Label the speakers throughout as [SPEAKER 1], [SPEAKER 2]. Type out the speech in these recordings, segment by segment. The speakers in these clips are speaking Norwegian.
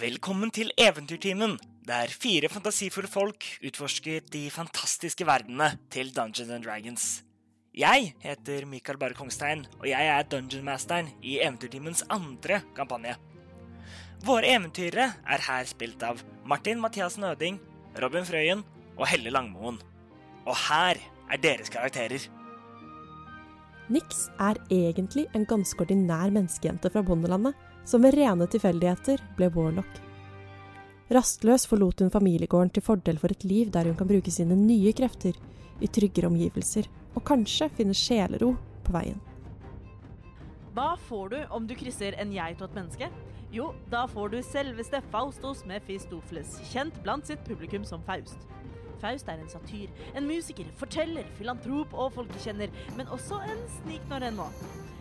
[SPEAKER 1] Velkommen til Eventyrtimen, der fire fantasifulle folk utforsker de fantastiske verdenene til Dungeons and Dragons. Jeg heter Mikael Bare Kongstein, og jeg er Dungeon Masteren i Eventyrtimens andre kampanje. Våre eventyrere er her spilt av Martin Mathiassen Øding, Robin Frøyen og Helle Langmoen. Og her er deres karakterer.
[SPEAKER 2] Nix er egentlig en ganske ordinær menneskejente fra bondelandet, som ved rene tilfeldigheter ble warlock. Rastløs forlot hun familiegården til fordel for et liv der hun kan bruke sine nye krefter i tryggere omgivelser, og kanskje finne sjelero på veien.
[SPEAKER 3] Hva får du om du krysser en geit og et menneske? Jo, da får du selveste Faustos Mephistopheles, kjent blant sitt publikum som Faust. Faust er en satyr, en musiker, forteller, filantrop og folkekjenner, men også en sniknarr en nå.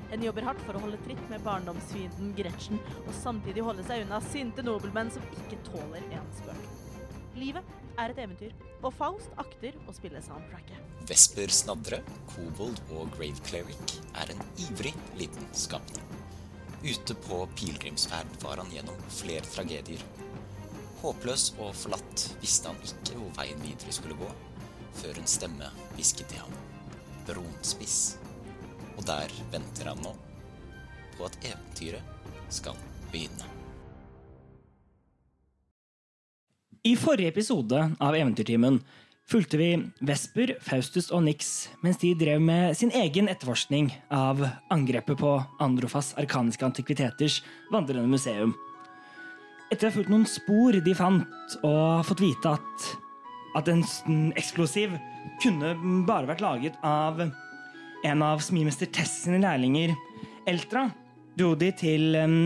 [SPEAKER 3] En jobber hardt for å holde tritt med barndomsfienden Gretchen, og samtidig holde seg unna sinte nobelmenn som ikke tåler en spøk. Livet er et eventyr, og Faust akter å spille soundtracket.
[SPEAKER 4] Vesper Snadre, Kobold og Grave Cleric er en ivrig liten skapning. Ute på pilegrimsferd var han gjennom flere tragedier. Håpløs og forlatt visste han ikke hvor veien videre skulle gå, før en stemme hvisket til ham. Bronspiss. Og der venter han nå på at eventyret skal begynne.
[SPEAKER 1] I forrige episode av Eventyrtimen fulgte vi Vesper, Faustus og Nix mens de drev med sin egen etterforskning av angrepet på Androfas arkaniske antikviteters vandrende museum. Etter å ha fulgt noen spor de fant, og fått vite at, at en sånn eksplosiv kunne bare vært laget av en av smimester Tess sine lærlinger, Eltra, dro de til em,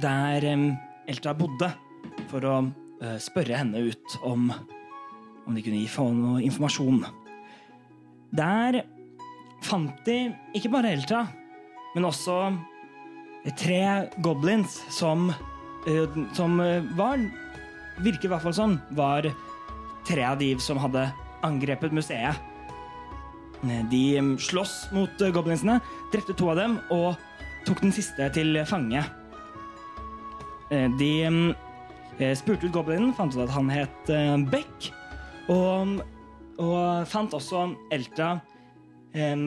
[SPEAKER 1] der em, Eltra bodde, for å eh, spørre henne ut om, om de kunne gi- få noe informasjon. Der fant de ikke bare Eltra, men også eh, tre goblins som, eh, som eh, var Virker i hvert fall som var tre av de som hadde angrepet museet. Eh, De em, slåss mot eh, goblinsene, drepte to av dem og tok den siste til fange. Eh, De em, eh, spurte ut goblinen, fant ut at han het eh, Beck, og, og fant også Eltra em,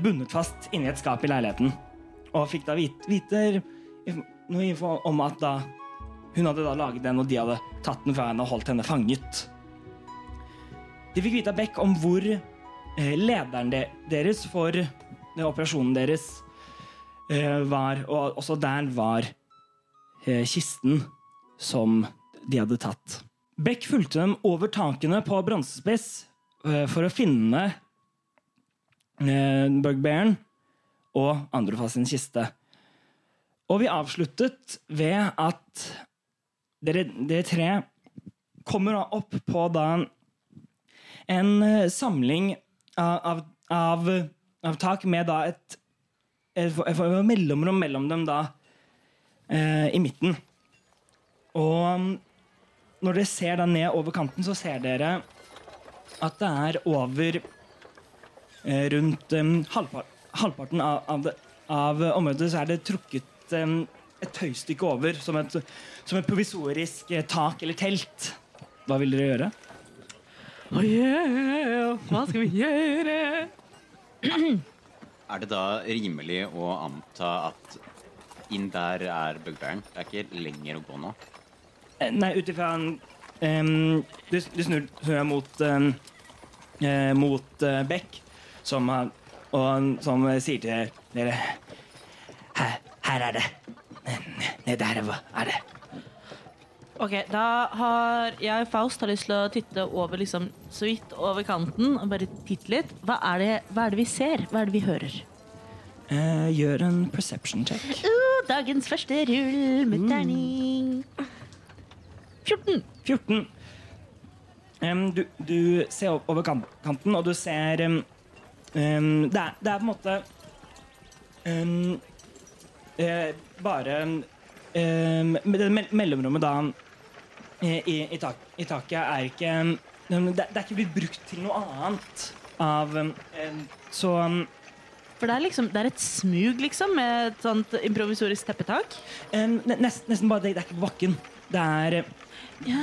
[SPEAKER 1] bundet fast inni et skap i leiligheten. Og fikk da vite, vite inf- noe info om at da hun hadde da laget den, og de hadde tatt den fra henne og holdt henne fanget. De fikk vite av Beck om hvor eh, lederen de- deres for eh, operasjonen deres eh, var, og også der var eh, kisten som de hadde tatt. Beck fulgte dem over tankene på Bronsespiss eh, for å finne eh, bugbearen og Androfas sin kiste. Og vi avsluttet ved at dere, dere tre kommer da opp på da en eh, samling av, av, av, av tak med da et, et, et mellomrom mellom dem da eh, i midten. Og um, når dere ser da ned over kanten, så ser dere at det er over eh, rundt um, halvpar halvparten av, av, det, av området så er det trukket um, et tøystykke over, som et, som et provisorisk eh, tak eller telt. Hva vil dere gjøre?
[SPEAKER 3] Hva skal vi gjøre?
[SPEAKER 5] Er det da rimelig å anta at inn der er bugbearen? Det er ikke lenger å gå nå.
[SPEAKER 1] Eh, Nei, ut ifra en em, du, du snur, snur deg mot em, eh, Mot eh, Beck, som, har- og, han- som eh, sier til dere Her, her er det. Nede her er hva- er det.
[SPEAKER 3] Ok, da har jeg og Faust har lyst til å titte over liksom så vidt over kanten og bare titte litt. Hva er det, hva er det vi ser? Hva er det vi hører?
[SPEAKER 1] Eh, gjør en perception check.
[SPEAKER 3] Uh, dagens første rull med
[SPEAKER 1] Mm.
[SPEAKER 3] terning. 14.
[SPEAKER 1] 14. Em, du, du ser opp- over kan- kanten, og du ser em, em, det, er, det er på en måte em, eh, Bare em, med Det mell- mellomrommet da eh, i, i, tak, i taket er ikke em, det, det er ikke blitt brukt til noe annet av em, em, Så em,
[SPEAKER 3] For det er liksom, det er et smug, liksom, med et sånt improvisorisk teppetak.
[SPEAKER 1] Em, ne- nest, nesten bare, det, det er ikke på bakken. Det er,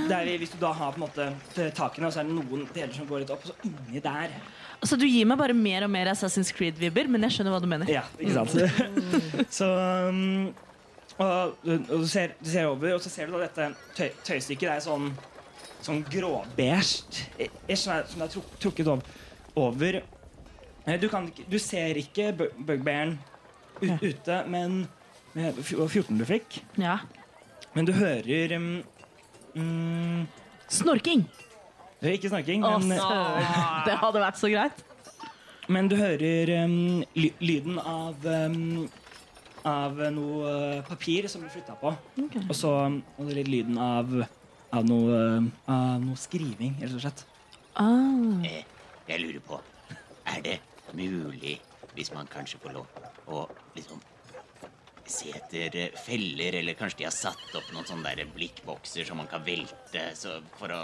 [SPEAKER 1] det er Hvis du da har på en måte t- takene, og så er det noen deler som går litt opp, og så inni der
[SPEAKER 3] Altså, Du gir meg bare mer og mer Assassin's Creed-vibber, men jeg skjønner hva du mener.
[SPEAKER 1] Ja, ikke sant? så um, og, og du, ser, du ser over, og så ser du da dette tøy, tøystykket. Det er sånn, sånn gråbeige. eh, eh, Som er, som er truk, trukket opp, over. Eh, Du, kan, ikke- du ser ikke bu- bugbearen ut, ute, men med fj- og 14 du fikk.
[SPEAKER 3] Ja.
[SPEAKER 1] Men du hører um, mm,
[SPEAKER 3] Snorking!
[SPEAKER 1] det er Ikke snakking,
[SPEAKER 3] Å,
[SPEAKER 1] men, eh,
[SPEAKER 3] søren. Det hadde vært så greit.
[SPEAKER 1] men du hører um, ly lyden av um, Av noe uh, papir som blir flytta på. Og så um, og litt lyden av, av, noe, um, av noe skriving, rett og slett.
[SPEAKER 3] Ah.
[SPEAKER 5] Eh, Jeg lurer på, er det mulig, hvis man kanskje får lov, å liksom se etter eh, feller, eller kanskje de har satt opp noen sånne der blikkbokser som man kan velte, så for å,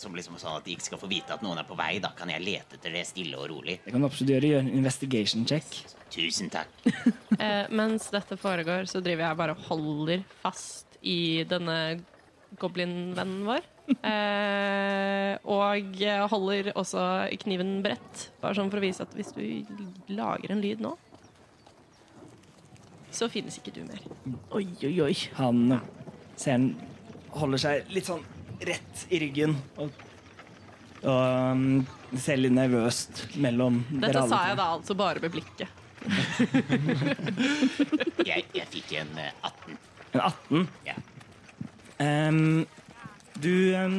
[SPEAKER 5] som liksom sånn at de ikke skal få vite at noen er på vei, da kan jeg lete etter det stille og rolig.
[SPEAKER 1] Det kan du absolutt gjøre. Gjøre en investigation check.
[SPEAKER 5] Tusen takk.
[SPEAKER 6] Eh, mens dette foregår, så driver jeg bare og holder fast i denne goblinvennen vår. Eh, og jeg holder også kniven bredt, bare sånn for å vise at hvis du lager en lyd nå, så finnes ikke du mer.
[SPEAKER 3] Oi, oi, oi.
[SPEAKER 1] Han uh, ser han holder seg litt sånn rett i ryggen og, og um, ser litt nervøst mellom
[SPEAKER 6] Dette sa jeg da altså bare med blikket.
[SPEAKER 5] Jeg, jeg fikk en eh, 18.
[SPEAKER 1] En 18.
[SPEAKER 5] Ja.
[SPEAKER 1] Ehm, du, ehm,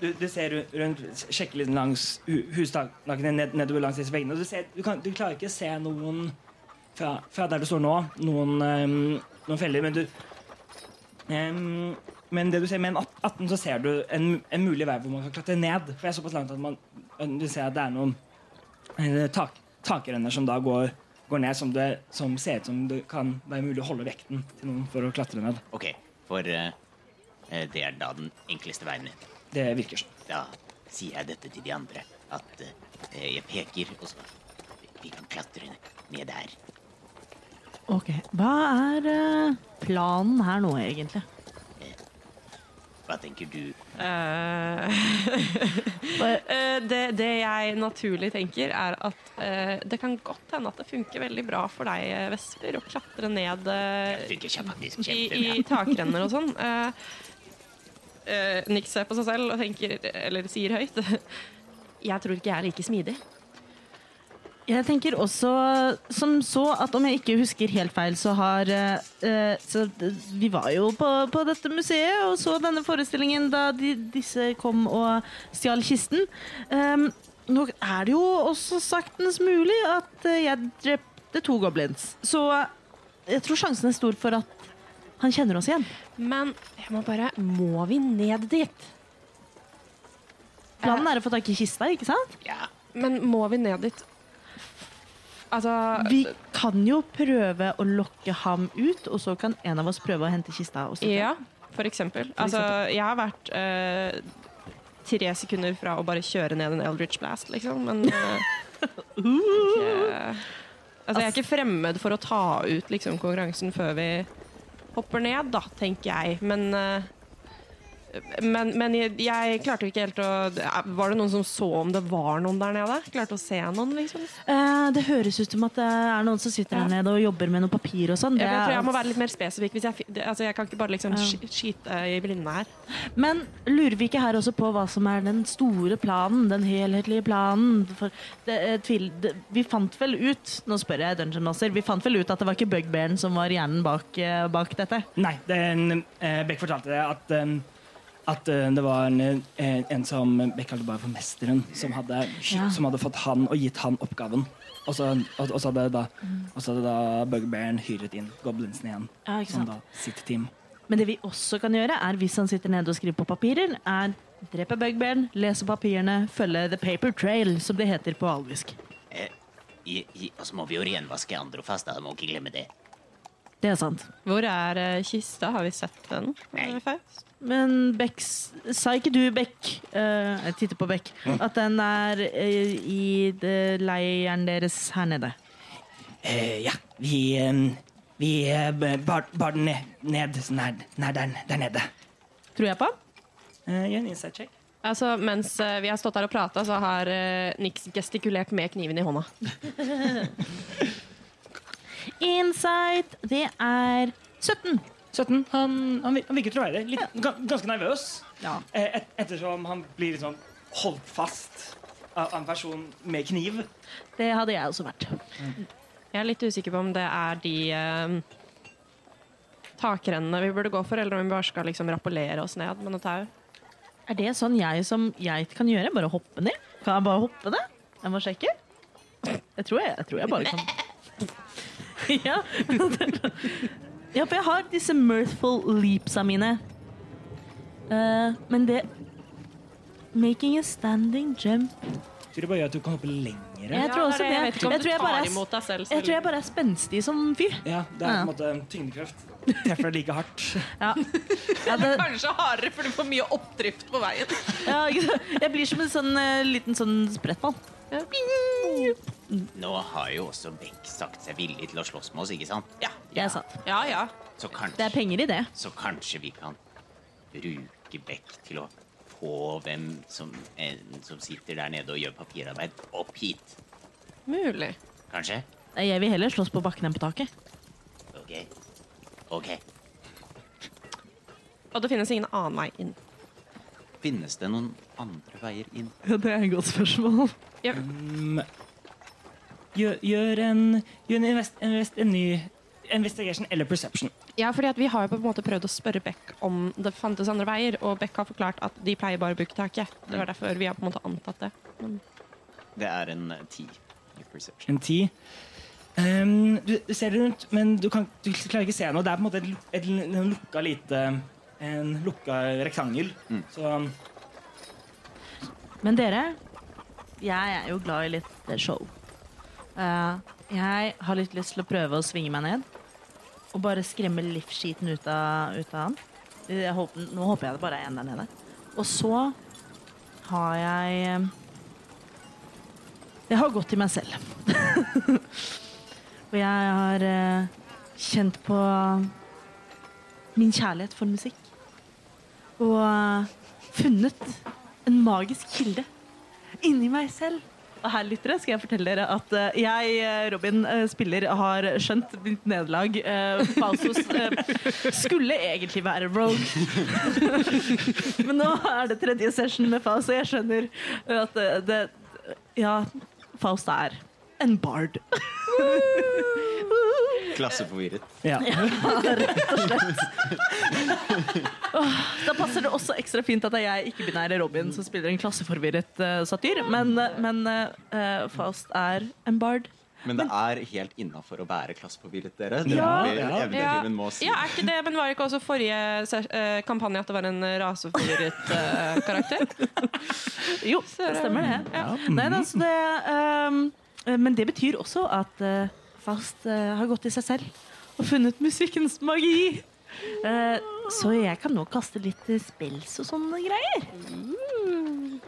[SPEAKER 1] du, du ser ru- rundt, sjekker litt langs hu- hustakene ned, nedover langs disse veggene. Og du, ser, du, kan, du klarer ikke å se noen fra, fra der du står nå, noen, ehm, noen feller, men du ehm, men det du ser med en at- 18, så ser du en, en mulig vei hvor man kan klatre ned. For jeg er såpass langt at man du ser at det er noen eh, tak, takrenner som da går, går ned, som, det, som ser ut som det kan være mulig å holde vekten til noen for å klatre ned.
[SPEAKER 5] Ok, for eh, eh, det er da den enkleste veien ned.
[SPEAKER 1] Det virker sånn.
[SPEAKER 5] Da sier jeg dette til de andre, at eh, jeg peker, og så vi kan klatre ned der.
[SPEAKER 3] Ok, Hva er eh, planen her nå, egentlig?
[SPEAKER 5] Hva tenker du?
[SPEAKER 6] Eh, det, det jeg naturlig tenker, er at eh, det kan godt hende at det funker veldig bra for deg, eh, Vesper, å klatre ned
[SPEAKER 5] Det
[SPEAKER 6] eh,
[SPEAKER 5] funker kjem- faktisk
[SPEAKER 6] i, i
[SPEAKER 5] kjempebra.
[SPEAKER 6] takrenner og sånn. Eh, eh, Nick ser på seg selv og tenker, eller sier høyt Jeg tror ikke jeg er like smidig.
[SPEAKER 3] Jeg tenker også som så at om jeg ikke husker helt feil, så har eh, eh, så d- Vi var jo på, på dette museet og så denne forestillingen da de, disse kom og stjal kisten. Ehm, nå er det jo også saktens mulig at eh, jeg drepte to goblins. Så jeg tror sjansen er stor for at han kjenner oss igjen.
[SPEAKER 6] Men jeg må bare Må vi ned dit?
[SPEAKER 3] Planen er å få tak i kista, ikke sant?
[SPEAKER 5] Ja,
[SPEAKER 6] Men må vi ned dit? Altså
[SPEAKER 3] Vi kan jo prøve å lokke ham ut, og så kan en av oss prøve å hente kista. Og stikke.
[SPEAKER 6] Ja, for eksempel. Altså, jeg har vært eh, tre sekunder fra å bare kjøre ned en Eldridge Blast, liksom, men eh,
[SPEAKER 3] Uh!
[SPEAKER 6] ikke- Altså, jeg er ikke fremmed for å ta ut liksom, konkurransen før vi hopper ned, da, tenker jeg. Men eh, men, men jeg, jeg klarte ikke helt å eh, Var det noen som så om det var noen der nede? Klarte å se noen, liksom?
[SPEAKER 3] Eh, det høres ut som at det er noen som sitter
[SPEAKER 6] Ja.
[SPEAKER 3] her nede og jobber med noe papir og sånn.
[SPEAKER 6] Jeg,
[SPEAKER 3] Det
[SPEAKER 6] jeg tror
[SPEAKER 3] er
[SPEAKER 6] jeg må
[SPEAKER 3] alt.
[SPEAKER 6] være litt mer spesifikk. Hvis jeg, fi- det- altså, jeg kan ikke bare liksom
[SPEAKER 3] Ja.
[SPEAKER 6] sky- skyte i blinde her.
[SPEAKER 3] Men lurer vi ikke her også på hva som er den store planen? Den helhetlige planen? For det, jeg tvil, det, vi fant vel ut Nå spør jeg Dungeon Master. Vi fant vel ut at det var ikke bugbearen som var hjernen bak, eh, bak dette?
[SPEAKER 1] Nei, det er en, eh, Beck fortalte det at, em, at eh, det var en, eh, en som Beck kalte bare for mesteren, som hadde,
[SPEAKER 3] Ja.
[SPEAKER 1] som hadde fått han og gitt han oppgaven. Og så, og, og så hadde da, og så hadde da Bugbearen hyret inn goblinsen igjen
[SPEAKER 3] Mm. Ja, ikke
[SPEAKER 1] som
[SPEAKER 3] sant.
[SPEAKER 1] da sitt team.
[SPEAKER 3] Men det vi også kan gjøre, er hvis han sitter nede og skriver på papirer, er drepe bugbearen, lese papirene, følge the paper trail, som det heter på alvisk.
[SPEAKER 5] eh, i, i, og så må vi jo renvaske Androfast, da. Må ikke glemme det.
[SPEAKER 3] Det er sant.
[SPEAKER 6] Hvor er eh, kista? Har vi sett den?
[SPEAKER 5] Nei.
[SPEAKER 6] Eh, Faust?
[SPEAKER 3] Men Beck s- Sa ikke du, Beck eh, Jeg titter på Beck. At den er eh, i det leiren deres her nede.
[SPEAKER 1] Eh, ja, vi, eh, vi eh, bar, bar den ned, ned sånn her, nær der, der nede.
[SPEAKER 6] Tror jeg på.
[SPEAKER 1] Eh, gjør en insight check.
[SPEAKER 6] Altså, mens eh, vi har stått her og prata, så har eh, Nix gestikulert med kniven i hånda.
[SPEAKER 3] Insight, det er 17.
[SPEAKER 1] 17. Han, han, vir- han virker troverdig. Litt, gan- ganske nervøs.
[SPEAKER 3] Ja.
[SPEAKER 1] Eh, et, ettersom han blir liksom holdt fast av av en person med kniv.
[SPEAKER 3] Det hadde jeg også vært.
[SPEAKER 6] Jeg er litt usikker på om det er de eh, takrennene vi burde gå for, eller om vi bare skal liksom rappellere oss ned med noe tau.
[SPEAKER 3] Er det sånn jeg som geit kan gjøre? Bare hoppe ned? Kan jeg bare hoppe ned? Jeg må sjekke. Jeg tror jeg, jeg, tror jeg bare kan ja, men det- ja, for jeg har disse mirthful leapsa mine. Eh, men det Making a standing jump
[SPEAKER 1] Tror det bare gjør at du kan hoppe lengre.
[SPEAKER 3] Jeg tror også det.
[SPEAKER 6] Jeg vet ikke om
[SPEAKER 3] Jeg
[SPEAKER 6] du
[SPEAKER 3] tror jeg bare
[SPEAKER 6] tar
[SPEAKER 3] er s-
[SPEAKER 6] imot deg selv.
[SPEAKER 3] Jeg tror jeg bare er spenstig som fyr.
[SPEAKER 1] Ja, det er på en måte tyngdekraft. Treffer deg like hardt.
[SPEAKER 3] Ja. Ja, det,
[SPEAKER 6] Kanskje hardere, for du får mye oppdrift på veien.
[SPEAKER 3] ja, ikke sant? jeg blir som en sånn eh, liten sånn sprettball.
[SPEAKER 5] Nå har jo også Beck sagt seg villig til å slåss med oss, ikke sant?
[SPEAKER 6] Ja,
[SPEAKER 3] Det er sant.
[SPEAKER 6] ja. ja.
[SPEAKER 5] Så
[SPEAKER 3] Det er
[SPEAKER 5] kanskje,
[SPEAKER 3] penger i det.
[SPEAKER 5] så kanskje vi kan bruke Beck til å få hvem som, en som sitter der nede og gjør papirarbeid, opp hit.
[SPEAKER 6] Mulig.
[SPEAKER 5] Kanskje?
[SPEAKER 3] Nei, Jeg vil heller slåss på bakken enn på taket.
[SPEAKER 5] Ok. Ok.
[SPEAKER 6] Og det finnes ingen annen vei inn.
[SPEAKER 5] Finnes det noen andre veier inn?
[SPEAKER 3] Det er et godt spørsmål.
[SPEAKER 1] Mm. Gjør, gjør en, gjør en, invest, invest, en ny investigation eller perception.
[SPEAKER 6] Ja, fordi at Vi har jo på en måte prøvd å spørre Beck om det fantes andre veier, og Beck har forklart at de pleier bare å bruke taket. Det var derfor vi har på en måte antatt det.
[SPEAKER 5] Det er en eh, ti. i perception.
[SPEAKER 1] En ti. Ehm, du, du ser rundt, men du, kan, du klarer ikke se noe. Det er på en måte et, lu- et, lu- en lukka lite En lukka rektangel. Så
[SPEAKER 3] Men dere, jeg er jo glad i litt show. Eh, jeg har litt lyst til å prøve å svinge meg ned og bare skremme livsskiten ut av, ut av han. Jeg håper, nå håper jeg det bare er en der nede. Og så har jeg eh, Jeg har gått i meg selv. og jeg har eh, kjent på min kjærlighet for musikk. Og eh, funnet en magisk kilde inni meg selv. Og her lyttere, skal jeg fortelle dere at eh, jeg, eh, Robin, eh, spiller, har skjønt mitt nederlag. Uh, Falsos eh, skulle egentlig være rogue. Men nå er det tredje session med Faust, og jeg skjønner at eh, det Ja, Faust er en bard.
[SPEAKER 5] Klasseforvirret.
[SPEAKER 1] ja.
[SPEAKER 3] Da passer det også ekstra fint at det er jeg, ikke-binære Robin, som spiller en klasseforvirret eh, satyr. Men, eh, men eh, Faust er en bard.
[SPEAKER 5] Men det er helt innafor å være klasseforvirret, dere.
[SPEAKER 1] Ja,
[SPEAKER 5] blir-
[SPEAKER 1] ja.
[SPEAKER 5] evnetimen må si.
[SPEAKER 6] ja, er ikke det, men var det ikke også forrige se- eh, kampanje at det var en raseforvirret eh, karakter?
[SPEAKER 3] Jo, det stemmer det.
[SPEAKER 1] Ja.
[SPEAKER 3] Nei, men altså det ehm, Men det betyr også at eh, Faust eh, har gått i seg selv og funnet musikkens magi. Eh, så jeg kan nå kaste litt eh, spells og sånne greier.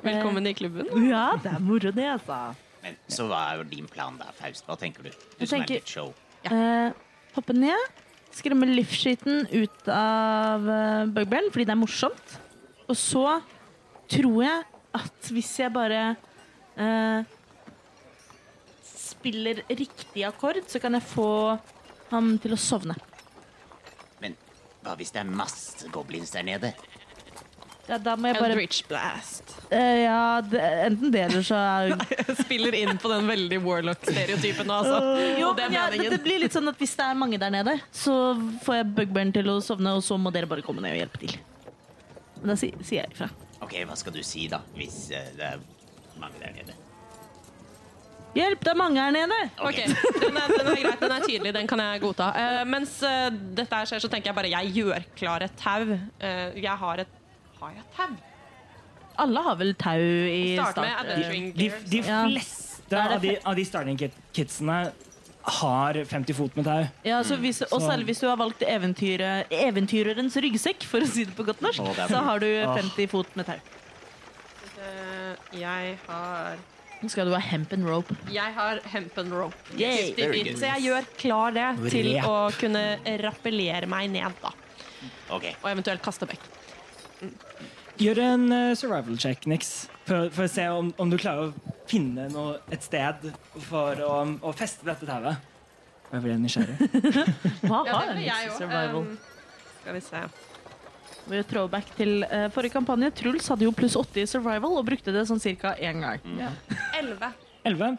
[SPEAKER 6] Velkommen i klubben.
[SPEAKER 3] Ja, det er moro, det, altså.
[SPEAKER 5] Men, så hva er jo din plan der, Faust? Hva tenker du? Du
[SPEAKER 3] Jeg
[SPEAKER 5] som
[SPEAKER 3] tenker-
[SPEAKER 5] er litt show.
[SPEAKER 3] Eh, hoppe ned, skremme livsskiten ut av uh, bugbellen fordi det er morsomt. Og så tror jeg at hvis jeg bare eh, spiller riktig akkord, så kan jeg få ham til å sovne.
[SPEAKER 5] Men hva hvis det er masse goblins der nede?
[SPEAKER 3] Ja, da må jeg bare
[SPEAKER 6] Eldritch Blast.
[SPEAKER 3] Eh, Ja, det, enten det eller så er
[SPEAKER 6] Jeg spiller inn på den veldig Warlock-stereotypen nå, altså.
[SPEAKER 3] Jo,
[SPEAKER 6] det er
[SPEAKER 3] men ja, det,
[SPEAKER 6] meningen.
[SPEAKER 3] det blir litt sånn at hvis det er mange der nede, så får jeg bugbellen til å sovne, og så må dere bare komme ned og hjelpe til. Men da si, sier jeg ifra.
[SPEAKER 5] Ok, hva skal du si da, hvis eh, det er mange der nede?
[SPEAKER 3] Hjelp, det er mange her nede!
[SPEAKER 6] Ok, den er, den er greit, den er tydelig, den kan jeg godta. Eh, mens eh, dette her skjer, så tenker jeg bare jeg gjør klar et tau. Eh, jeg har et Har jeg et tau?
[SPEAKER 3] Alle har vel tau i
[SPEAKER 6] Start med
[SPEAKER 3] starten?
[SPEAKER 6] adventuring
[SPEAKER 1] De,
[SPEAKER 6] gear.
[SPEAKER 1] Ehm, de
[SPEAKER 3] Ja.
[SPEAKER 1] fleste
[SPEAKER 3] Da er det
[SPEAKER 1] av de, av de starting kit- kidsene har 50 fot med tau.
[SPEAKER 3] Ja, Mm. så hvis, og særlig hvis du har valgt eventyret, eventyrerens ryggsekk, for å si det på godt norsk,
[SPEAKER 5] Å, det er
[SPEAKER 3] så
[SPEAKER 5] fint.
[SPEAKER 3] har du 50 fot med tau.
[SPEAKER 6] Eh, jeg har
[SPEAKER 3] Skal du ha hemp and rope?
[SPEAKER 6] Jeg har hemp and rope.
[SPEAKER 3] Yay!
[SPEAKER 5] Very good.
[SPEAKER 6] Så jeg gjør klar det til
[SPEAKER 1] Rep.
[SPEAKER 6] å kunne rappellere meg ned, da.
[SPEAKER 5] Ok,
[SPEAKER 6] Og eventuelt kaste vekk.
[SPEAKER 1] Gjør en eh, survival check, Nix, for, for å se om, om du klarer å finne noe, et sted for å, å feste dette tauet. Jeg ble nysgjerrig.
[SPEAKER 3] Hva
[SPEAKER 6] Ja,
[SPEAKER 3] har
[SPEAKER 6] det vil jeg
[SPEAKER 3] Nix's
[SPEAKER 6] også.
[SPEAKER 3] survival?
[SPEAKER 6] Um, Skal vi se.
[SPEAKER 3] Ved å throwback til eh, forrige kampanje. Truls hadde jo pluss 80 i survival og brukte det sånn cirka én gang.
[SPEAKER 6] Elleve.
[SPEAKER 1] Elleve?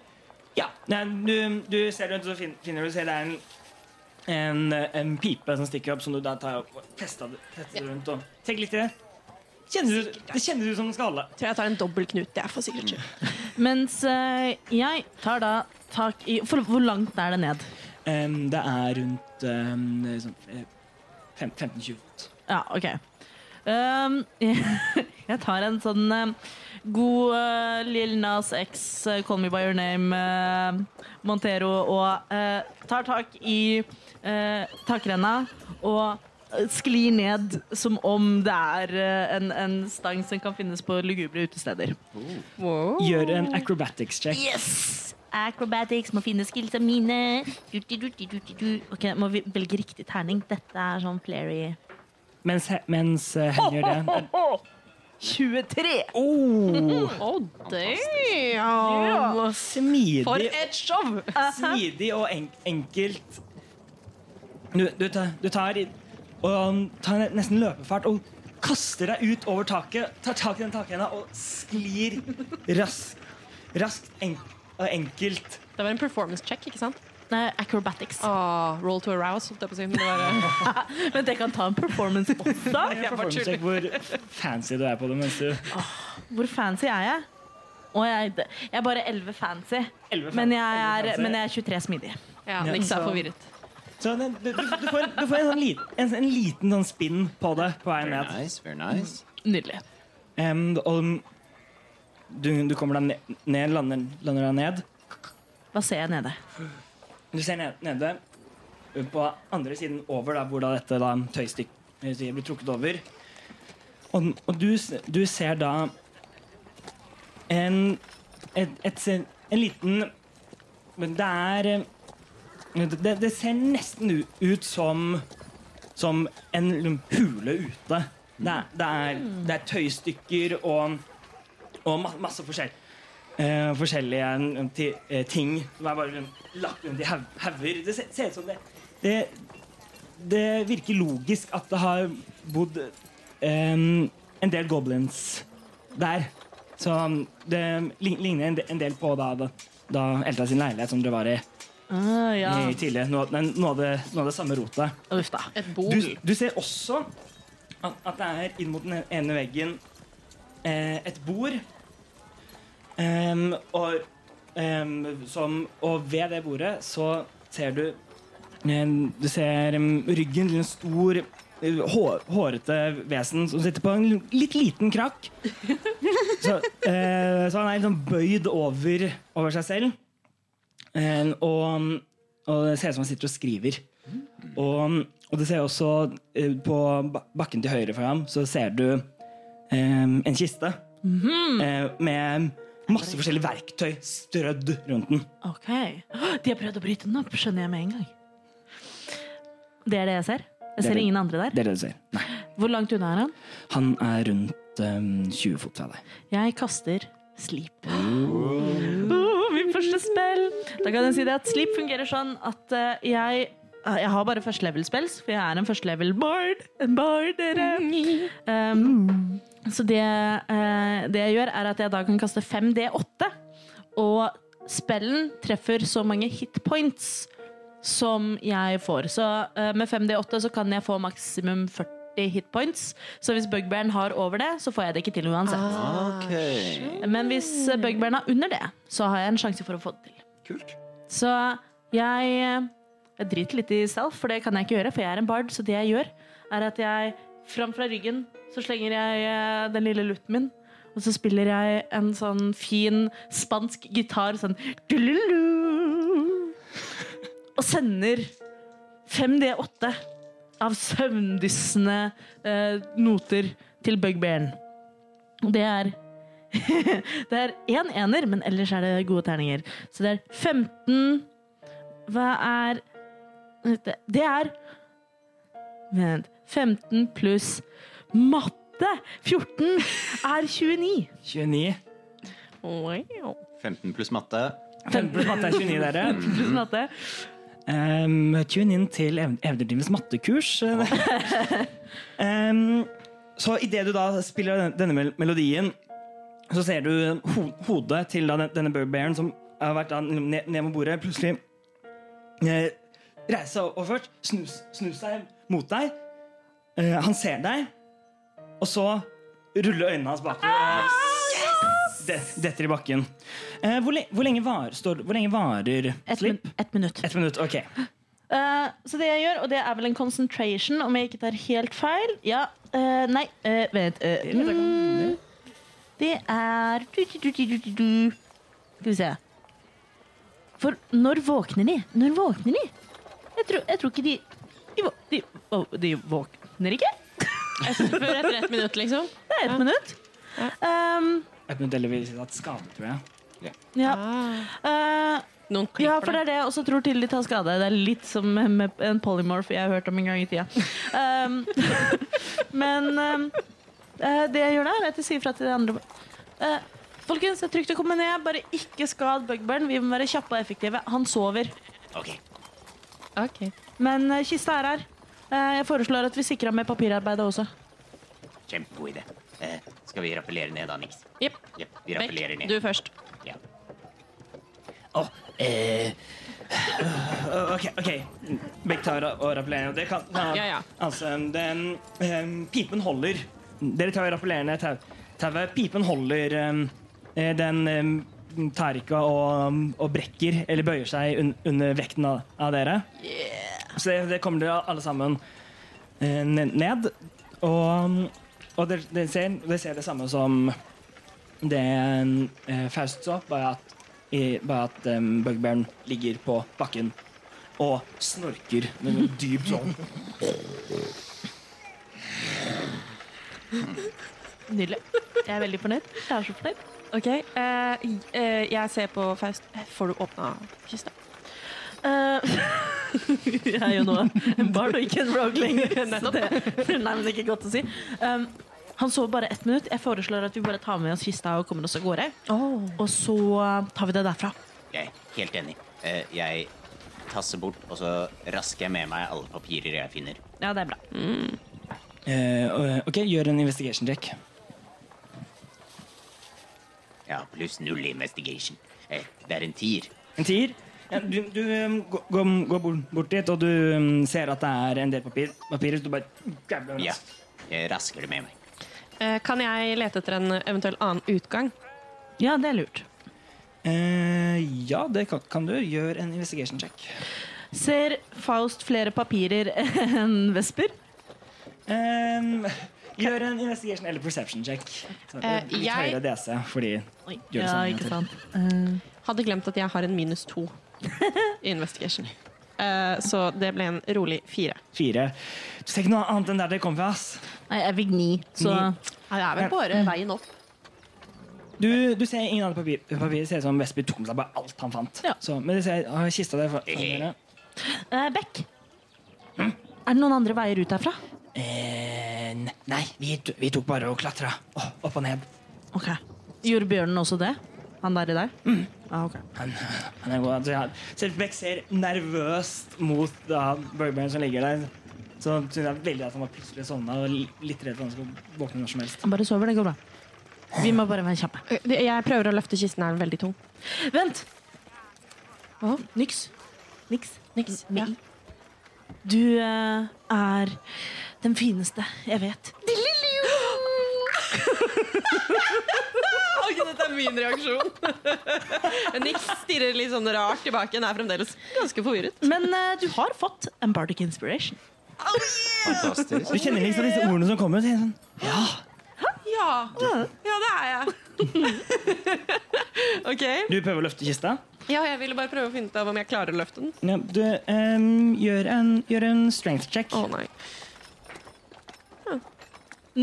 [SPEAKER 1] Ja. Nei, du, du ser rundt, så fin- finner du se det er en, en, en pipe som stikker opp, som du da tar opp og fester, fester rundt. Og Tenk litt i det. Kjenner du, det kjenner du som en skalle.
[SPEAKER 6] Tror jeg tar en dobbel knut. Det er for sikkert skyld.
[SPEAKER 3] Mens eh, jeg tar da tak i For hvor langt er det ned?
[SPEAKER 1] Em, det er rundt em, sånn, eh, fem- 15-20 fot.
[SPEAKER 3] Ja, OK. Um, jeg tar en sånn eh, god eh, Lil Nas X, eh, Call Me By Your Name, eh, Montero, og eh, tar tak i eh, takrenna og eh, sklir ned som om det er eh, en, en stang som kan finnes på lugubre utesteder.
[SPEAKER 1] Gjør en acrobatics check.
[SPEAKER 3] Yes! Acrobatics må finne skillsa mine. Dutti, dutti, dutti, du. Ok, Må vi velge riktig terning? Dette er sånn flairy.
[SPEAKER 1] Mens, he- mens eh, hen gjør det.
[SPEAKER 3] 23!
[SPEAKER 1] Oh,
[SPEAKER 6] Oh,
[SPEAKER 3] Ja.
[SPEAKER 6] For
[SPEAKER 1] smidig,
[SPEAKER 6] et show!
[SPEAKER 1] smidig og en, enkelt. Du, du, tar, du tar, i- og tar ne- nesten løpefart og kaster deg ut over taket, tar tak i den takrenna og sklir raskt, raskt en, og enkelt.
[SPEAKER 6] Det var en performance check, ikke sant?
[SPEAKER 3] Nei, acrobatics.
[SPEAKER 6] Ah, roll to arouse, holdt jeg på å si. Men det var,
[SPEAKER 3] Men det kan ta en performance også.
[SPEAKER 1] Jeg får forhåndssjekk hvor fancy du er på det mens du
[SPEAKER 3] Hvor fancy er jeg? Å, jeg, jeg er bare 11 fancy.
[SPEAKER 1] 11 fan-
[SPEAKER 3] Men jeg er,
[SPEAKER 1] 11 fancy.
[SPEAKER 3] men jeg liksom, er 23 smidig.
[SPEAKER 6] ja, Nix er
[SPEAKER 1] så-
[SPEAKER 6] forvirret.
[SPEAKER 1] Så den- du, du, du får, en- du får en, sånn liten, en, en liten sånn spinn på det på vei
[SPEAKER 5] very
[SPEAKER 1] ned.
[SPEAKER 5] nice, very nice.
[SPEAKER 3] Nydelig.
[SPEAKER 1] Em, og du, du kommer deg ned, ned lander, lander deg ned.
[SPEAKER 3] Hva ser jeg nede?
[SPEAKER 1] Du ser ned, nede på andre siden over, da, hvor da dette da, tøystykket blir trukket over. Og, og du, s- du ser da en, et, et, se- en liten Men det er eh, Det, det ser nesten u- ut som som en hule ute. Det er, det er, det er tøystykker og, og ma- masse forskjell. Eh, forskjellige eh, ti- eh, ting som er bare lagt rundt i haug- hauger. Det ser, ser ut som det, det Det virker logisk at det har bodd eh, en del goblins der. Så um, det lign- ligner en de- en del på da, da, da Elta sin leilighet som dere var i,
[SPEAKER 3] Ah, ja.
[SPEAKER 1] i tidligere. Noe, noe, av det, noe av det samme rotet.
[SPEAKER 3] Uff da.
[SPEAKER 6] Et bol.
[SPEAKER 1] Du, du ser også at, at det er inn mot den ene veggen eh, et bord. Em, og, em, som, og ved det bordet så ser du em, Du ser em, ryggen til en stor, eh, hår, hårete vesen som sitter på en litt liten krakk. Så, eh, så han er liksom bøyd over, over seg selv. Em, og, og det ser ut som han sitter og skriver. Og, og du ser også eh, på ba- bakken til høyre for ham, så ser du eh, en kiste eh, med masse forskjellige verktøy strødd rundt den.
[SPEAKER 3] Ok. De har prøvd å bryte den opp, skjønner jeg med en gang. Det er det jeg ser? Jeg
[SPEAKER 1] Det er
[SPEAKER 3] ser
[SPEAKER 1] det.
[SPEAKER 3] ingen andre
[SPEAKER 1] Det
[SPEAKER 3] der.
[SPEAKER 1] er det du ser. Nei.
[SPEAKER 3] Hvor langt unna er han?
[SPEAKER 1] Han er rundt eh, 20 fot fra deg.
[SPEAKER 3] Jeg kaster sleep. Oh, min første spill! Da kan jeg si det at sleep fungerer sånn at eh, jeg eh, jeg har bare første level spells, for jeg er en første level bard. En bard, dere. Um, så det, eh, det jeg gjør, er at jeg da kan kaste 5D8. Og spellen treffer så mange hitpoints som jeg får. Så eh, med 5D8 så kan jeg få maksimum 40 hitpoints. Så hvis bugbearen har over det, så får jeg det ikke til uansett.
[SPEAKER 5] Ok,
[SPEAKER 3] Men hvis eh, bugbearen er under det, så har jeg en sjanse for å få det til.
[SPEAKER 5] kult.
[SPEAKER 3] Så jeg, eh, jeg driter litt i self, for det kan jeg ikke gjøre, for jeg er en bard. Så det jeg gjør, er at jeg fram fra ryggen så slenger jeg eh, den lille lutten min. Og så spiller jeg en sånn fin spansk gitar sånn dululu, Og sender 5D8 av søvndyssende eh, noter til bugbearen. Og det er Det er én ener, men ellers er det gode terninger. Så det er 15 Hva er Det det er Vent. 15 pluss matte 14 er 29.
[SPEAKER 1] 29.
[SPEAKER 6] Wow.
[SPEAKER 5] 15 pluss matte.
[SPEAKER 1] 15 pluss matte er 29, dere.
[SPEAKER 3] 15 pluss matte.
[SPEAKER 1] Um, tune inn til ev- Eventyrtimens mattekurs. um, så idet du da spiller den- denne mel- melodien, så ser du ho hodet til da den- denne bugbearen som har vært da ned, ned mot bordet, plutselig eh, reise seg over først, snu, snu seg mot deg. Eh, han ser deg, og så ruller øynene hans bakover. og det- Detter i bakken. Eh, hvor, le hvor lenge var, står, hvor lenge varer
[SPEAKER 3] Ett
[SPEAKER 1] slipp?
[SPEAKER 3] min- ett minutt.
[SPEAKER 1] Ett minutt, ok.
[SPEAKER 3] Eh, så det jeg gjør, og det er vel en concentration, om jeg ikke tar helt feil Ja, eh, nei, eh, vent eh, mm, Det er du, du, du, du, du, du. Skal vi se. For når våkner de? Når våkner de? Jeg tror, jeg tror ikke de De, vå- de, å, de våkner ikke?
[SPEAKER 6] Før etter ett minutt, liksom.
[SPEAKER 3] Det er ett
[SPEAKER 6] Ja.
[SPEAKER 3] minutt. Um,
[SPEAKER 1] Et minutt eller vil si at skade, tror jeg.
[SPEAKER 3] ja.
[SPEAKER 6] Ah.
[SPEAKER 3] Eh,
[SPEAKER 6] Noen
[SPEAKER 3] Ja,
[SPEAKER 6] klipper
[SPEAKER 3] for det er det jeg også tror til de tar skade. Det er litt som med en polymorph jeg har hørt om en gang i tida. Um, men um, eh, det jeg gjør da, er at jeg sier fra til de andre Eh, Folkens, det er trygt å komme ned. Bare ikke skad bugburn. Vi må være kjappe og effektive. Han sover.
[SPEAKER 5] Ok.
[SPEAKER 6] Ok.
[SPEAKER 3] Men eh, kista er her. Eh, jeg foreslår at vi sikrer ham med papirarbeidet også.
[SPEAKER 5] Kjempegod idé. Eh, skal vi rappellere ned da, Nix?
[SPEAKER 6] Jepp.
[SPEAKER 5] Jepp, vi
[SPEAKER 6] Beck,
[SPEAKER 5] rappellerer ned.
[SPEAKER 6] du først.
[SPEAKER 5] Ja.
[SPEAKER 1] Åh, eh. øh, Ok, ok. Begge tar og rappellerer. og Det kan, ja,
[SPEAKER 6] Ja, ja.
[SPEAKER 1] Altså, den, ehm, pipen holder. Dere tar og rappellerer ned tau- tauet. Pipen holder. ehm, eh, den ehm, tar ikke og, og brekker eller bøyer seg un, under vekten av, av dere. Så det, det kommer dere alle sammen eh, ne- ned. Og, og dere, dere, ser, dere ser det samme som det eh, Faust så, bare at, i, bare at eh, bugbearen ligger på bakken og snorker med noe dypt sånn.
[SPEAKER 3] Nydelig. Jeg er veldig fornøyd. Jeg er så fornøyd.
[SPEAKER 6] Ok, eh, eh, jeg ser på Faust. Får du åpna kista?
[SPEAKER 3] Eh, jeg er jo nå en bard og ikke en rogue lenger. så det, nei, men det er ikke godt å si. Um, han sover bare ett minutt. Jeg foreslår at vi bare tar med oss kista og kommer oss av gårde. Og så uh, tar vi det derfra.
[SPEAKER 5] Jeg er helt enig. Eh, jeg tasser bort, og så rasker jeg med meg alle papirer jeg finner.
[SPEAKER 3] Ja, det er bra.
[SPEAKER 1] Eh, og- ok, gjør en investigation check.
[SPEAKER 5] Ja, pluss null investigation. Eh, det er en tier.
[SPEAKER 1] En tier. Ja, du du um, går, går- går bort- bort dit, og du um, ser at det er en del papir, papirer. Så du bare gabler den.
[SPEAKER 5] Ja, jeg rasker det med meg.
[SPEAKER 6] Eh, kan jeg lete etter en eventuell annen utgang?
[SPEAKER 3] Ja, det er lurt.
[SPEAKER 1] Eh, ja, det kan, kan du. Gjør en investigation check.
[SPEAKER 3] Ser Faust flere papirer enn Vesper?
[SPEAKER 1] Em, gjør en investigation eller perception check. Så det er
[SPEAKER 6] Eh,
[SPEAKER 1] litt
[SPEAKER 6] jeg-
[SPEAKER 1] høyere DC, fordi
[SPEAKER 3] Oi,
[SPEAKER 1] Gjør det sånn
[SPEAKER 3] ja,
[SPEAKER 1] samme,
[SPEAKER 3] ikke
[SPEAKER 1] jeg
[SPEAKER 3] sant.
[SPEAKER 6] Hadde glemt at jeg har en minus to i investigation. Eh, så det ble en rolig fire.
[SPEAKER 1] fire Du ser ikke noe annet enn der dere kom fra, ass.
[SPEAKER 3] Nei, jeg fikk ni, så
[SPEAKER 1] Ni.
[SPEAKER 6] Ja, det er vel bare veien opp.
[SPEAKER 1] Du, du ser ingen andre papir. Papirer ser ut som Vesper tok med seg bare alt han fant.
[SPEAKER 3] Ja.
[SPEAKER 1] Så, men du ser ah, kista der. for- foran dere.
[SPEAKER 3] Eh, Beck.
[SPEAKER 1] Hm?
[SPEAKER 3] Er det noen andre veier ut herfra?
[SPEAKER 1] Eh, ne- nei, vi, to- vi tok bare og klatra Å, opp og ned.
[SPEAKER 3] Ok. Gjorde bjørnen også det? Han der i der?
[SPEAKER 1] Hm.
[SPEAKER 3] Ah, ok.
[SPEAKER 1] Han er god. altså, jeg- Selv Beck ser nervøst mot da Burberry som ligger der. Så synes jeg veldig at han var plutselig sovna og li- litt redd for at han skulle våkne når som helst.
[SPEAKER 3] Han bare sover, det går bra. Vi må bare være kjappe.
[SPEAKER 6] Eh, Jeg prøver å løfte kisten, er den veldig tung.
[SPEAKER 3] Vent!
[SPEAKER 6] Hva?
[SPEAKER 3] Niks. Niks.
[SPEAKER 6] Niks.
[SPEAKER 3] Med
[SPEAKER 6] Ja.
[SPEAKER 3] i. Du eh, er den fineste jeg vet.
[SPEAKER 6] Ok, dette er min reaksjon. Niks stirrer litt sånn rart tilbake. Hun er fremdeles ganske forvirret.
[SPEAKER 3] Men eh, du har fått en bardic inspiration.
[SPEAKER 5] Fantastisk.
[SPEAKER 1] Du kjenner liksom disse ordene som kommer. og tenker Sånn,
[SPEAKER 6] Ja, ja det er jeg. OK.
[SPEAKER 1] du prøver å løfte kista.
[SPEAKER 6] Ja, jeg ville bare prøve å finne ut av om jeg klarer å løfte den.
[SPEAKER 1] Ja, du ehm, gjør, en, gjør en strength check.
[SPEAKER 6] Å nei.
[SPEAKER 3] Mm,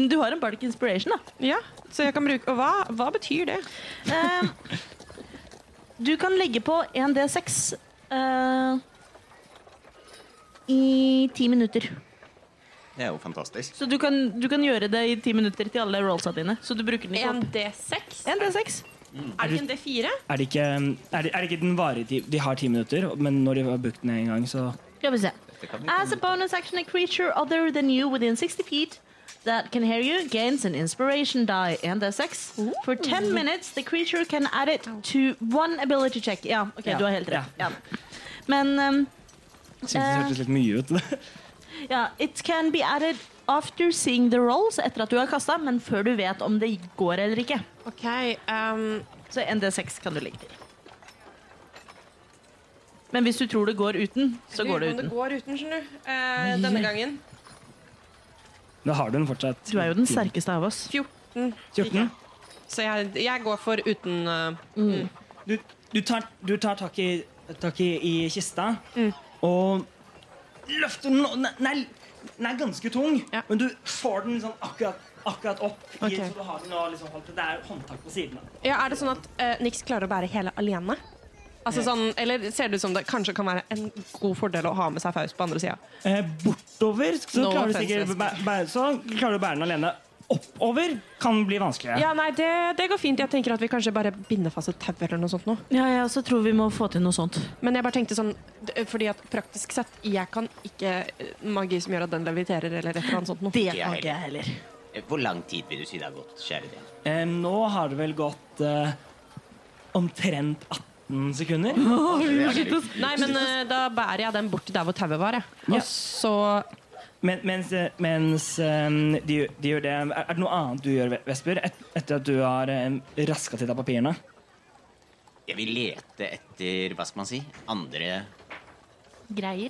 [SPEAKER 3] Du har en bardic inspiration, da.
[SPEAKER 6] Ja, så jeg kan bruke Og hva, hva betyr det?
[SPEAKER 3] Ehm, du kan legge på 1D6 eh, i ti minutter.
[SPEAKER 5] Det er jo fantastisk.
[SPEAKER 3] Så du kan, du kan gjøre det i ti minutter til alle rollsa dine. Så du bruker den ikke opp.
[SPEAKER 6] D6?
[SPEAKER 3] 1D6.
[SPEAKER 6] Er det ikke en D4?
[SPEAKER 1] Er det ikke, ehm, er det, er det ikke den varige ti- De har ti minutter, men når de har brukt den en gang, så
[SPEAKER 3] Skal vi se.
[SPEAKER 5] Dette kan bli
[SPEAKER 3] As a bonus action, a creature other than you within 60 feet that can hear you gains an inspiration die and a sex. For 10 minutes, the creature can add it to one ability check. Ja, ok,
[SPEAKER 1] Ja,
[SPEAKER 3] du har helt rett. Ja. Men um,
[SPEAKER 1] syntes det
[SPEAKER 3] Eh.
[SPEAKER 1] hørtes litt mye ut.
[SPEAKER 3] ja, it can be added after seeing the rolls, etter at du har kasta, men før du vet om det går eller ikke.
[SPEAKER 6] OK. ehm,
[SPEAKER 3] Så ND6 kan du legge til. Men hvis du tror det går uten, så går det
[SPEAKER 6] om
[SPEAKER 3] uten.
[SPEAKER 6] Det går uten, skjønner du. Eh, denne gangen.
[SPEAKER 1] Da har du den fortsatt.
[SPEAKER 3] Du er jo den sterkeste av oss.
[SPEAKER 6] 14.
[SPEAKER 1] 14.
[SPEAKER 6] Så jeg, jeg går for uten eh,
[SPEAKER 1] Du, du, tar, du tar tak i, tak i, i kista
[SPEAKER 6] Mm.
[SPEAKER 1] og løfter den. og Den er, den er- den er ganske tung,
[SPEAKER 6] Ja.
[SPEAKER 1] men du får den sånn akkurat, akkurat opp. I,
[SPEAKER 6] Ok.
[SPEAKER 1] så du har den og liksom holdt, det er håndtak på siden. av.
[SPEAKER 6] Ja, Er det sånn at eh, Nix klarer å bære hele alene? Altså sånn, Eller ser det ut som det kanskje kan være en god fordel å ha med seg Faust på andre sida?
[SPEAKER 1] Eh, bortover så
[SPEAKER 6] No
[SPEAKER 1] klarer, du
[SPEAKER 6] offense,
[SPEAKER 1] sikkert,
[SPEAKER 6] Jesper.
[SPEAKER 1] bæ- bæ- så klarer du å bære den alene. Oppover kan bli vanskeligere.
[SPEAKER 6] Ja, nei, det, det går fint. Jeg tenker at vi kanskje bare binder fast et tau eller noe sånt nå.
[SPEAKER 3] Ja, ja, så tror vi må få til noe sånt.
[SPEAKER 6] Men jeg bare tenkte sånn d- Fordi at praktisk sett, jeg kan ikke eh, magi som gjør at den leviterer eller et eller annet sånt noe.
[SPEAKER 3] Det
[SPEAKER 5] jeg
[SPEAKER 3] kan ikke jeg heller.
[SPEAKER 5] Eh, Hvor lang tid vil du si det har gått, kjære deg?
[SPEAKER 1] Eh, nå har det vel gått eh, omtrent 18 sekunder.
[SPEAKER 6] Nei, men eh, da bærer jeg den bort til der hvor tauet var, jeg. Og så
[SPEAKER 1] Men, mens eh, mens ehm, de, de gjør det er, er det noe annet du gjør, Vesper, et, etter at du har um, raska til deg papirene?
[SPEAKER 5] Jeg vil lete etter, hva skal man si, andre
[SPEAKER 3] Greier.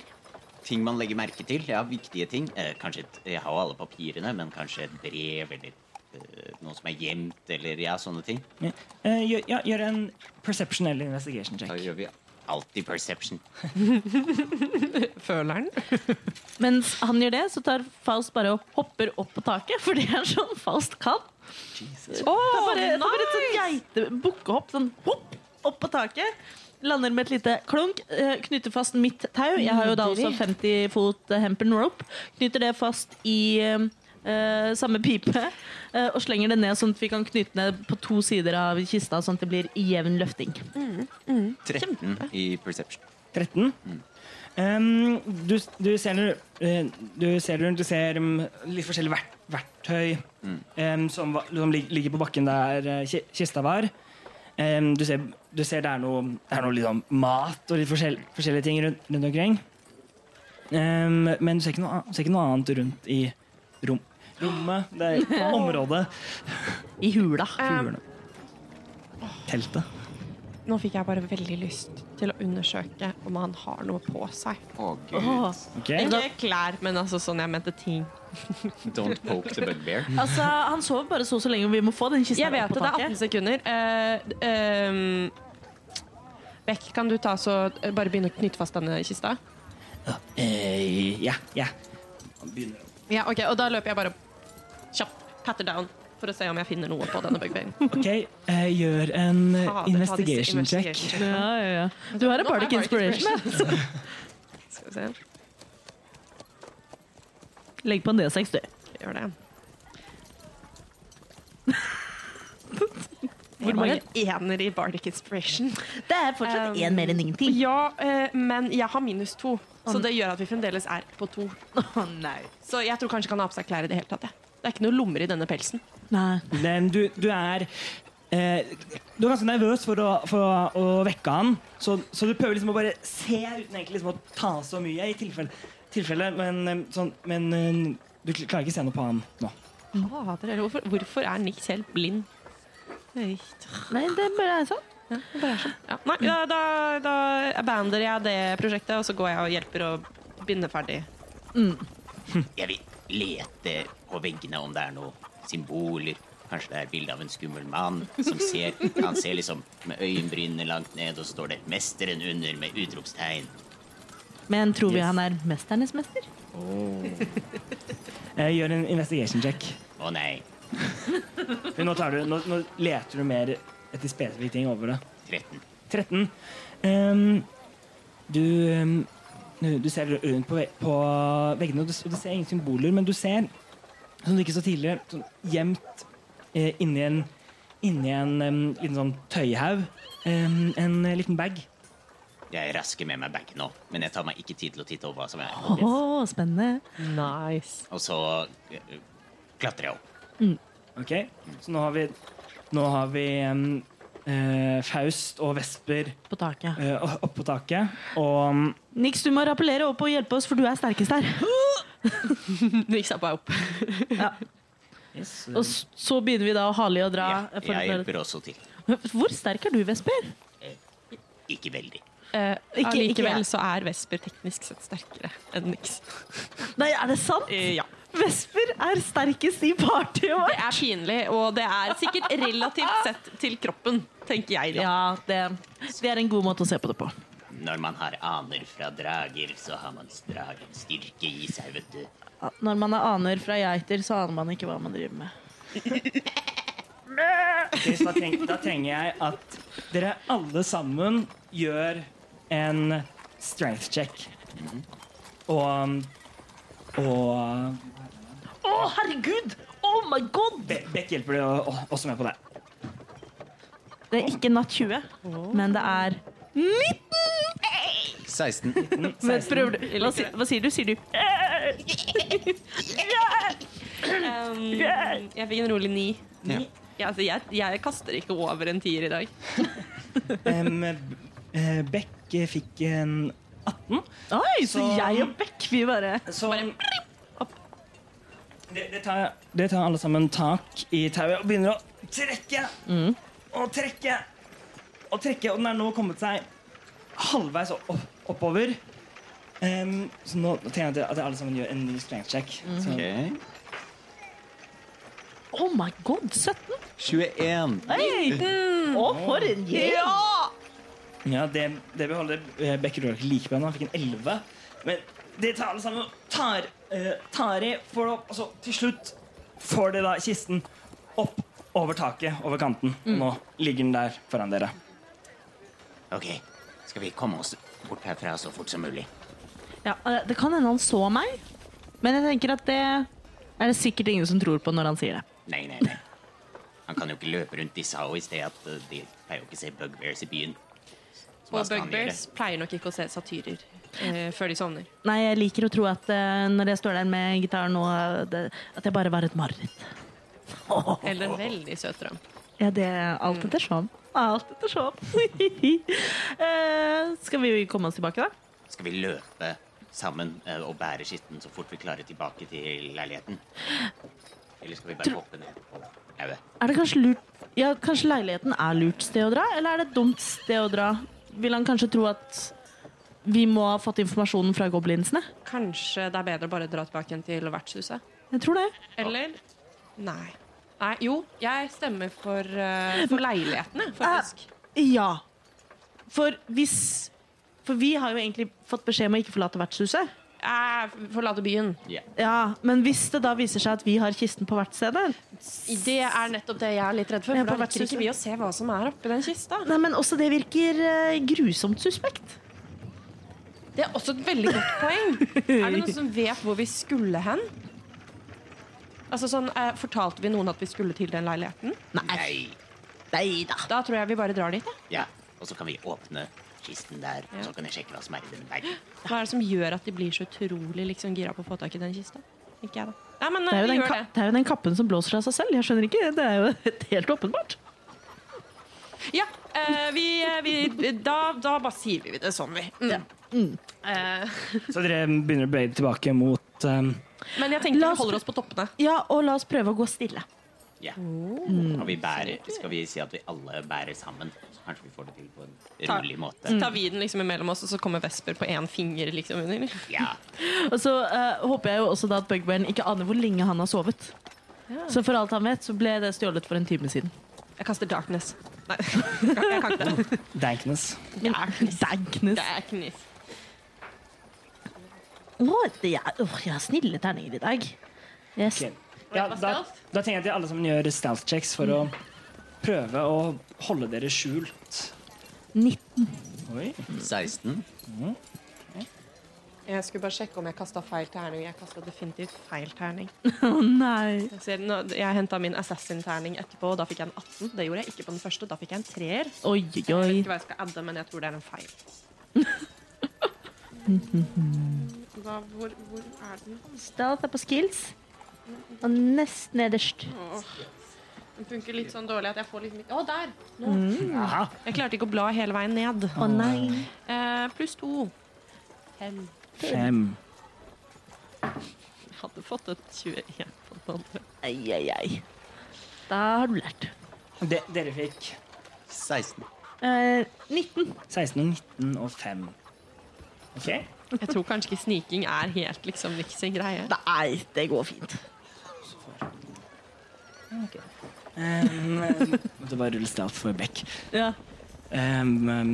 [SPEAKER 5] ting man legger merke til. Ja, viktige ting. Eh, kanskje et, Jeg har jo alle papirene, men kanskje et brev eller eh, noe som er gjemt, eller ja, sånne ting.
[SPEAKER 1] Ja. Eh, gjør, ja, gjør en perception eller investigation
[SPEAKER 5] Da
[SPEAKER 1] check.
[SPEAKER 5] gjør vi alltid perception.
[SPEAKER 6] føler den.
[SPEAKER 3] Mens han gjør det, så tar Faust bare og hopper opp på taket, for det er sånn Faust kan. Det er bare, det er bare et sånt geite, bukkehopp, sånn hopp, opp på taket. Lander med et lite klunk, eh, knytter fast mitt tau. Jeg har jo da også 50 fot eh, hempen rope. Knytter det fast i eh, eh, samme pipe eh, og slenger det ned sånn at vi kan knytte ned på to sider av kista, sånn at det blir jevn løfting.
[SPEAKER 5] 13 i perception.
[SPEAKER 1] 13. Ehm, du, du ser eh, Du ser rundt, du ser mm, litt forskjellige verk, verktøy ehm, som, va- som lig- ligger på bakken der eh, ki- kista var. Ehm, du, ser, du ser det er noe, det er noe litt sånn mat og litt forskjell, forskjellige ting rundt, rundt omkring. Ehm, men du ser ikke, noe, an- ser ikke noe annet rundt i rom, rommet. Det er området.
[SPEAKER 3] I hula.
[SPEAKER 1] Kulene. Teltet.
[SPEAKER 6] Nå fikk jeg bare veldig lyst til å undersøke om han har noe på seg.
[SPEAKER 5] Å, gud.
[SPEAKER 3] Åh.
[SPEAKER 1] Ok?
[SPEAKER 6] Ikke klær, men altså sånn jeg mente ting.
[SPEAKER 5] Don't poke the bugbear.
[SPEAKER 3] Altså, han sover bare så og så lenge, og vi må få den kista
[SPEAKER 6] Jeg vet
[SPEAKER 3] opp på
[SPEAKER 6] at det er
[SPEAKER 3] taket.
[SPEAKER 6] 18 sekunder. Eh, ehm, Beck, kan du ta så eh, bare begynne å knytte fast denne kista?
[SPEAKER 1] Eh, ja, ja.
[SPEAKER 6] Ja, ok, Og da løper jeg bare kjapt patter down for å se om jeg finner noe på denne bugbearen.
[SPEAKER 1] Ok, eh, gjør en eh,
[SPEAKER 6] Ta- ta disse
[SPEAKER 1] investigation check.
[SPEAKER 6] investigation check.
[SPEAKER 3] Ja, ja, ja. Du har en
[SPEAKER 6] Nå har jeg
[SPEAKER 3] bardic
[SPEAKER 6] bardic
[SPEAKER 3] inspiration. da.
[SPEAKER 6] Skal vi se.
[SPEAKER 3] Legg på en D6, du.
[SPEAKER 6] Gjør det.
[SPEAKER 3] Hvor
[SPEAKER 6] Hvor
[SPEAKER 3] mange?
[SPEAKER 6] mange ener i Bardic Inspiration?
[SPEAKER 3] Det er fortsatt
[SPEAKER 6] Um,
[SPEAKER 3] én mer enn ingenting.
[SPEAKER 6] Ja, eh, men jeg har minus to, så det gjør at vi fremdeles er på to.
[SPEAKER 3] Å, nei.
[SPEAKER 6] Så jeg tror kanskje ikke han har på seg klær i det hele tatt. jeg. Det er ikke noen lommer i denne pelsen.
[SPEAKER 3] Nei.
[SPEAKER 1] Men du, du er eh, Du er ganske nervøs for å, for å vekke han, så, så du prøver liksom å bare se uten egentlig liksom å ta så mye, i tilfelle, tilfelle men, eh, sånn, men eh, du kl- klarer ikke se noe på han nå.
[SPEAKER 6] Fader, eller hvorfor, hvorfor er Nix helt blind? Nei,
[SPEAKER 3] Nei, det bare er sånn.
[SPEAKER 6] ja. Nei da, da, da abandoner jeg det prosjektet, og så går jeg og hjelper å binde ferdig.
[SPEAKER 5] Jeg vil lete på veggene om det er noe symboler. Kanskje det er bilde av en skummel mann som ser Han ser liksom med øyenbrynene langt ned, og så står det 'Mesteren' under med utropstegn.
[SPEAKER 3] Men tror vi
[SPEAKER 1] Yes.
[SPEAKER 3] han er mesternes mester?
[SPEAKER 1] Eh, gjør en investigation check.
[SPEAKER 5] Å nei.
[SPEAKER 1] Men Nå, klarer du, nå, nå leter du mer etter spesifikke ting over det.
[SPEAKER 5] 13.
[SPEAKER 1] 13. Ehm, du, ehm, du du ser rundt på, ve på veggene, og du, s- og du ser ingen symboler, men du ser, som du ikke så tidligere, sånn gjemt eh, inni en, inni en em, liten sånn tøyhaug, em, en eh, liten bag.
[SPEAKER 5] Jeg rasker med meg bagen nå, men jeg tar meg ikke tid til å titte over hva som er
[SPEAKER 3] Å, spennende.
[SPEAKER 7] Nice.
[SPEAKER 5] Og så eh, klatrer jeg opp.
[SPEAKER 1] Ok? Så nå har vi, nå har vi em, eh, Faust og Vesper
[SPEAKER 3] På taket.
[SPEAKER 1] eh, opp- oppå taket, og ehm,
[SPEAKER 3] Nix, du må rappellere opp og hjelpe oss, for du er sterkest her.
[SPEAKER 6] Niks er på vei opp.
[SPEAKER 1] yes,
[SPEAKER 3] Og s- så begynner vi da å hale i og dra. for å
[SPEAKER 5] Ja, jeg
[SPEAKER 3] klare-
[SPEAKER 5] hjelper også til.
[SPEAKER 3] Hvor sterk er du, Vesper?
[SPEAKER 5] Ikke veldig.
[SPEAKER 6] Eh,
[SPEAKER 3] Ikke- ikke
[SPEAKER 6] Allikevel
[SPEAKER 3] jeg.
[SPEAKER 6] så er Vesper teknisk sett sterkere enn Nix.
[SPEAKER 3] Nei, er det sant?
[SPEAKER 6] Eh, ja.
[SPEAKER 3] Vesper er sterkest i partyet
[SPEAKER 6] Det
[SPEAKER 3] vårt.
[SPEAKER 6] er pinlig, og det er sikkert relativt sett til kroppen, tenker jeg da.
[SPEAKER 3] Ja, det, det er en god måte å se på det på.
[SPEAKER 5] Når man har aner fra drager, så har man dragens styrke i seg, vet du.
[SPEAKER 3] Når man er aner fra geiter, så aner man ikke hva man driver med.
[SPEAKER 1] Ok, så da, treng, da trenger jeg at dere alle sammen gjør en strength check. Og, og
[SPEAKER 3] Å, herregud! Oh my god!
[SPEAKER 1] Be- Beck hjelper deg å- å- også med på det.
[SPEAKER 3] Det er ikke natt 20, men det er
[SPEAKER 4] 16.
[SPEAKER 1] Mm,
[SPEAKER 3] men prøver du, hva, si- hva sier du? Sier du
[SPEAKER 6] Um, jeg fikk en rolig ni. Ja, altså, jeg, jeg kaster ikke over en tier i dag.
[SPEAKER 1] Em, eh, Beck fikk en 18.
[SPEAKER 3] Oi, så
[SPEAKER 1] Så-
[SPEAKER 3] jeg og Beck, vi bare
[SPEAKER 1] Så det, det, tar, det tar alle sammen tak i tauet og begynner å trekke og trekke og trekke. Og den er nå kommet seg halvveis opp, oppover. Em, så nå tenker jeg at alle sammen gjør en ny strength check. Så,
[SPEAKER 3] Oh my god, 17?
[SPEAKER 4] 21.
[SPEAKER 3] Hey. Å, for en gjeng!
[SPEAKER 1] ja, det, det beholder eh, Beck og Rorak like bra. nå. Han fikk en 11. Men de tar alle sammen tar, eh, tar i, får det opp, og så til slutt får de da kisten opp over taket, over kanten. Nå ligger den der foran dere.
[SPEAKER 5] Ok, skal vi komme oss bort herfra så fort som mulig?
[SPEAKER 3] Ja, eh, det kan hende han så meg, men jeg tenker at det er det sikkert ingen som tror på når han sier det.
[SPEAKER 5] Nei, nei, nei. Han kan jo ikke løpe rundt i Sao i sted. At eh, de pleier jo ikke å se bugbears i byen. Så hva
[SPEAKER 6] Og
[SPEAKER 5] skal han gjøre?
[SPEAKER 6] bugbears pleier nok ikke å se satyrer eh, før de sovner.
[SPEAKER 3] Nei, jeg liker å tro at eh, når jeg står der med gitaren nå, eh, det, at jeg bare var et mareritt.
[SPEAKER 6] Eller en veldig søt drøm.
[SPEAKER 3] Ja, det alt etter sånn. Alt etter sånn. Eh, skal vi komme oss tilbake, da?
[SPEAKER 5] Skal vi løpe sammen eh, og bære skitten så fort vi klarer tilbake til leiligheten? Eller skal vi bare hoppe ned på lauet?
[SPEAKER 3] Er det kanskje lurt Ja, kanskje leiligheten er lurt sted å dra, eller er det et dumt sted å dra? Vil han kanskje tro at vi må ha fått informasjonen fra goblinsene?
[SPEAKER 6] Kanskje det er bedre å bare dra tilbake igjen til vertshuset?
[SPEAKER 3] Jeg tror det.
[SPEAKER 6] Eller Nei. Nei jo, jeg stemmer for, eh, for leilighetene, faktisk.
[SPEAKER 3] Ja. For hvis For vi har jo egentlig fått beskjed om å ikke forlate vertshuset.
[SPEAKER 6] Jeg forlater byen.
[SPEAKER 3] Ja, Men hvis det da viser seg at vi har kisten på vertsstedet
[SPEAKER 6] Det er nettopp det jeg er litt redd for.
[SPEAKER 3] Ja,
[SPEAKER 6] For da
[SPEAKER 3] på
[SPEAKER 6] rekker
[SPEAKER 3] vertshuset.
[SPEAKER 6] ikke vi å se hva som er oppi den kista.
[SPEAKER 3] Nei, men også det virker eh, grusomt suspekt.
[SPEAKER 6] Det er også et veldig godt poeng. Er det noen som vet hvor vi skulle hen? Altså sånn, eh, Fortalte vi noen at vi skulle til den leiligheten?
[SPEAKER 5] Nei.
[SPEAKER 3] Nei da.
[SPEAKER 6] Da tror jeg vi bare drar dit. Ja.
[SPEAKER 5] Ja. Og så kan vi åpne kisten der, og så kan jeg sjekke hva som er i den bagen.
[SPEAKER 6] Hva er det som gjør at de blir så utrolig liksom, gira på å få tak i den kista? Tenker jeg da. Nei, men
[SPEAKER 3] Det er,
[SPEAKER 6] eh,
[SPEAKER 3] jo
[SPEAKER 6] vi
[SPEAKER 3] den
[SPEAKER 6] gjør
[SPEAKER 3] ka
[SPEAKER 6] det.
[SPEAKER 3] det er jo den kappen som blåser av seg selv. Jeg skjønner ikke, Det er jo helt åpenbart.
[SPEAKER 6] Ja, eh, vi, eh, vi, da, da bare sier vi det sånn, vi. Mm. Eh,
[SPEAKER 1] Så dere begynner å bøye tilbake mot um,
[SPEAKER 6] men jeg tenker
[SPEAKER 3] La
[SPEAKER 6] vi
[SPEAKER 3] oss-
[SPEAKER 6] holder oss Mm. på toppene.
[SPEAKER 3] Ja, og la oss prøve å gå stille.
[SPEAKER 5] Ja. Og vi bærer, skal vi si at vi alle bærer sammen? Så kanskje vi får det til på en
[SPEAKER 6] Takk.
[SPEAKER 5] rolig måte.
[SPEAKER 6] Så tar vi den liksom imellom oss, og så kommer Vesper på én finger liksom under.
[SPEAKER 5] Ja.
[SPEAKER 3] Og så eh, håper jeg jo også da at Bugbearen ikke aner hvor lenge han har sovet. Så for alt han vet, så ble det stjålet for en time siden.
[SPEAKER 6] Jeg kaster darkness. Nei, jeg kan- jeg kan ikke det.
[SPEAKER 1] Dankness.
[SPEAKER 3] Men Dankness.
[SPEAKER 6] Darkness.
[SPEAKER 3] Å, det er, åh, jeg har snille terninger i dag. Jeg, s-
[SPEAKER 1] Ok. Ja,
[SPEAKER 7] Hva
[SPEAKER 1] da,
[SPEAKER 7] stealth?
[SPEAKER 1] da tenker jeg til alle som gjør stealth checks for å prøve å holde dere skjult.
[SPEAKER 3] 19.
[SPEAKER 1] Oi.
[SPEAKER 5] 16.
[SPEAKER 6] Jeg skulle bare sjekke om jeg kasta feil terning. Jeg kasta definitivt feil terning.
[SPEAKER 3] Å nei.
[SPEAKER 6] Jeg, ser- nå- jeg henta min assassin-terning etterpå, og da fikk jeg en 18. Det gjorde jeg ikke på den første, da fikk jeg en treer.
[SPEAKER 3] Oi, oi,
[SPEAKER 6] Jeg vet
[SPEAKER 3] oi.
[SPEAKER 6] ikke hva jeg skal adde, men jeg tror det er en feil. Hva, hvor, hvor er den?
[SPEAKER 7] Stealth er på skills. Og nest nederst.
[SPEAKER 6] Åh, Den funker litt sånn dårlig at jeg får liksom ikke Å, der!
[SPEAKER 1] Aha.
[SPEAKER 6] Jeg klarte ikke å bla hele veien ned.
[SPEAKER 7] Mm. Å nei.
[SPEAKER 6] Eh, pluss to. Fem.
[SPEAKER 1] Fem.
[SPEAKER 6] Jeg hadde fått et 21 på den andre.
[SPEAKER 7] Ai, ai, ai. Da har du lært.
[SPEAKER 1] De, dere fikk
[SPEAKER 5] 16.
[SPEAKER 7] Eh, 19.
[SPEAKER 1] 16 og 19 og 5. OK?
[SPEAKER 6] Jeg tror kanskje ikke sniking er helt liksom ikke sin greie.
[SPEAKER 7] Nei, det går fint.
[SPEAKER 1] Um, måtte bare rulle stealth for Beck.
[SPEAKER 3] Ja.
[SPEAKER 1] Um, um,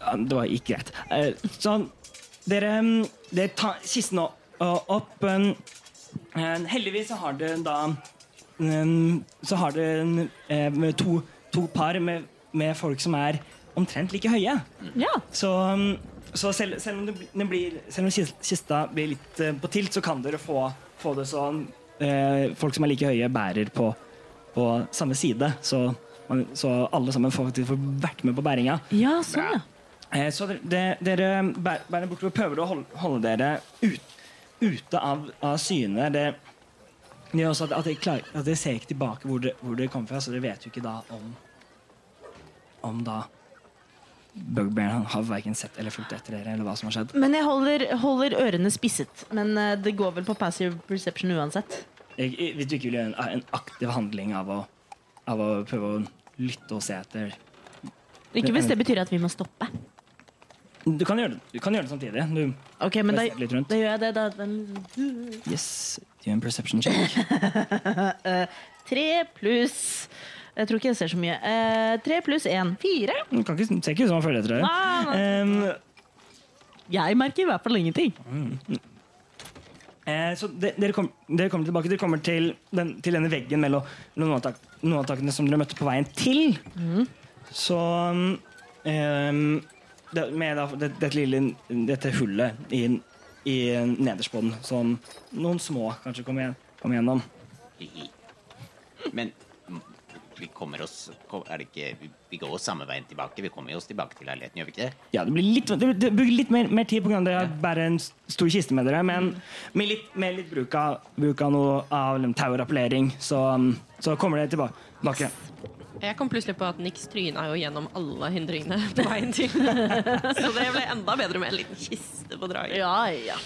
[SPEAKER 1] ja, det var ikke greit. Eh, sånn Dere, um, dere tar kisten opp. opp um, eh, heldigvis så har det da um, Så har det um, eh, med to, to par med, med folk som er omtrent like høye.
[SPEAKER 3] ja.
[SPEAKER 1] Så, um, så selv, selv om, det, bli- den blir, selv om kis- kista blir litt eh, på tilt, så kan dere få, få det sånn eh, Folk som er like høye, bærer på, på samme side. Så, man, så alle sammen får faktisk får vært med på bæringa.
[SPEAKER 3] Ja, sånn, ja.
[SPEAKER 1] Eh, Så dere, de- dere bæ- bærer bortover, prøver å holde, holde dere ut, ute av, av syne. Det, det gjør også at, at, dere klarer, at dere ser ikke tilbake hvor dere, hvor dere kom fra, så dere vet jo ikke da om Om da Bugbearen har verken sett eller fulgt etter dere, eller hva som har skjedd.
[SPEAKER 3] Men jeg holder, holder ørene spisset. Men eh, det går vel på passive perception uansett.
[SPEAKER 1] Jeg, jeg, hvis du ikke vil gjøre en, en aktiv handling av å, av å prøve å lytte og se etter
[SPEAKER 3] Ikke hvis det betyr at vi må stoppe.
[SPEAKER 1] Du kan gjøre det, du kan gjøre det samtidig. Du,
[SPEAKER 3] Ok, men da,
[SPEAKER 1] Bare se litt rundt.
[SPEAKER 3] da gjør jeg det. Da. Den-
[SPEAKER 1] yes, gjør en perception check.
[SPEAKER 3] Tre pluss Jeg tror ikke jeg ser så mye. Eh, Tre pluss én. Fire.
[SPEAKER 1] Du kan ikke, ser ikke ut som han følger etter dere.
[SPEAKER 3] Ah,
[SPEAKER 1] Um,
[SPEAKER 3] Jeg merker i hvert fall ingenting.
[SPEAKER 1] Eh, så de, dere, kom, dere kommer tilbake Dere kommer til, den, til denne veggen mellom mellom noen av, tak, noen av takene som dere møtte på veien til. Så mm, ehm, det, Med da, det, dette lille dette hullet i, i nederst på den, som noen små kanskje kommer igjen- kommer gjennom.
[SPEAKER 5] Hihi. Men mm, vi kommer oss kom- er det ikke, vi- Vi går jo samme veien tilbake. Vi kommer jo oss tilbake til leiligheten, gjør vi ikke det?
[SPEAKER 1] Ja, det blir litt, det, det bruker litt mer, mer tid pga. at jeg bærer en s- stor kiste med dere. Men med litt, med litt bruk av, bruk av noe av tauerappellering, så, mm, så kommer dere tilba- tilbake.
[SPEAKER 6] Jeg kom plutselig på at Nix tryna jo gjennom alle hindringene på veien til. Så det ble enda bedre med en liten kiste på draget.
[SPEAKER 3] Ja, ja.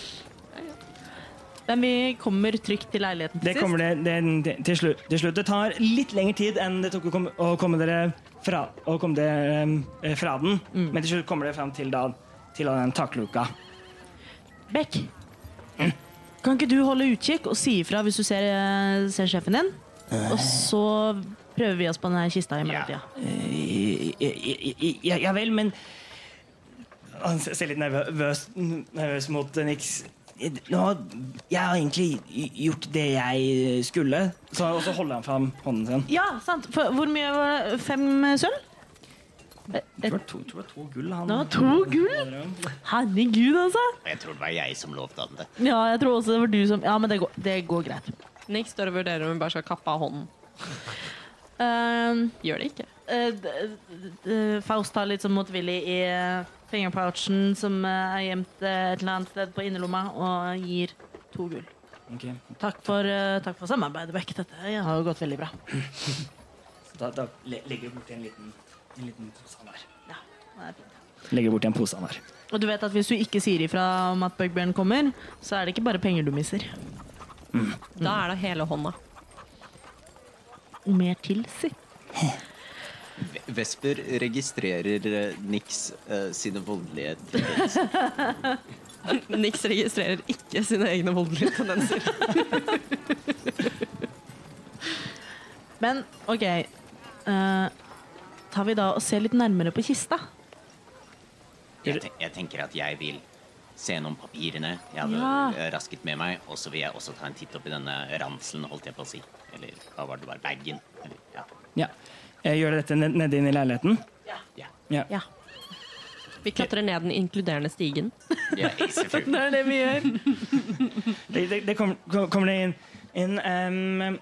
[SPEAKER 3] Men vi kommer trygt til leiligheten til
[SPEAKER 1] Det kommer det, det, det til, slutt, til slutt. Det tar litt lengre tid enn det tok å komme, å komme dere fra, å komme dere, eh, fra den,
[SPEAKER 3] Mm.
[SPEAKER 1] men til slutt kommer dere fram til, da, til den takluka.
[SPEAKER 3] Beck, kan ikke du holde utkikk og si ifra hvis du ser, eh, ser sjefen din?
[SPEAKER 1] Eh.
[SPEAKER 3] Og så prøver vi oss på denne kista i mellomtida.
[SPEAKER 1] Eh, Ja, ja vel, men Han ser ser litt nervøs, nervøs mot Nix. Nå, jeg har egentlig gjort det jeg skulle. Så, og så holder han fram hånden sin.
[SPEAKER 3] Ja, sant. For, hvor mye var det? Fem eh, sølv?
[SPEAKER 1] Jeg tror det var to, jeg tror det var to gull han
[SPEAKER 3] Det var to gull? Herregud, altså.
[SPEAKER 5] Og jeg tror det var jeg som lovte han det.
[SPEAKER 3] Ja, jeg tror også det var du som Ja, men det går, det går greit.
[SPEAKER 6] Nix står og vurderer om hun bare skal kappe av hånden.
[SPEAKER 3] Ehm,
[SPEAKER 6] Gjør det ikke.
[SPEAKER 3] eh, d- d- d- Faust tar litt sånn motvillig i eh, fingerpouchen som eh, er gjemt eh, et eller annet sted på innerlomma, og gir to gull.
[SPEAKER 1] Ok,
[SPEAKER 3] Takk for, eh, takk for samarbeidet, Beck. Dette har jo gått veldig bra.
[SPEAKER 1] Da, da le- legger du borti en liten, en liten sånn pose han har.
[SPEAKER 3] Ja, det er fint.
[SPEAKER 1] Legger borti en pose han har.
[SPEAKER 3] Og du vet at hvis du ikke sier ifra om at Bugbjørn kommer, så er det ikke bare penger du mister.
[SPEAKER 6] Da
[SPEAKER 7] Mm.
[SPEAKER 6] er det hele hånda.
[SPEAKER 3] Og mer til, si.
[SPEAKER 5] V- Vesper registrerer eh, Nix eh, sine voldelige tendenser.
[SPEAKER 6] Nix registrerer ikke sine egne voldelige tendenser.
[SPEAKER 3] Men OK. eh, tar vi da og ser litt nærmere på kista?
[SPEAKER 5] Jeg, ten jeg tenker at jeg vil se gjennom papirene jeg hadde eh,
[SPEAKER 3] Ja.
[SPEAKER 5] rasket med meg, og så vil jeg også ta en titt opp i denne ranselen, holdt jeg på å si. Eller hva var det det var? Bagen? Eller, ja.
[SPEAKER 1] Ja. Eh, Gjør dere dette ned- nede inne i leiligheten?
[SPEAKER 5] ja.
[SPEAKER 1] Ja.
[SPEAKER 3] Ja.
[SPEAKER 6] Vi klatrer ned den inkluderende stigen.
[SPEAKER 5] Ja, selvfølgelig.
[SPEAKER 3] Det er det vi gjør.
[SPEAKER 1] Det, det, det kom- kom- kommer det inn, inn em,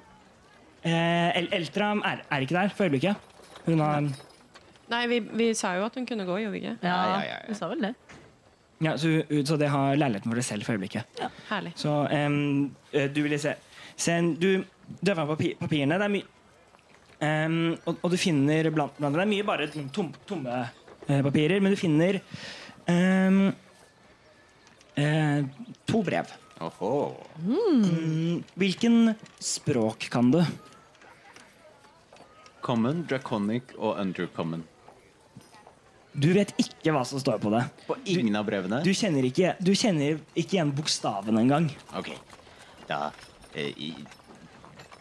[SPEAKER 1] eh, El Eltra er, er ikke der for øyeblikket. Hun har,
[SPEAKER 6] Nei, vi, vi sa jo at hun kunne gå, gjorde vi ikke?
[SPEAKER 3] Ja,
[SPEAKER 5] ja, ja, ja.
[SPEAKER 3] Du sa vel det?
[SPEAKER 1] ja, så, hun- så det har leiligheten for deg selv for øyeblikket.
[SPEAKER 6] Herlig.
[SPEAKER 1] Så em, eh, du ville se Sen, Du døver på papi- papirene. Det er mye em, og, og du finner blant, blant Det er mye bare tom, tom, tomme eh, papirer, men du finner em, eh, to brev.
[SPEAKER 5] Oho.
[SPEAKER 1] Hvilken språk kan du?
[SPEAKER 5] Common, draconic og undercommon.
[SPEAKER 1] Du vet ikke hva som står på det.
[SPEAKER 5] På ingen av brevene?
[SPEAKER 1] Du kjenner ikke, du kjenner ikke igjen bokstaven engang.
[SPEAKER 5] Ok, da eh, i-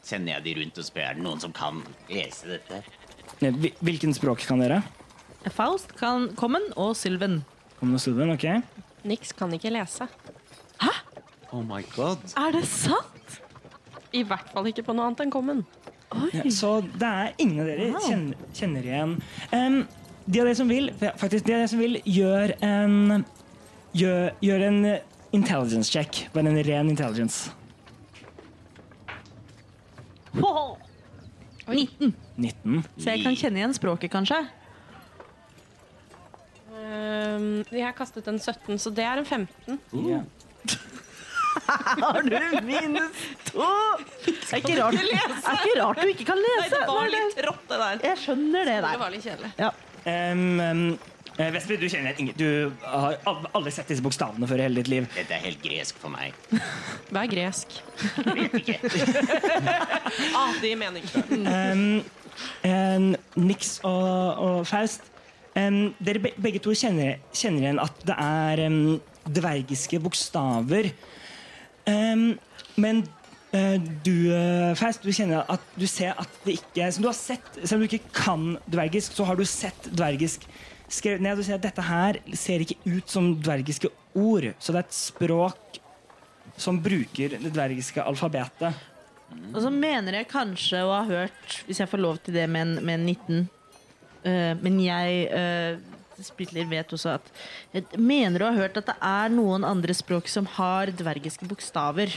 [SPEAKER 5] sender jeg de rundt og spør er det noen som kan lese dette.
[SPEAKER 1] Eh, hvil- Hvilken språk kan dere?
[SPEAKER 3] Faust, kan, Kommen og Sylven.
[SPEAKER 1] Kom nå, Sylven. ok?
[SPEAKER 6] Nix kan ikke lese.
[SPEAKER 5] Oh my god.
[SPEAKER 3] Er det sant?
[SPEAKER 6] I hvert fall ikke på noe annet enn kommen.
[SPEAKER 1] Ja, så det er ingen av dere
[SPEAKER 3] Wow.
[SPEAKER 1] kjenner, kjenner igjen. Em, de av dere som vil, faktisk, de av dere som vil, gjør en Gjør, gjør en intelligence check. Bare en ren intelligence.
[SPEAKER 3] Ho-ho!
[SPEAKER 1] 19.
[SPEAKER 3] Så jeg kan kjenne igjen språket, kanskje?
[SPEAKER 6] Ehm, jeg har kastet en 17, så det er en 15.
[SPEAKER 1] Ja.
[SPEAKER 3] Har du minus to? Det er ikke rart, det er ikke rart du ikke kan lese. Nei, det-
[SPEAKER 6] rått, det der.
[SPEAKER 3] Jeg skjønner det
[SPEAKER 6] Det
[SPEAKER 3] der.
[SPEAKER 6] var litt kjedelig.
[SPEAKER 1] Em, em, eh, Vesper, du kjenner ingen Du har al- aldri sett disse bokstavene før i hele ditt liv.
[SPEAKER 5] Dette er helt gresk for meg.
[SPEAKER 6] Hva er gresk? ah, det gir mening.
[SPEAKER 1] Em, em, Nix og, og Faust, em, dere be, begge to kjenner, kjenner igjen at det er em, dvergiske bokstaver. Em, men eh, du, eh, Faust, du kjenner at du ser at det ikke Som du har sett, selv om du ikke kan dvergisk, så har du sett dvergisk skrevet ned. Du ser at dette her ser ikke ut som dvergiske ord, så det er et språk som bruker det dvergiske alfabetet.
[SPEAKER 3] Og så mener jeg kanskje å ha hørt, hvis jeg får lov til det med en, med en 19 eh, Men jeg uh, Spitler vet også at jeg Mener å ha hørt at det er noen andre språk som har dvergiske bokstaver.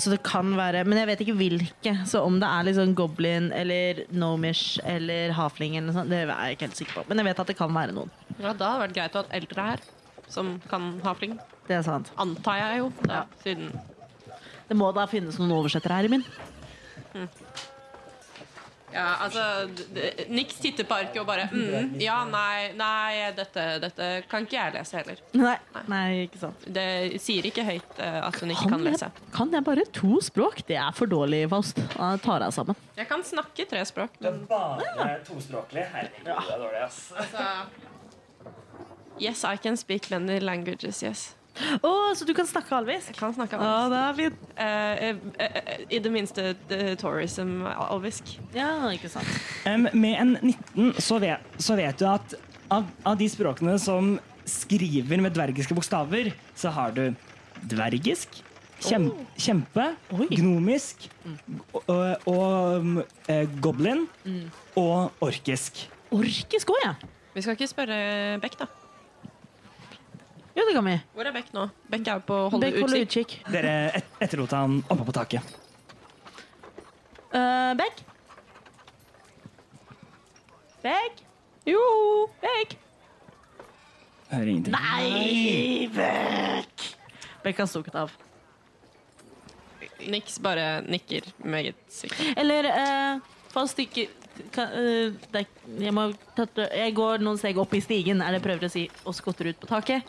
[SPEAKER 3] Så det kan være Men jeg vet ikke hvilke. Så om det er liksom goblin eller nomish eller hafling eller noe sånt, det er jeg ikke helt sikker på. Men jeg vet at det kan være noen.
[SPEAKER 6] Ja, da hadde det vært greit å ha et eldre her, som kan ha fling.
[SPEAKER 3] Det er sant.
[SPEAKER 6] Antar jeg jo, da, siden
[SPEAKER 3] Det må da finnes noen oversettere her, Min.
[SPEAKER 6] Ja, altså d- d- Nix titter på arket og bare mm, Ja, nei, nei dette, dette kan ikke jeg lese heller.
[SPEAKER 3] Nei, nei, ikke sant.
[SPEAKER 6] Det sier ikke høyt eh, at hun ikke kan lese.
[SPEAKER 3] Jeg, kan jeg bare to språk? Det er for dårlig, Faust. Da tar jeg sammen.
[SPEAKER 6] Jeg kan snakke tre språk,
[SPEAKER 1] Det
[SPEAKER 6] men
[SPEAKER 1] er bare tospråklig. Herregud, det er dårlig, ass.
[SPEAKER 6] Yes, I can speak many languages, yes.
[SPEAKER 3] Å, så du kan snakke alvisk?
[SPEAKER 6] Jeg kan snakke
[SPEAKER 3] Ja,
[SPEAKER 6] alvisk.
[SPEAKER 3] det er fint.
[SPEAKER 6] Eh, eh, eh, I det minste eh, tourism alvisk.
[SPEAKER 3] Ja, ikke sant.
[SPEAKER 1] Em, med en 19 så vet, så vet du at av, av de språkene som skriver med dvergiske bokstaver, så har du dvergisk, kjem, kjempe,
[SPEAKER 3] Oh. Oi. Mm.
[SPEAKER 1] gnomisk og, og, um, eh, goblin
[SPEAKER 3] Mm.
[SPEAKER 1] og orkisk.
[SPEAKER 3] Orkisk òg, ja.
[SPEAKER 6] Vi skal ikke spørre Beck, da.
[SPEAKER 3] Jo, det kan vi.
[SPEAKER 6] Hvor er Beck nå? Beck er jo på å holde
[SPEAKER 3] Bekk holder
[SPEAKER 6] utkikk.
[SPEAKER 3] utkikk.
[SPEAKER 1] Dere et, etterlot han oppe på taket.
[SPEAKER 3] Uh, Bekk? Bekk?
[SPEAKER 6] Jo!
[SPEAKER 3] Bekk?
[SPEAKER 1] Hører ingenting.
[SPEAKER 3] Nei, Bekk! Bekk har stukket av.
[SPEAKER 6] Nix bare nikker meget sikkert.
[SPEAKER 3] Eller eh, Faust ikke kan, eh, det er- jeg, må, tette- jeg går noen steg opp i stigen, er det jeg prøver å si, og skotter ut på taket.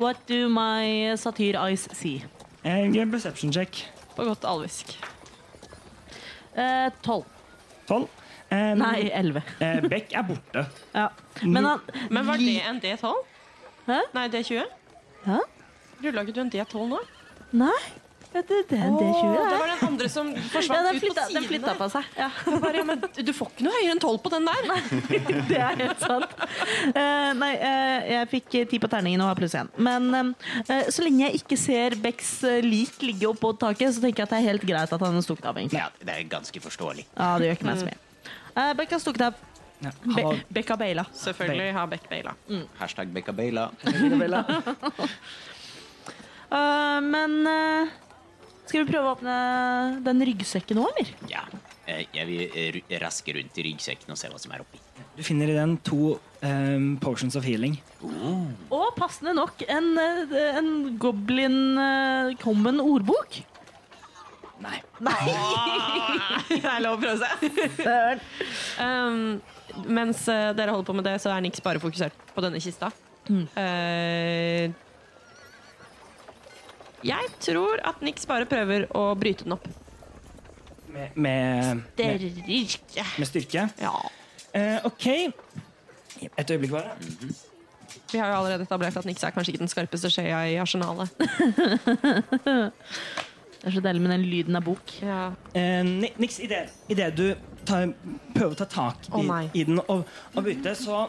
[SPEAKER 3] What do my satyr eyes see?
[SPEAKER 1] Eh, gjør en perception check.
[SPEAKER 6] På godt alvisk.
[SPEAKER 3] Eh, Tolv.
[SPEAKER 1] 12. Em,
[SPEAKER 3] Nei, elleve.
[SPEAKER 1] eh, Beck er borte.
[SPEAKER 3] Ja. Men han
[SPEAKER 6] Men var det en D12?
[SPEAKER 3] Hæ?
[SPEAKER 6] Nei, D20?
[SPEAKER 3] Hæ?
[SPEAKER 6] Rulla ikke du en D12 nå?
[SPEAKER 3] Nei.
[SPEAKER 7] Ja, det, det, det
[SPEAKER 6] Åh,
[SPEAKER 7] tjuet
[SPEAKER 6] det
[SPEAKER 7] er.
[SPEAKER 6] var den andre som
[SPEAKER 3] Ja,
[SPEAKER 6] forsvant
[SPEAKER 3] den
[SPEAKER 6] ut på
[SPEAKER 3] flytta, den
[SPEAKER 6] siden.
[SPEAKER 3] flytta
[SPEAKER 6] der.
[SPEAKER 3] på seg. Ja,
[SPEAKER 6] Jeg bare, ja, men du får ikke noe høyere enn 12 på den der.
[SPEAKER 3] det er helt sant. Eh, nei, eh, jeg fikk eh, ti på terningen og har pluss én. Men eh, så lenge jeg ikke ser Becks eh, lik ligge oppå taket, så tenker jeg at det er helt greit at han er stukket av. egentlig.
[SPEAKER 5] Ja, det er ganske forståelig.
[SPEAKER 3] Ja, det gjør ikke meg så mye. Eh, Beck har stukket av.
[SPEAKER 1] Ja,
[SPEAKER 3] Be
[SPEAKER 1] ha-
[SPEAKER 3] Beck har baila.
[SPEAKER 6] Selvfølgelig har Beck baila.
[SPEAKER 5] Hashtag Becca Baila.
[SPEAKER 3] Eh, men eh, skal vi prøve å åpne den ryggsekken nå, eller?
[SPEAKER 5] Ja. eh, Jeg vil eh, ru- raske rundt i ryggsekken og se hva som er oppi.
[SPEAKER 1] Du finner i den to um, potions of healing.
[SPEAKER 3] Og passende nok en, eh, en goblin eh, common ordbok.
[SPEAKER 1] Nei.
[SPEAKER 6] Det er lov å prøve seg. Um, mens eh, dere holder på med det, så er Nix bare fokusert på denne kista.
[SPEAKER 3] Mm.
[SPEAKER 6] Eh, jeg tror at Nix bare prøver å bryte den opp.
[SPEAKER 1] Med, med, med,
[SPEAKER 3] Sterke.
[SPEAKER 1] med styrke.
[SPEAKER 6] Ja.
[SPEAKER 1] Eh, OK. Et øyeblikk bare.
[SPEAKER 6] Vi har jo allerede etablert at Nix er kanskje ikke den skarpeste skjea i arsenalet.
[SPEAKER 3] Det er så deilig med den lyden av bok.
[SPEAKER 6] Ja.
[SPEAKER 1] Eh, Ni- Nix, i det, i det du tar, prøver å ta tak i,
[SPEAKER 6] Å, nei.
[SPEAKER 1] i den og, og bytte, så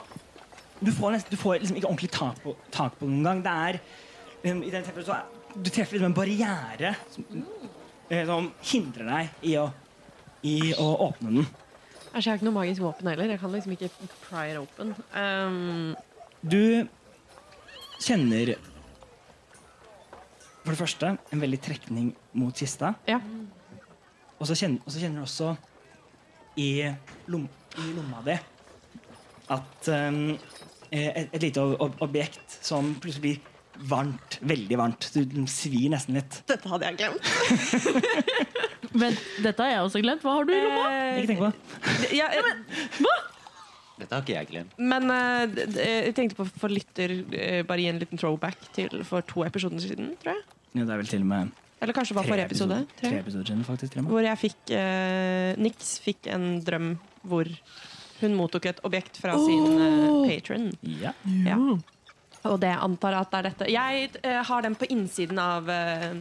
[SPEAKER 1] Du får, nesten, du får liksom ikke ordentlig tak på, tak på den engang. Det er um, i den tilfellet så er, Du treffer liksom en barriere som, eh, som hindrer deg i å, i å åpne den.
[SPEAKER 6] Æsj, jeg har ikke noe magisk våpen heller. Jeg kan liksom ikke pry it open. Um,
[SPEAKER 1] Du kjenner For det første en veldig trekning mot kista.
[SPEAKER 6] ja.
[SPEAKER 1] Og så kjenner, og så kjenner du også i, lom, i lomma di at um, eh, et, et lite ob- ob- objekt som plutselig blir varmt, veldig varmt. Du, den svir nesten litt.
[SPEAKER 6] Dette hadde jeg glemt.
[SPEAKER 3] Men dette har jeg også glemt. Hva har du i lomma?
[SPEAKER 1] Ikke tenk på det.
[SPEAKER 6] eh, ja, eh,
[SPEAKER 5] Dette har ikke jeg glemt.
[SPEAKER 6] Men eh, d- d- jeg tenkte på for lytter eh, bare gi en liten throwback til for to episoder siden, tror jeg.
[SPEAKER 1] Ja, det er vel til og med
[SPEAKER 6] Eller kanskje det var forrige episode.
[SPEAKER 1] episoder-
[SPEAKER 6] Tre.
[SPEAKER 1] Tre episoder siden, faktisk. Tre med.
[SPEAKER 6] Hvor jeg fikk eh, Nix fikk en drøm hvor hun mottok et objekt fra sin eh, patron.
[SPEAKER 1] Ja.
[SPEAKER 6] Ja. Og det antar jeg at det er dette. Jeg eh, har den på innsiden av eh,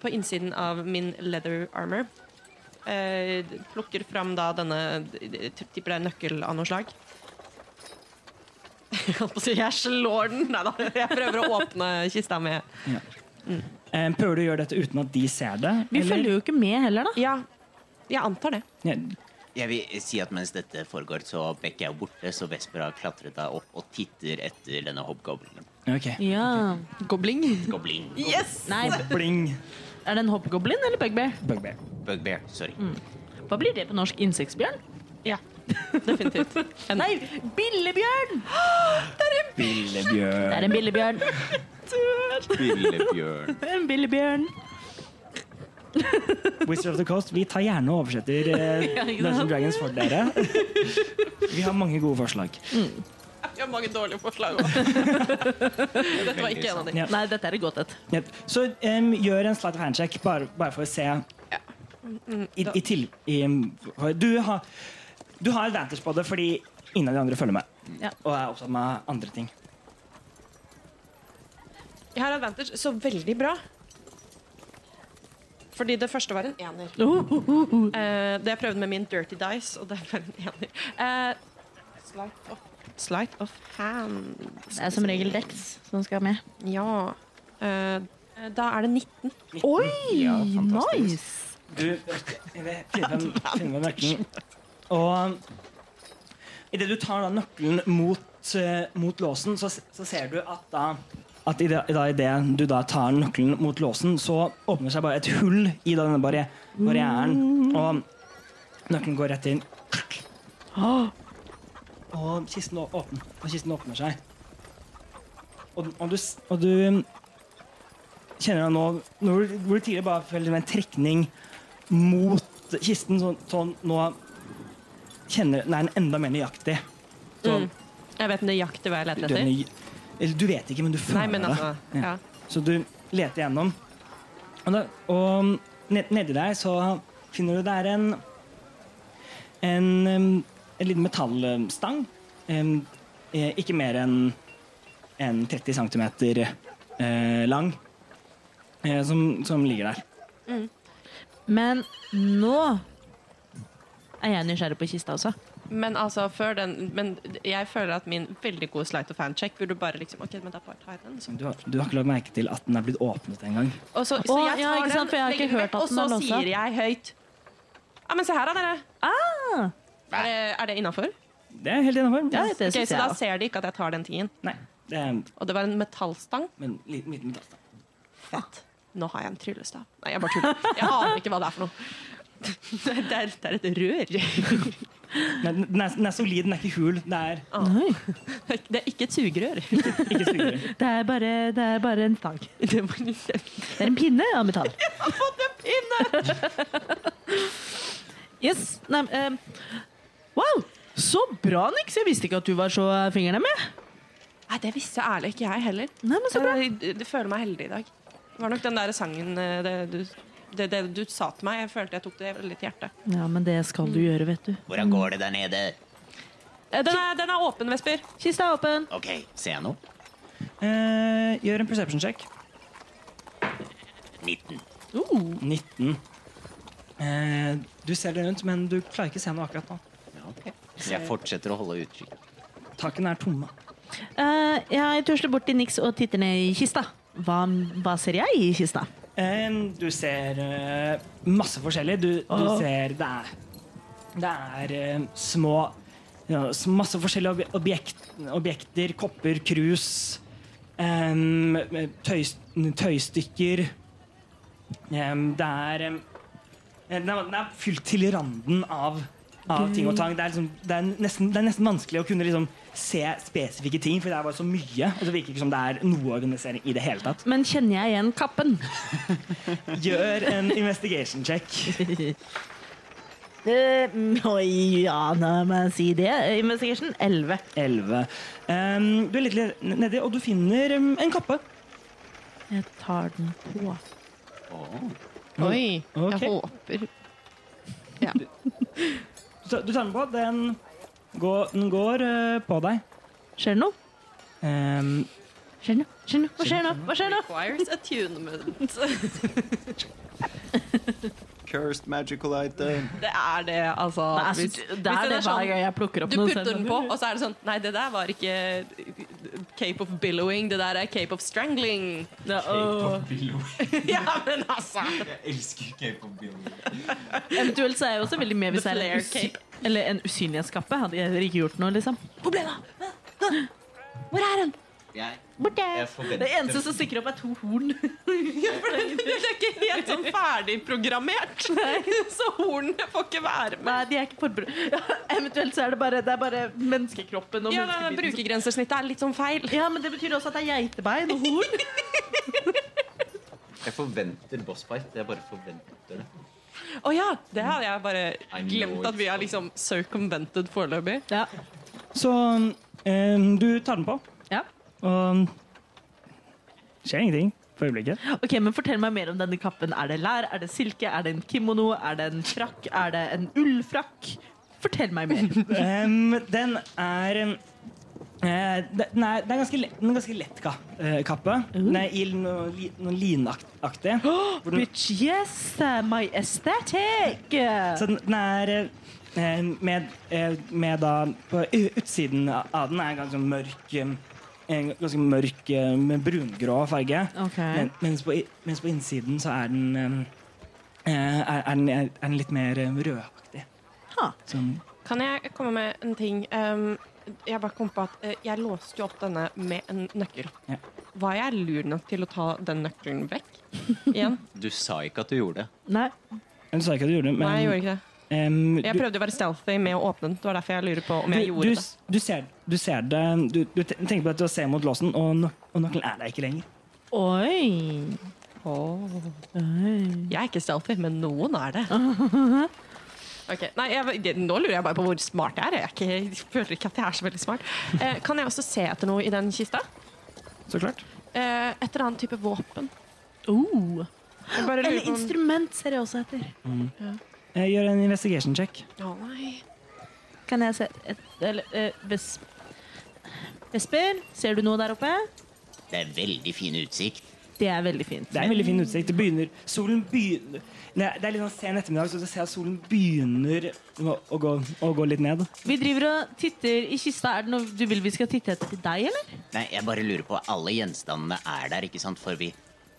[SPEAKER 6] På innsiden av min leather armor. Eh, plukker fram da denne jeg Tipper det er nøkkel av noe slag. Jeg holdt på å si, Jeg slår den! Nei da. Jeg prøver å åpne kista med
[SPEAKER 1] Eh, prøver du å gjøre dette uten at de ser det?
[SPEAKER 3] Vi følger jo ikke med heller, da.
[SPEAKER 6] Ja, jeg antar det.
[SPEAKER 1] Ja,
[SPEAKER 5] Jeg vil eh, si at mens dette foregår, så Beck er jo borte, så Vesper har klatret da opp og titter etter denne hobgoblinen.
[SPEAKER 1] ok.
[SPEAKER 3] Ja.
[SPEAKER 6] Gobling.
[SPEAKER 5] Goblin.
[SPEAKER 6] Yes!
[SPEAKER 3] Nei,
[SPEAKER 1] Bling.
[SPEAKER 3] er det en hoppgoblin eller bugbear?
[SPEAKER 1] Bugbear.
[SPEAKER 5] Bugbear. Sorry.
[SPEAKER 1] Mm.
[SPEAKER 3] Hva blir det på norsk? Insektbjørn?
[SPEAKER 6] Ja, definitivt. En-
[SPEAKER 3] Nei, billebjørn! Det
[SPEAKER 1] Billebjørn.
[SPEAKER 3] er en billebjørn.
[SPEAKER 5] Spillebjørn.
[SPEAKER 3] Det er en billebjørn.
[SPEAKER 1] Wizard of the Coast, vi tar gjerne og oversetter eh,
[SPEAKER 3] ikke sant?
[SPEAKER 1] Dungeons and Dragons for dere. Vi har mange gode forslag.
[SPEAKER 6] Jeg har mange dårlige forslag også. Dette var
[SPEAKER 5] sånn.
[SPEAKER 6] ikke en av de.
[SPEAKER 1] Ja.
[SPEAKER 3] Nei, dette er et godt et.
[SPEAKER 1] Jep. Så em, gjør en slight of handcheck, bare, bare for å se.
[SPEAKER 3] Mm,
[SPEAKER 1] I, i til, i, for, du, har, du har advantage på det fordi ingen av de andre følger med.
[SPEAKER 3] Ja.
[SPEAKER 1] Og er opptatt med andre ting.
[SPEAKER 6] Jeg har advantage, så veldig bra. Fordi det første var en ener. Eh, det jeg prøvde med min dirty dice, og det var en ener. Eh, slight of, sleight of hand.
[SPEAKER 7] Det er som regel Dex som skal med.
[SPEAKER 6] Ja. Eh, da er det 19.
[SPEAKER 3] Oi,
[SPEAKER 5] Ja, fantastisk.
[SPEAKER 3] nice!
[SPEAKER 1] Du finner frem finner frem nøkkelen. Og idet du tar da nøkkelen mot, eh, mot låsen, så, så ser du at da at i det, da, i det du da tar nøkkelen mot låsen, så åpner seg bare et hull i da denne barri barrieren. Og nøkkelen går rett inn. Og kisten, å- åpner, og kisten åpner seg. Og, den- og, du, s- og du kjenner deg nå Når du, hvor du tidligere bare følte en trekning mot kisten, så, så nå kjenner Nei, den er enda mer nøyaktig. Så,
[SPEAKER 6] Mm. Jeg vet nøyaktig hva jeg
[SPEAKER 1] du, er
[SPEAKER 6] leter etter.
[SPEAKER 1] nøy- eller, du vet ikke, men du føler
[SPEAKER 6] Nei, men altså,
[SPEAKER 1] det.
[SPEAKER 6] ja.
[SPEAKER 1] Så du leter gjennom. Og, da, og ned, nedi deg så finner du det er en en, em, en liten metallstang. em, eh, ikke mer enn enn 30 cm lang. eh, som, som ligger der.
[SPEAKER 3] Men nå er jeg nysgjerrig på kista også.
[SPEAKER 6] Men altså, før den Men jeg føler at min veldig gode slight of hand-check burde bare liksom Ok, men da bare tar jeg den. Så.
[SPEAKER 1] Du har, du har ikke lagt merke til at den er blitt åpnet engang.
[SPEAKER 6] Og så, så
[SPEAKER 3] Å,
[SPEAKER 6] jeg tar
[SPEAKER 3] ja, ikke
[SPEAKER 6] den,
[SPEAKER 3] sant, for jeg har ikke
[SPEAKER 6] legger den
[SPEAKER 3] hørt
[SPEAKER 6] vekk,
[SPEAKER 3] at den er
[SPEAKER 6] Og så
[SPEAKER 3] låst av.
[SPEAKER 6] sier jeg høyt Ja, men se her, da, dere. Er det, er det innafor?
[SPEAKER 1] Det er helt innafor.
[SPEAKER 3] Ja, Ah. det
[SPEAKER 6] så
[SPEAKER 3] synes
[SPEAKER 6] da
[SPEAKER 3] jeg også.
[SPEAKER 6] ser de ikke at jeg tar den tingen.
[SPEAKER 1] Nei, det er en
[SPEAKER 6] Og det var en metallstang.
[SPEAKER 1] men, liten, liten plass, da.
[SPEAKER 6] Nå har jeg en tryllestav. Nei, jeg bare tuller. Jeg aner ikke hva det er for noe. Det er, det er et rør.
[SPEAKER 1] Nei, den- den, er, den er solid, den er ikke hul. Det er
[SPEAKER 6] Det er ikke et sugerør.
[SPEAKER 1] ikke sugerør.
[SPEAKER 3] Det er bare, det er bare en stang.
[SPEAKER 6] Det må du se.
[SPEAKER 3] Det er en pinne av metall.
[SPEAKER 6] Pinne!
[SPEAKER 3] Yes. Nei, eh, wow! Så bra, Nix. Jeg visste ikke at du var så eh, fingrene med.
[SPEAKER 6] Nei, det visste ærlig ikke jeg heller.
[SPEAKER 3] Nei, men så bra.
[SPEAKER 6] Jeg, jeg, føler meg heldig i dag. Det var nok den der sangen eh, det du, det, det du sa til meg. Jeg følte jeg tok det veldig til hjertet.
[SPEAKER 3] Ja, men det skal du gjøre, vet du.
[SPEAKER 5] Hvordan går det der nede?
[SPEAKER 6] Eh, Den er, den er åpen, Vesper.
[SPEAKER 3] Kista er åpen.
[SPEAKER 5] OK, ser jeg noe?
[SPEAKER 1] Eh, gjør en perception check.
[SPEAKER 5] 19.
[SPEAKER 3] Uh.
[SPEAKER 1] 19. Eh, du ser deg rundt, men du klarer ikke se noe akkurat nå.
[SPEAKER 5] Ja, ok. Så jeg fortsetter å holde utkikk.
[SPEAKER 1] Takene er tomme.
[SPEAKER 3] Eh, jeg tusler bort til Nix og titter ned i kista. Hva, hva ser jeg i kista?
[SPEAKER 1] Eh, du ser eh, masse forskjellig. Du, du
[SPEAKER 3] Åh.
[SPEAKER 1] ser det er, det er eh, små ja, s- Masse forskjellige ob- objekt, objekter. Kopper, krus, em, tøy, tøystykker. Em, det er em, eh, den er, den er fylt til randen av, av ting og tang. Det er, liksom, det, er nesten, det er nesten vanskelig å kunne liksom se spesifikke ting, for det er bare så mye. Og det virker ikke som det er noe organisering i det hele tatt.
[SPEAKER 3] Men kjenner jeg igjen kappen?
[SPEAKER 1] Gjør en investigation check.
[SPEAKER 3] Eh, oi, ja, la meg si det. Eh, Investigation 11.
[SPEAKER 1] 11. Um, du er litt le- nedi, og du finner um, en kappe.
[SPEAKER 3] Jeg tar den på.
[SPEAKER 6] Oi.
[SPEAKER 1] Ok.
[SPEAKER 6] håper
[SPEAKER 1] Du tar, du tar den på. Den går, den går eh, på deg.
[SPEAKER 3] Skjer det noe?
[SPEAKER 1] Um,
[SPEAKER 3] Skjer det noe? Skjer det noe? Hva skjer nå? Hva skjer nå?
[SPEAKER 6] Requires attunement.
[SPEAKER 5] Cursed magical item.
[SPEAKER 6] Det er det, altså.
[SPEAKER 3] Nei, altså,
[SPEAKER 6] Hvis-
[SPEAKER 3] det
[SPEAKER 6] hvis
[SPEAKER 3] er
[SPEAKER 6] den
[SPEAKER 3] det
[SPEAKER 6] sånn-
[SPEAKER 3] hver gang jeg plukker opp
[SPEAKER 6] Du
[SPEAKER 3] noe
[SPEAKER 6] putter
[SPEAKER 3] selv.
[SPEAKER 6] den på, og så er det sånn Nei, det der var ikke Cape of Billowing, det der er Cape of Strangling.
[SPEAKER 3] Ja, åh.
[SPEAKER 6] ja, men altså!
[SPEAKER 4] Jeg elsker Cape of Billy.
[SPEAKER 3] Eventuelt så er jeg også veldig med hvis
[SPEAKER 6] The
[SPEAKER 3] jeg er en,
[SPEAKER 6] flare cape.
[SPEAKER 3] usy- eller en usynlighetskappe. Hadde jeg ikke gjort noe, liksom.
[SPEAKER 6] Hvor ble det av?
[SPEAKER 3] Hvor er den?
[SPEAKER 5] Jeg,
[SPEAKER 3] Borte!
[SPEAKER 5] jeg
[SPEAKER 3] Det
[SPEAKER 5] forventer
[SPEAKER 3] eneste som stikker opp, er to horn.
[SPEAKER 6] Det er ikke helt sånn ferdigprogrammert. Så hornene får ikke være med.
[SPEAKER 3] Nei, de er ikke forberedt. Ja, eventuelt så er det bare, det er bare menneskekroppen og
[SPEAKER 6] Ja, nei,
[SPEAKER 3] menneskebiten. som-
[SPEAKER 6] Brukergrensesnittet er litt sånn feil.
[SPEAKER 3] Ja, men det betyr også at det er geitebein og horn.
[SPEAKER 5] jeg forventer boss fight. Jeg bare forventer det.
[SPEAKER 6] Å ja! Det hadde jeg bare
[SPEAKER 5] I know
[SPEAKER 6] glemt at vi
[SPEAKER 5] it's
[SPEAKER 6] har liksom circumvented foreløpig.
[SPEAKER 3] Ja.
[SPEAKER 1] så um, du tar den på,
[SPEAKER 3] ja.
[SPEAKER 1] og skjer ingenting for øyeblikket.
[SPEAKER 3] Ok, men Fortell meg mer om denne kappen. Er det lær? Er det silke? Er det en kimono? Er det en frakk? Er det en ullfrakk? Fortell meg mer.
[SPEAKER 1] Um, den er um, eh, det- den er, det er ganske lett, en ganske lett ka, eh, kappe. Den er i noe, li- noe linaktig. Hvor den-
[SPEAKER 3] Bitch, yes, uh, my aesthetic!
[SPEAKER 1] Så den, den er eh, med, eh, med da På u- utsiden av den er ganske mørk eh, en ganske mørk eh, med brungrå farge.
[SPEAKER 3] Ok.
[SPEAKER 1] Men, mens, på, i- mens på innsiden så er den eh, eh, er, er den, er den litt mer eh, rødaktig.
[SPEAKER 3] Ha.
[SPEAKER 1] Sånn.
[SPEAKER 6] Kan jeg komme med en ting? Um, jeg bare kom på at eh, jeg låste jo opp denne med en nøkkel.
[SPEAKER 1] Ja.
[SPEAKER 6] Var jeg lur nok til å ta den nøkkelen vekk igjen?
[SPEAKER 5] Du sa ikke at du gjorde det.
[SPEAKER 3] Nei.
[SPEAKER 1] Du sa ikke at du gjorde det, men
[SPEAKER 6] Nei, jeg gjorde ikke det.
[SPEAKER 1] em,
[SPEAKER 6] Jeg
[SPEAKER 1] du-
[SPEAKER 6] prøvde å være stealthy med å åpne den. Det var derfor jeg lurer på om jeg
[SPEAKER 1] du,
[SPEAKER 6] gjorde
[SPEAKER 1] du, s- du, ser, du ser det du, du te- tenker på at du ser mot låsen, og, nøk- og nøkkelen er der ikke lenger.
[SPEAKER 3] Oi.
[SPEAKER 6] det. Jeg er ikke stealthy, men noen er det. Ok, nei, jeg, det- Nå lurer jeg bare på hvor smart jeg er. Jeg, er ikke, jeg føler ikke at jeg er så veldig smart. Eh, kan jeg også se etter noe i den kista?
[SPEAKER 1] Så klart.
[SPEAKER 6] Eh, et eller annet type våpen.
[SPEAKER 3] Oh.
[SPEAKER 6] Jeg bare lurer
[SPEAKER 3] Eller
[SPEAKER 6] på om-
[SPEAKER 3] instrument ser jeg også etter.
[SPEAKER 1] Eh, Gjør en investigation check.
[SPEAKER 6] Å, nei.
[SPEAKER 3] Kan jeg se et, eller, eh, ves, Vesper, ser du noe der oppe?
[SPEAKER 5] Det er veldig fin utsikt.
[SPEAKER 3] Det er veldig fint.
[SPEAKER 1] Det er en veldig fin utsikt. Det begynner, solen begynner Det er det er litt sånn sen ettermiddag, så du ser at solen begynner å, å, gå, å gå litt ned.
[SPEAKER 3] Vi driver og titter i kista. Er det noe du vil vi skal titte etter til deg, eller?
[SPEAKER 5] Nei, jeg bare lurer på, alle gjenstandene er der, ikke sant? For vi,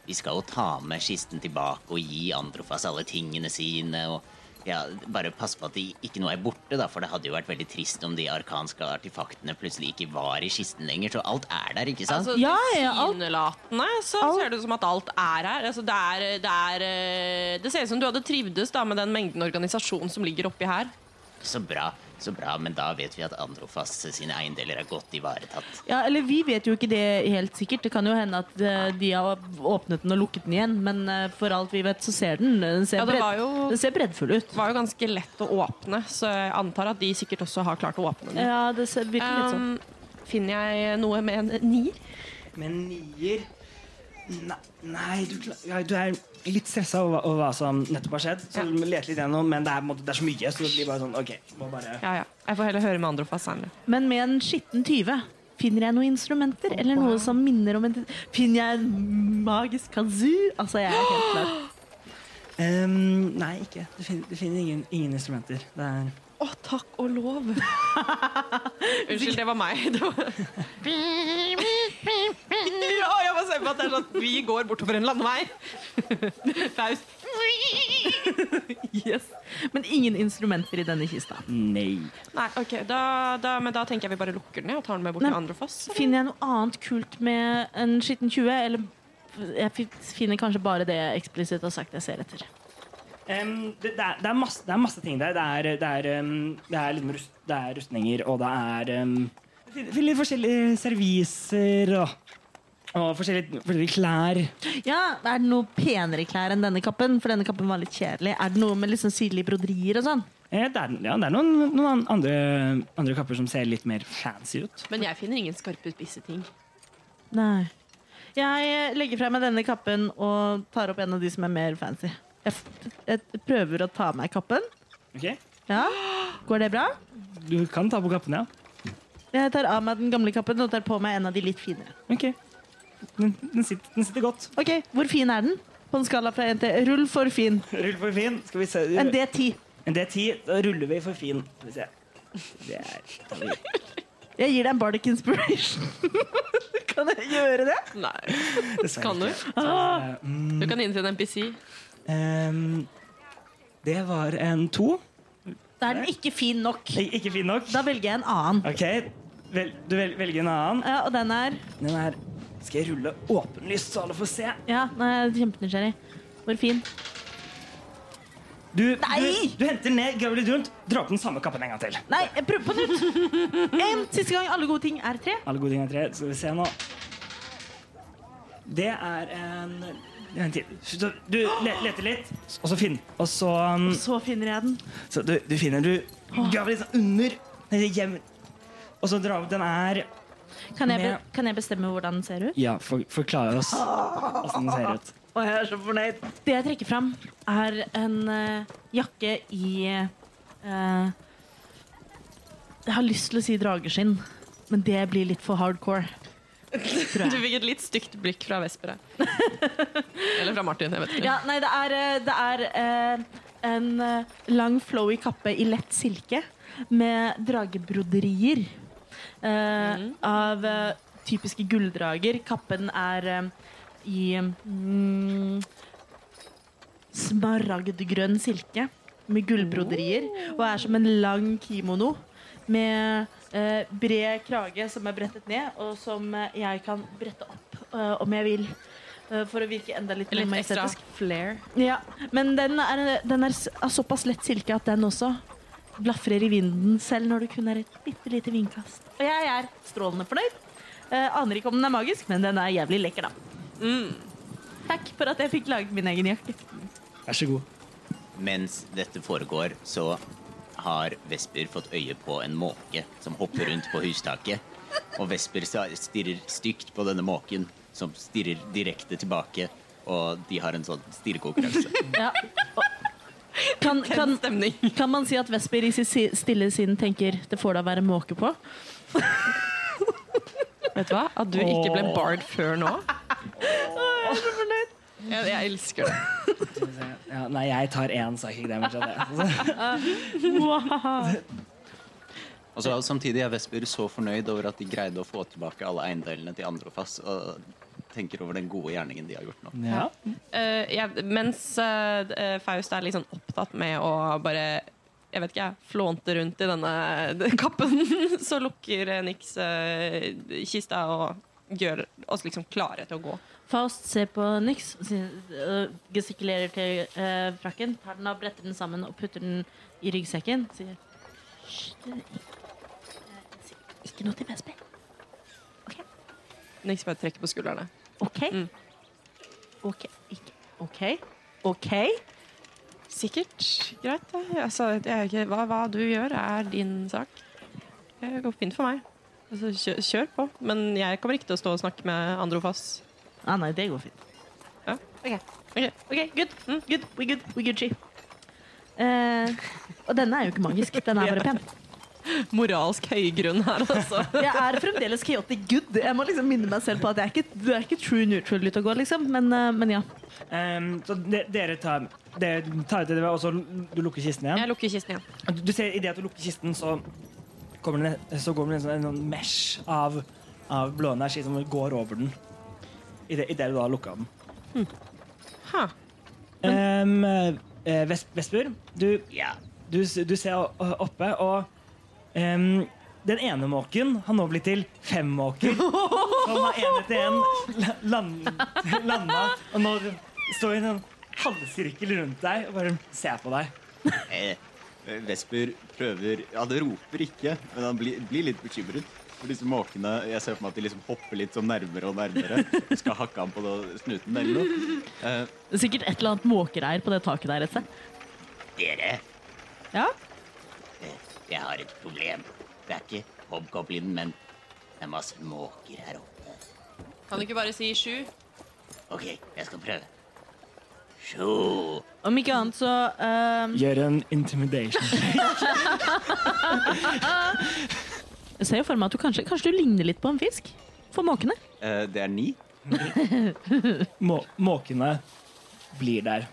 [SPEAKER 5] vi skal jo ta med kisten tilbake og gi Androfas alle tingene sine, og ja, bare pass på at de ikke noe er borte, da, for det hadde jo vært veldig trist om de arkanske artefaktene plutselig ikke var i kisten lenger, så alt er der, ikke sant?
[SPEAKER 6] Altså,
[SPEAKER 3] Ja, ja, alt-
[SPEAKER 6] Tilsynelatende så ser det ut som at alt er her. Altså, det, er, det, er, eh, det ser ut som du hadde trivdes da, med den mengden organisasjon som ligger oppi her.
[SPEAKER 5] Så bra, så bra, men da vet vi at Androfas sine eiendeler er godt ivaretatt.
[SPEAKER 3] Ja, eller Vi vet jo ikke det helt sikkert. Det kan jo hende at eh, de har åpnet den og lukket den igjen. Men eh, for alt vi vet, så ser den Den ser,
[SPEAKER 6] Ja, det
[SPEAKER 3] bredd-
[SPEAKER 6] var jo-
[SPEAKER 3] den ser breddfull ut.
[SPEAKER 6] Det var jo ganske lett å åpne, så jeg antar at de sikkert også har klart å åpne den.
[SPEAKER 3] Ja, det ser virker litt sånn.
[SPEAKER 6] Um, finner jeg noe med en nier?
[SPEAKER 1] Men nier Nei, nei du, kla- ja, du er litt stressa over, hva- over hva som nettopp har skjedd, så
[SPEAKER 6] Ja.
[SPEAKER 1] du må lete litt gjennom, men det er, på en måte- det er så mye, så det blir bare sånn OK, må bare
[SPEAKER 6] Ja, ja. Jeg får heller høre med andre fast senere.
[SPEAKER 3] Men med en skitten 20 finner jeg noen instrumenter eller noe som minner om en Finner jeg en magisk kazoo? Altså, jeg er helt klar.
[SPEAKER 1] Ehm, Nei, ikke. Du finner, du finner ingen, ingen instrumenter. Det er
[SPEAKER 6] Å, takk og lov! Unnskyld, det var meg. Det var... ja, jeg bare ser på at det er sånn vi går bortover en landevei. Faust.
[SPEAKER 3] Yes. Men ingen instrumenter i denne kista.
[SPEAKER 1] Nei.
[SPEAKER 6] Nei, ok, da, da, men da tenker jeg vi bare lukker den ned og tar den med bort
[SPEAKER 3] Nei.
[SPEAKER 6] til Andrefoss. eller?
[SPEAKER 3] Finner jeg noe annet kult med en skitten 20? Eller jeg fi- finner kanskje bare det jeg eksplisitt har sagt jeg ser etter.
[SPEAKER 1] Ehm, det, det, er, det, er masse, det er masse ting der. Det er, det er, ehm, det er, liksom rust, det er rustninger, og det er ehm, du finner- finner litt forskjellige serviser og, og forskjellige, forskjellige klær.
[SPEAKER 3] Ja, Er det noe penere klær enn denne kappen? For denne kappen var litt kjedelig. Er det noe med liksom sydlige broderier og sånn?
[SPEAKER 1] Eh, Det er, ja, det er noen, noen an- andre, andre kapper som ser litt mer fancy ut.
[SPEAKER 6] Men jeg finner ingen skarpe, spisse ting.
[SPEAKER 3] Nei. Jeg eh, legger fra meg denne kappen og tar opp en av de som er mer fancy. Jeg, f jeg prøver å ta av meg kappen.
[SPEAKER 1] Ok?
[SPEAKER 3] Ja, Går det bra?
[SPEAKER 1] Du kan ta på kappen, ja.
[SPEAKER 3] Jeg tar av meg den gamle kappen og tar på meg en av de litt finere.
[SPEAKER 1] Ok. Den, den, sitter, den sitter godt.
[SPEAKER 3] Ok, Hvor fin er den? På en skala fra 1 til Rull for fin.
[SPEAKER 1] Rull for fin. Skal vi se.
[SPEAKER 3] En D10.
[SPEAKER 1] En D10. Da ruller vi for fin. Skal vi se. Det er
[SPEAKER 3] Jeg gir deg en Bardic Inspiration. kan jeg gjøre det?
[SPEAKER 6] Nei,
[SPEAKER 1] dessverre
[SPEAKER 6] kan du? Ah.
[SPEAKER 1] ikke. Så,
[SPEAKER 6] eh,
[SPEAKER 1] mm,
[SPEAKER 6] Du kan inn til en NPC.
[SPEAKER 1] ehm, det var en to.
[SPEAKER 3] Da er den ikke fin nok.
[SPEAKER 1] Ik ikke fin nok.
[SPEAKER 3] Da velger jeg en annen.
[SPEAKER 1] Ok. Vel, du vel, velger en annen.
[SPEAKER 3] Ja, og den er
[SPEAKER 1] Den her skal jeg rulle åpenlyst, så alle får se.
[SPEAKER 3] Ja, nå er jeg kjempenysgjerrig. Hvor fin?
[SPEAKER 1] Du, du,
[SPEAKER 3] Nei!
[SPEAKER 1] du henter ned, graver litt rundt, drar på den samme kappen en gang til.
[SPEAKER 3] Nei, jeg prøver på nytt. En siste gang. Alle gode ting er tre.
[SPEAKER 1] Alle gode ting er tre. Skal vi se nå. Det er en Vent litt. Så Du le- leter litt, og så finn Og så, um,
[SPEAKER 3] Så finner jeg den.
[SPEAKER 1] så du, du finner Du graver litt sånn under. Eller gjem- Og så drar du Den er
[SPEAKER 3] Kan jeg,
[SPEAKER 1] Med-
[SPEAKER 3] be kan jeg bestemme hvordan den ser ut?
[SPEAKER 1] Ja, for, forklare oss åssen den ser ut.
[SPEAKER 3] Og jeg er så fornøyd. Det jeg trekker fram, er en eh, jakke i eh, Jeg har lyst til å si drageskinn, men det blir litt for hardcore.
[SPEAKER 6] Du fikk et litt stygt blikk fra Vesper her. Eller fra Martin, jeg vet ikke.
[SPEAKER 3] Ja, nei, det er, eh, det er eh, en eh, lang, flowy kappe i lett silke med dragebroderier eh, av eh, typiske gulldrager. Kappen er eh, i mm, smaragdgrønn silke med gullbroderier og er som en lang kimono med eh, bred krage som er brettet ned, og som eh, jeg kan brette opp eh, om jeg vil. eh, For å virke enda litt, mer
[SPEAKER 6] Litt ekstra
[SPEAKER 3] majestetisk.
[SPEAKER 6] flair.
[SPEAKER 3] Ja, men den er, den er s- av såpass lett silke at den også blafrer i vinden, selv når det kun er et bitte lite vindkast. Og jeg er strålende fornøyd. Eh, aner ikke om den er magisk, men den er jævlig lekker, da. Takk for at jeg fikk laget min egen jakke.
[SPEAKER 1] Vær så god.
[SPEAKER 5] Mens dette foregår, så har Vesper fått øye på en måke som hopper rundt på hustaket. Og Vesper sa- stirrer stygt på denne måken, som stirrer direkte tilbake. Og de har en sånn stirrekonkurranse.
[SPEAKER 3] Ja. Og- Kan, kan,
[SPEAKER 6] Stemning.
[SPEAKER 3] kan man si at Vesper i sitt si- stille sinn tenker 'det får da være måke på'?
[SPEAKER 6] Vet du hva? At du ikke ble bard før nå. Jeg, jeg elsker det.
[SPEAKER 1] Ja, nei, jeg tar én psychic damage av det. Altså,
[SPEAKER 5] Og så Samtidig er Vesper så fornøyd over at de greide å få tilbake alle eiendelene til Androfas, og tenker over den gode gjerningen de har gjort nå.
[SPEAKER 1] ja.
[SPEAKER 6] Eh, jeg, mens eh, d- eh, Faust er liksom opptatt med å bare jeg vet ikke, jeg, flånte rundt i denne den kappen, så lukker eh, Nix eh, kista og gjør oss liksom klare til å gå.
[SPEAKER 7] Faust ser på Nix, sier- øh, gestikulerer til øh, frakken, tar den av, bretter den sammen og putter den i ryggsekken. Sier Hysj, du. eh, si- Ikke noe til Vesper.
[SPEAKER 6] Nix bare trekker på skuldrene.
[SPEAKER 7] OK?
[SPEAKER 6] Mm.
[SPEAKER 7] OK. Ikke.
[SPEAKER 3] OK? OK?
[SPEAKER 6] Sikkert. Greit, det. Altså, jeg er ikke, hva, hva du gjør, er din sak. Det går fint for meg. Altså, kjør, kjør på. Men jeg kommer ikke til å stå og snakke med Androfas.
[SPEAKER 3] Ah, nei, det går fint.
[SPEAKER 6] Ja.
[SPEAKER 3] OK, Ok, good. Mm, good. We good. We Gucci. Eh, og denne er jo ikke magisk. Den er bare pen.
[SPEAKER 6] Moralsk høygrunn her, altså.
[SPEAKER 3] Jeg er fremdeles chaotic good. Jeg må liksom minne meg selv på at jeg er ikke, du er ikke true neutral ut å gå, liksom. Men, eh, men ja.
[SPEAKER 1] Ehm, så de, dere tar, dere tar ut det, og så du lukker kisten igjen?
[SPEAKER 6] Jeg lukker kisten igjen.
[SPEAKER 1] Du, du ser Idet du lukker kisten, så kommer det, ned- så kommer det en sånn en sånn mesh av, av blåenergi som går over den. Idet du da har lukka den.
[SPEAKER 6] Ha.
[SPEAKER 1] Ehm, eh, Ves- Vesper, du
[SPEAKER 5] Ja.
[SPEAKER 1] du, du ser o- oppe, og em, den ene måken har nå blitt til fem måker. Som har en etter en land, landa, og nå står i en sånn halvsirkel rundt deg og bare ser på deg.
[SPEAKER 5] Eh, Vesper prøver Ja, det roper ikke, men han blir, blir litt bekymret. For disse måkene Jeg ser for meg at de liksom hopper litt sånn nærmere og nærmere. og Skal hakke ham på da- snuten eller noe.
[SPEAKER 3] Det er sikkert et eller annet måkereir på det taket der et sted.
[SPEAKER 5] Dere,
[SPEAKER 3] Ja?
[SPEAKER 5] eh, jeg har et problem. Det er ikke hobgoblinen, men det er masse måker her oppe.
[SPEAKER 6] Kan du ikke bare si sju?
[SPEAKER 5] OK, jeg skal prøve. Sjo.
[SPEAKER 3] Om ikke annet så eh,
[SPEAKER 1] Gjør en intimidation.
[SPEAKER 3] Jeg ser jo for meg at du kanskje, kanskje du ligner litt på en fisk. For måkene.
[SPEAKER 5] Eh, det er ni.
[SPEAKER 1] Må, måkene blir der,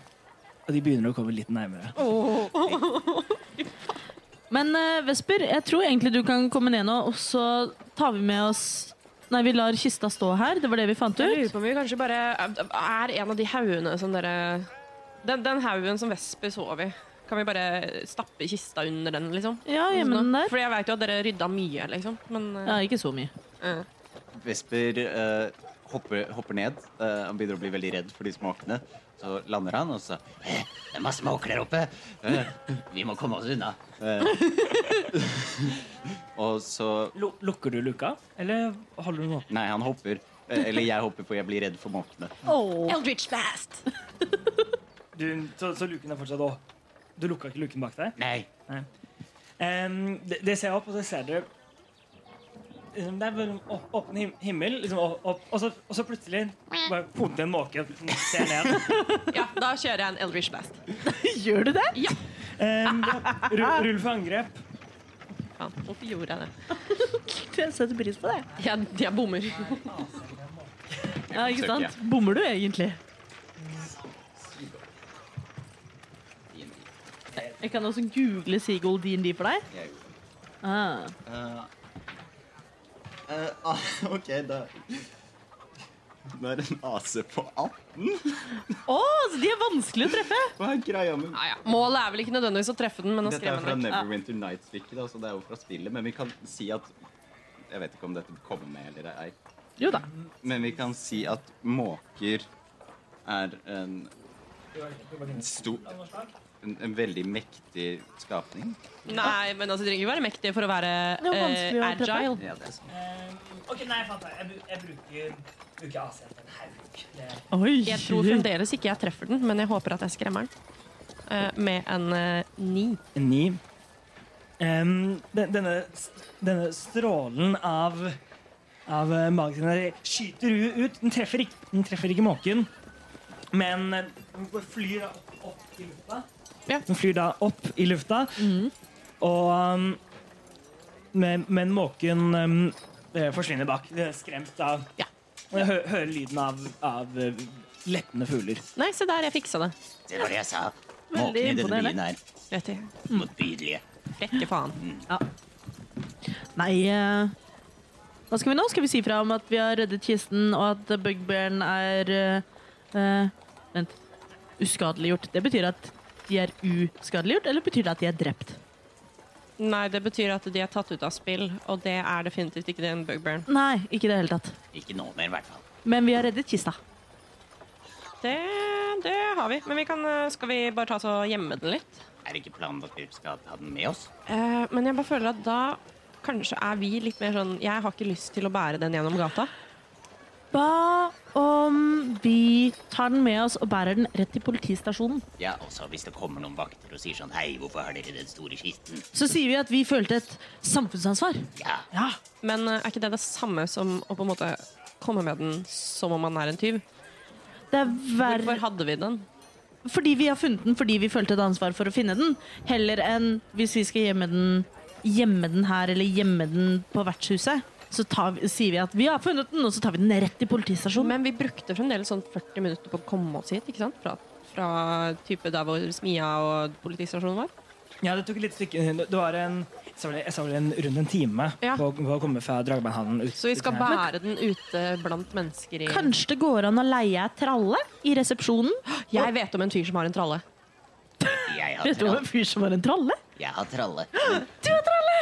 [SPEAKER 1] og de begynner å komme litt nærmere.
[SPEAKER 3] Men eh, Vesper, jeg tror egentlig du kan komme ned nå, og så tar vi med oss Nei, vi lar kista stå her. Det var det vi fant
[SPEAKER 6] Jeg
[SPEAKER 3] ut.
[SPEAKER 6] lurer på om vi kanskje bare er en av de haugene som dere Den, den haugen som Vesper sov i. Kan vi bare stappe kista under den, liksom?
[SPEAKER 3] Ja, hjemme den der.
[SPEAKER 6] Fordi jeg veit jo at dere rydda mye, liksom. Men eh,
[SPEAKER 3] Ja, ikke så mye.
[SPEAKER 6] eh,
[SPEAKER 5] Vesper eh, hopper, hopper ned. Eh, han begynner å bli veldig redd for disse måkene. Så lander han, og så eh, Det er masse måker der oppe! Eh, vi må komme oss unna. Eh, og så
[SPEAKER 1] Lu- Lukker du luka, eller holder du den åpen?
[SPEAKER 5] Nei, han hopper. Eh, Eller jeg hopper, for jeg blir redd for måkene.
[SPEAKER 6] Eldritch Blast!
[SPEAKER 1] Du, så, så luken er fortsatt å Du lukka ikke luken bak deg?
[SPEAKER 5] Nei.
[SPEAKER 1] Em, det, det ser jeg opp, og så ser dere liksom, Det er bare en å- åpen him himmel, liksom, opp, opp, og, så, og så plutselig bare hodet til en måke ser ned.
[SPEAKER 6] Ja, da kjører jeg en Eldritch Blast.
[SPEAKER 3] Gjør du det?
[SPEAKER 1] Em, ja, ru- Rull for angrep.
[SPEAKER 6] Faen, hvorfor gjorde jeg det?
[SPEAKER 3] Jeg setter pris på det.
[SPEAKER 6] Jeg, jeg bommer.
[SPEAKER 3] Ja, ikke
[SPEAKER 5] Søker
[SPEAKER 3] sant? Bommer du egentlig? Jeg kan også google Seagull D&D for deg.
[SPEAKER 5] Jeg-
[SPEAKER 3] Ah.
[SPEAKER 5] Eh, eh, ah, OK, da Det er en AC på 18.
[SPEAKER 3] Å, så de er vanskelig å treffe!
[SPEAKER 5] Hva er greia med
[SPEAKER 6] Ja, ja. Målet er vel ikke nødvendigvis å treffe den, men å
[SPEAKER 5] Dette er
[SPEAKER 6] skremme
[SPEAKER 5] fra
[SPEAKER 6] den. vekk.
[SPEAKER 5] Neverwinter Nights-stykket, da, så det er jo fra spillet. Men vi kan si at Jeg vet ikke om dette kommer med eller ei.
[SPEAKER 3] Jo da.
[SPEAKER 5] Men vi kan si at måker er en stor en, en veldig mektig skapning.
[SPEAKER 6] Nei, men altså, du trenger ikke være mektig for å være
[SPEAKER 3] Det var
[SPEAKER 6] eh,
[SPEAKER 3] vanskelig å treffe.
[SPEAKER 6] agile.
[SPEAKER 5] Ja, det er sånn.
[SPEAKER 1] OK, nei, jeg fant det. Jeg, bruker, bruker AC etter en hauk.
[SPEAKER 3] Oi,
[SPEAKER 6] Jeg tror fremdeles ikke jeg treffer den, men jeg håper at jeg skremmer den. Eh, med en eh, ni.
[SPEAKER 1] Ni. Em, den, denne, denne strålen av av eh, magisk energi skyter u- ut. Den treffer ikke, den treffer ikke måken, men eh, den bare flyr da opp, opp i lufta.
[SPEAKER 6] Ja. Mhm.
[SPEAKER 1] Den flyr da opp i lufta, og um, men, men måken um, eh, forsvinner bak, eh, skremt av
[SPEAKER 6] Ja.
[SPEAKER 1] Og jeg hø hører lyden av, av eh, leppende fugler.
[SPEAKER 6] Nei, se der, jeg fiksa det.
[SPEAKER 5] Se hva jeg sa. Måkene i denne
[SPEAKER 3] imponerende.
[SPEAKER 5] byen er
[SPEAKER 6] Vet jeg.
[SPEAKER 5] motbydelige.
[SPEAKER 6] Frekke faen.
[SPEAKER 3] Nei eh, Hva skal vi nå? Skal vi si fra om at vi har reddet kisten, og at bugbearen er eh, eh, Vent. Uskadeliggjort. Det betyr at de er uskadeliggjort, eller betyr det at de er drept?
[SPEAKER 6] Nei, det betyr at de er tatt ut av spill, og det er definitivt ikke den bugbearen.
[SPEAKER 3] Nei, ikke i det hele tatt.
[SPEAKER 5] Ikke nå mer, i hvert fall.
[SPEAKER 3] Men vi har reddet kista.
[SPEAKER 6] Det, det har vi. Men vi kan, eh, skal vi bare ta så gjemme den litt?
[SPEAKER 5] Er det ikke planen at vi skal ta den med oss?
[SPEAKER 6] Eh, men jeg bare føler at da kanskje er vi litt mer sånn Jeg har ikke lyst til å bære den gjennom gata.
[SPEAKER 3] Hva om vi tar den med oss og bærer den rett til politistasjonen?
[SPEAKER 5] Ja, også hvis det kommer noen vakter og sier sånn Hei, hvorfor har dere den store kisten?
[SPEAKER 3] Så sier vi at vi følte et samfunnsansvar.
[SPEAKER 5] Ja,
[SPEAKER 3] Ja.
[SPEAKER 6] Men eh, er ikke det det samme som å på en måte komme med den som om man er en tyv?
[SPEAKER 3] Det er
[SPEAKER 6] Hvorfor
[SPEAKER 3] verre
[SPEAKER 6] hadde vi den?
[SPEAKER 3] fordi vi har funnet den fordi vi følte et ansvar for å finne den, heller enn hvis vi skal gjemme den, gjemme den her eller gjemme den på vertshuset. Så tar vi, sier vi at vi har funnet den, og så tar vi den rett til politistasjonen.
[SPEAKER 6] Men vi brukte fremdeles sånn 40 minutter på å komme oss hit, ikke sant? Fra, fra type der hvor smia og politistasjonen var.
[SPEAKER 1] Ja, det tok et lite stykke Det var en jeg sa vel- jeg sa vel en, rundt en time
[SPEAKER 6] Ja.
[SPEAKER 1] på, på å komme fra Dragbeinhallen ut.
[SPEAKER 6] Så vi skal
[SPEAKER 1] ut her.
[SPEAKER 6] bære den ute blant mennesker i
[SPEAKER 3] Kanskje det går an å leie ei tralle i resepsjonen?
[SPEAKER 6] Jeg vet om en fyr som har en tralle.
[SPEAKER 5] jeg har
[SPEAKER 3] Vet du om
[SPEAKER 5] tralle.
[SPEAKER 3] en fyr som har en tralle?
[SPEAKER 5] Jeg har tralle. Du har tralle!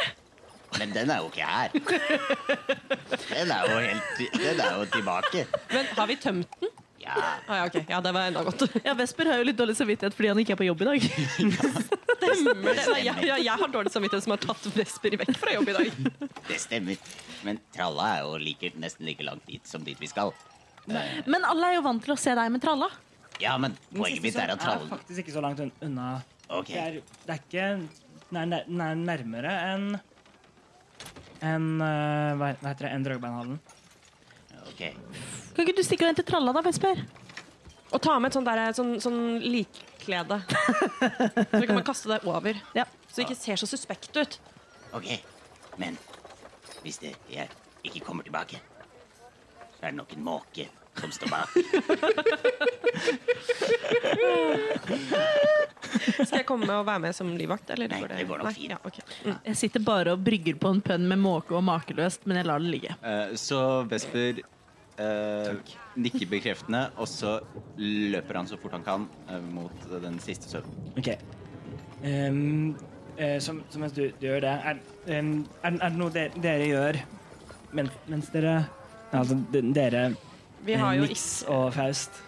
[SPEAKER 5] Men den er jo ikke her. Den er jo helt Den er jo tilbake.
[SPEAKER 6] Men har vi tømt den?
[SPEAKER 5] Ja,
[SPEAKER 6] Ah, ja, ok. ja, det var enda godt.
[SPEAKER 3] Ja, Vesper har jo litt dårlig samvittighet fordi han ikke er på jobb i dag.
[SPEAKER 6] Men det, nei, jeg, jeg, jeg har dårlig samvittighet som har tatt Vesper vekk fra jobb i dag.
[SPEAKER 5] det stemmer. Men tralla er jo like, nesten like langt dit som dit vi skal.
[SPEAKER 3] Men alle er jo vant til å se deg med tralla.
[SPEAKER 5] Ja, men
[SPEAKER 1] Den
[SPEAKER 5] poenget
[SPEAKER 1] siste
[SPEAKER 5] mitt er
[SPEAKER 1] som
[SPEAKER 5] at trallen
[SPEAKER 1] faktisk ikke så langt un- unna.
[SPEAKER 5] Ok.
[SPEAKER 1] Det, er, det er ikke Den er nær- den er nærmere enn enn, eh, hva hva heter det, enn Dragbeinhallen.
[SPEAKER 5] Ok.
[SPEAKER 3] Kan ikke du stikke og hente tralla da, Vesper?
[SPEAKER 6] Og ta med et sånt, der, sånn, sånn likklede. Så kan man kaste det over.
[SPEAKER 3] Ja.
[SPEAKER 6] Så det ikke ser så suspekt ut.
[SPEAKER 5] ok. Men hvis det jeg ikke kommer tilbake, så er det nok en måke som står bak.
[SPEAKER 6] Skal jeg komme og være med som livvakt? Eller?
[SPEAKER 5] Nei, det går nok fint.
[SPEAKER 6] Ja, ok. Mm.
[SPEAKER 3] Jeg sitter bare og brygger på en pønn med måke og makeløst, men jeg lar det ligge.
[SPEAKER 8] Eh, så Vesper eh, nikker bekreftende, og så løper han så fort han kan eh, mot den siste søvnen.
[SPEAKER 1] Ok. Ehm, eh, som, som mens du, du gjør det, er, ehm, er, er det noe dere, dere gjør men, mens dere Altså de, dere,
[SPEAKER 6] Vi har
[SPEAKER 1] eh,
[SPEAKER 6] jo
[SPEAKER 1] Nix og Faust,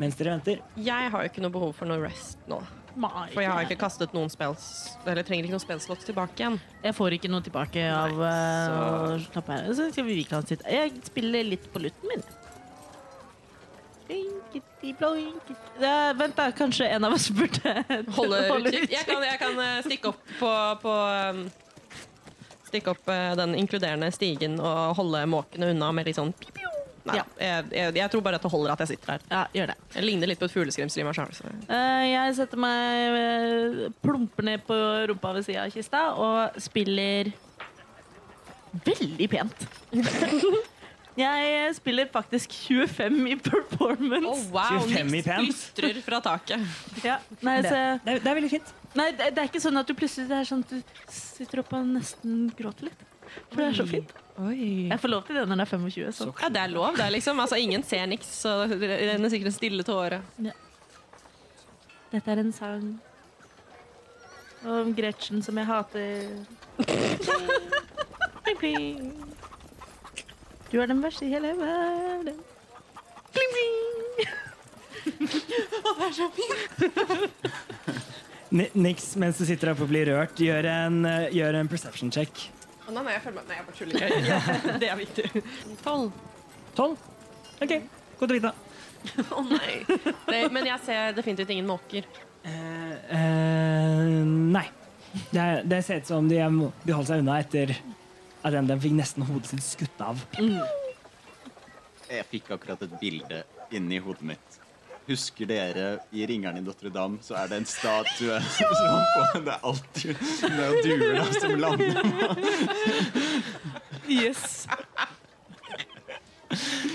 [SPEAKER 1] mens dere venter?
[SPEAKER 6] Jeg har jo ikke noe behov for noe rest nå. For jeg har ikke kastet noen spells Eller trenger ikke noen spellslott tilbake igjen.
[SPEAKER 7] Jeg får ikke noe tilbake av
[SPEAKER 6] Nei,
[SPEAKER 7] eh, å slappe her. Så skal vi vi kan sitte. Jeg spiller litt på lutten min. Blinkety, blinkety.
[SPEAKER 3] Eh, vent, da. Kanskje en av oss burde
[SPEAKER 6] Holde
[SPEAKER 3] holde
[SPEAKER 6] utkikk. Jeg kan, jeg kan eh, stikke opp på, på um, Stikke opp eh, den inkluderende stigen og holde måkene unna med litt sånn pip, pip. Nei,
[SPEAKER 3] Ja.
[SPEAKER 6] jeg, jeg, jeg tror bare at det holder at jeg sitter her.
[SPEAKER 3] Ja, gjør det.
[SPEAKER 6] Jeg ligner litt på et fugleskremsel i meg sjøl.
[SPEAKER 3] Eh, jeg setter meg eh, plumper ned på rumpa ved sida av kista og spiller veldig pent. jeg spiller faktisk 25 i performance.
[SPEAKER 6] wow,
[SPEAKER 1] 25 i pant.
[SPEAKER 6] glitrer fra taket.
[SPEAKER 3] Ja, nei, så,
[SPEAKER 1] Det, er- det er veldig fint.
[SPEAKER 3] nei, det det er ikke sånn at du plutselig det er sånn at du sitter opp og nesten gråter litt. For det er så fint. Jeg får lov til det når det er 25. Så.
[SPEAKER 6] Ja, det er lov, det, er liksom. Altså, ingen ser niks, så det renner sikkert en stille tåre.
[SPEAKER 7] Dette er en sang
[SPEAKER 3] Om Gretchen som jeg hater. Pling, pling. Du er den verste i hele verden. Pling, pling.
[SPEAKER 1] Ni- Nix, mens du sitter oppe og blir rørt, gjør en, eh, gjør en perception check.
[SPEAKER 6] Å, Nei, nei, jeg føler meg Nei, jeg bare tuller. Ja, Det er viktig. Tolv.
[SPEAKER 1] Tolv? OK. Godt å vite.
[SPEAKER 6] Å nei. Det, men jeg ser definitivt ingen måker.
[SPEAKER 1] Eh, eh, nei. Det, er- det ser ut som de, er mo- de holdt seg unna etter at den, den fikk nesten hodet sitt skutt av.
[SPEAKER 8] Jeg fikk akkurat et bilde inni hodet mitt. Husker dere i 'Ringeren i Notre-Dame', så er det en statue som på, Det er alltid det er jo duer da, som lander.
[SPEAKER 3] Yes.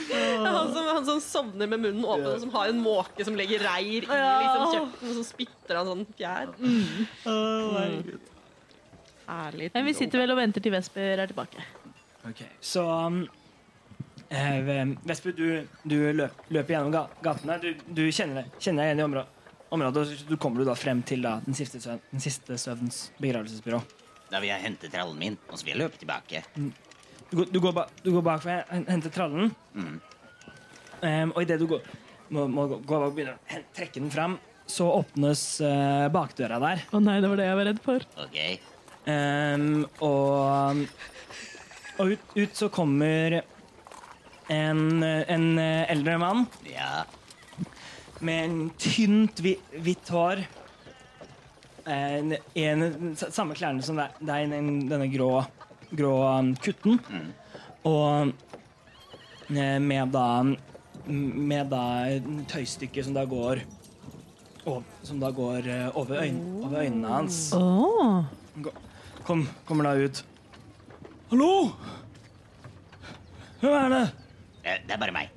[SPEAKER 6] Han som, han som sovner med munnen åpen, og som har en måke som legger reir i liksom, kjøpten, og så spytter han sånn fjær. Herlig.
[SPEAKER 3] Men vi sitter vel og venter til Vesper er tilbake.
[SPEAKER 1] Ok, Så um, eh, Vesper, du, du løp, løper gjennom ga gatene. Du, du kjenner, deg- kjenner deg igjen i området. området og så du kommer du da frem til da, den, siste søvn, den siste søvnens begravelsesbyrå.
[SPEAKER 5] Da vil jeg hente trallen min, og så vil jeg løpe tilbake.
[SPEAKER 1] Du, går- du, går, ba, du går bak for å hen- hente trallen. Um, og idet du går, må, må gå gå bak og begynner å hen- trekke den fram, så åpnes eh, bakdøra der.
[SPEAKER 3] Å nei, det var det jeg var redd for.
[SPEAKER 5] Ok,
[SPEAKER 1] Um, og og ut, ut så kommer en, en eh, eldre mann
[SPEAKER 5] ja.
[SPEAKER 1] med en tynt hvi- hvitt hår. Eh, En, en, sa- samme klærne som deg, deg den- denne grå, grå um, kutten. Og eh, med da Med da tøystykket som da går og, Som da går eh, over, øyn, over øynene hans. Gå- Kom, kommer da ut. Hallo? Hvem er det?
[SPEAKER 5] Det, det er bare meg.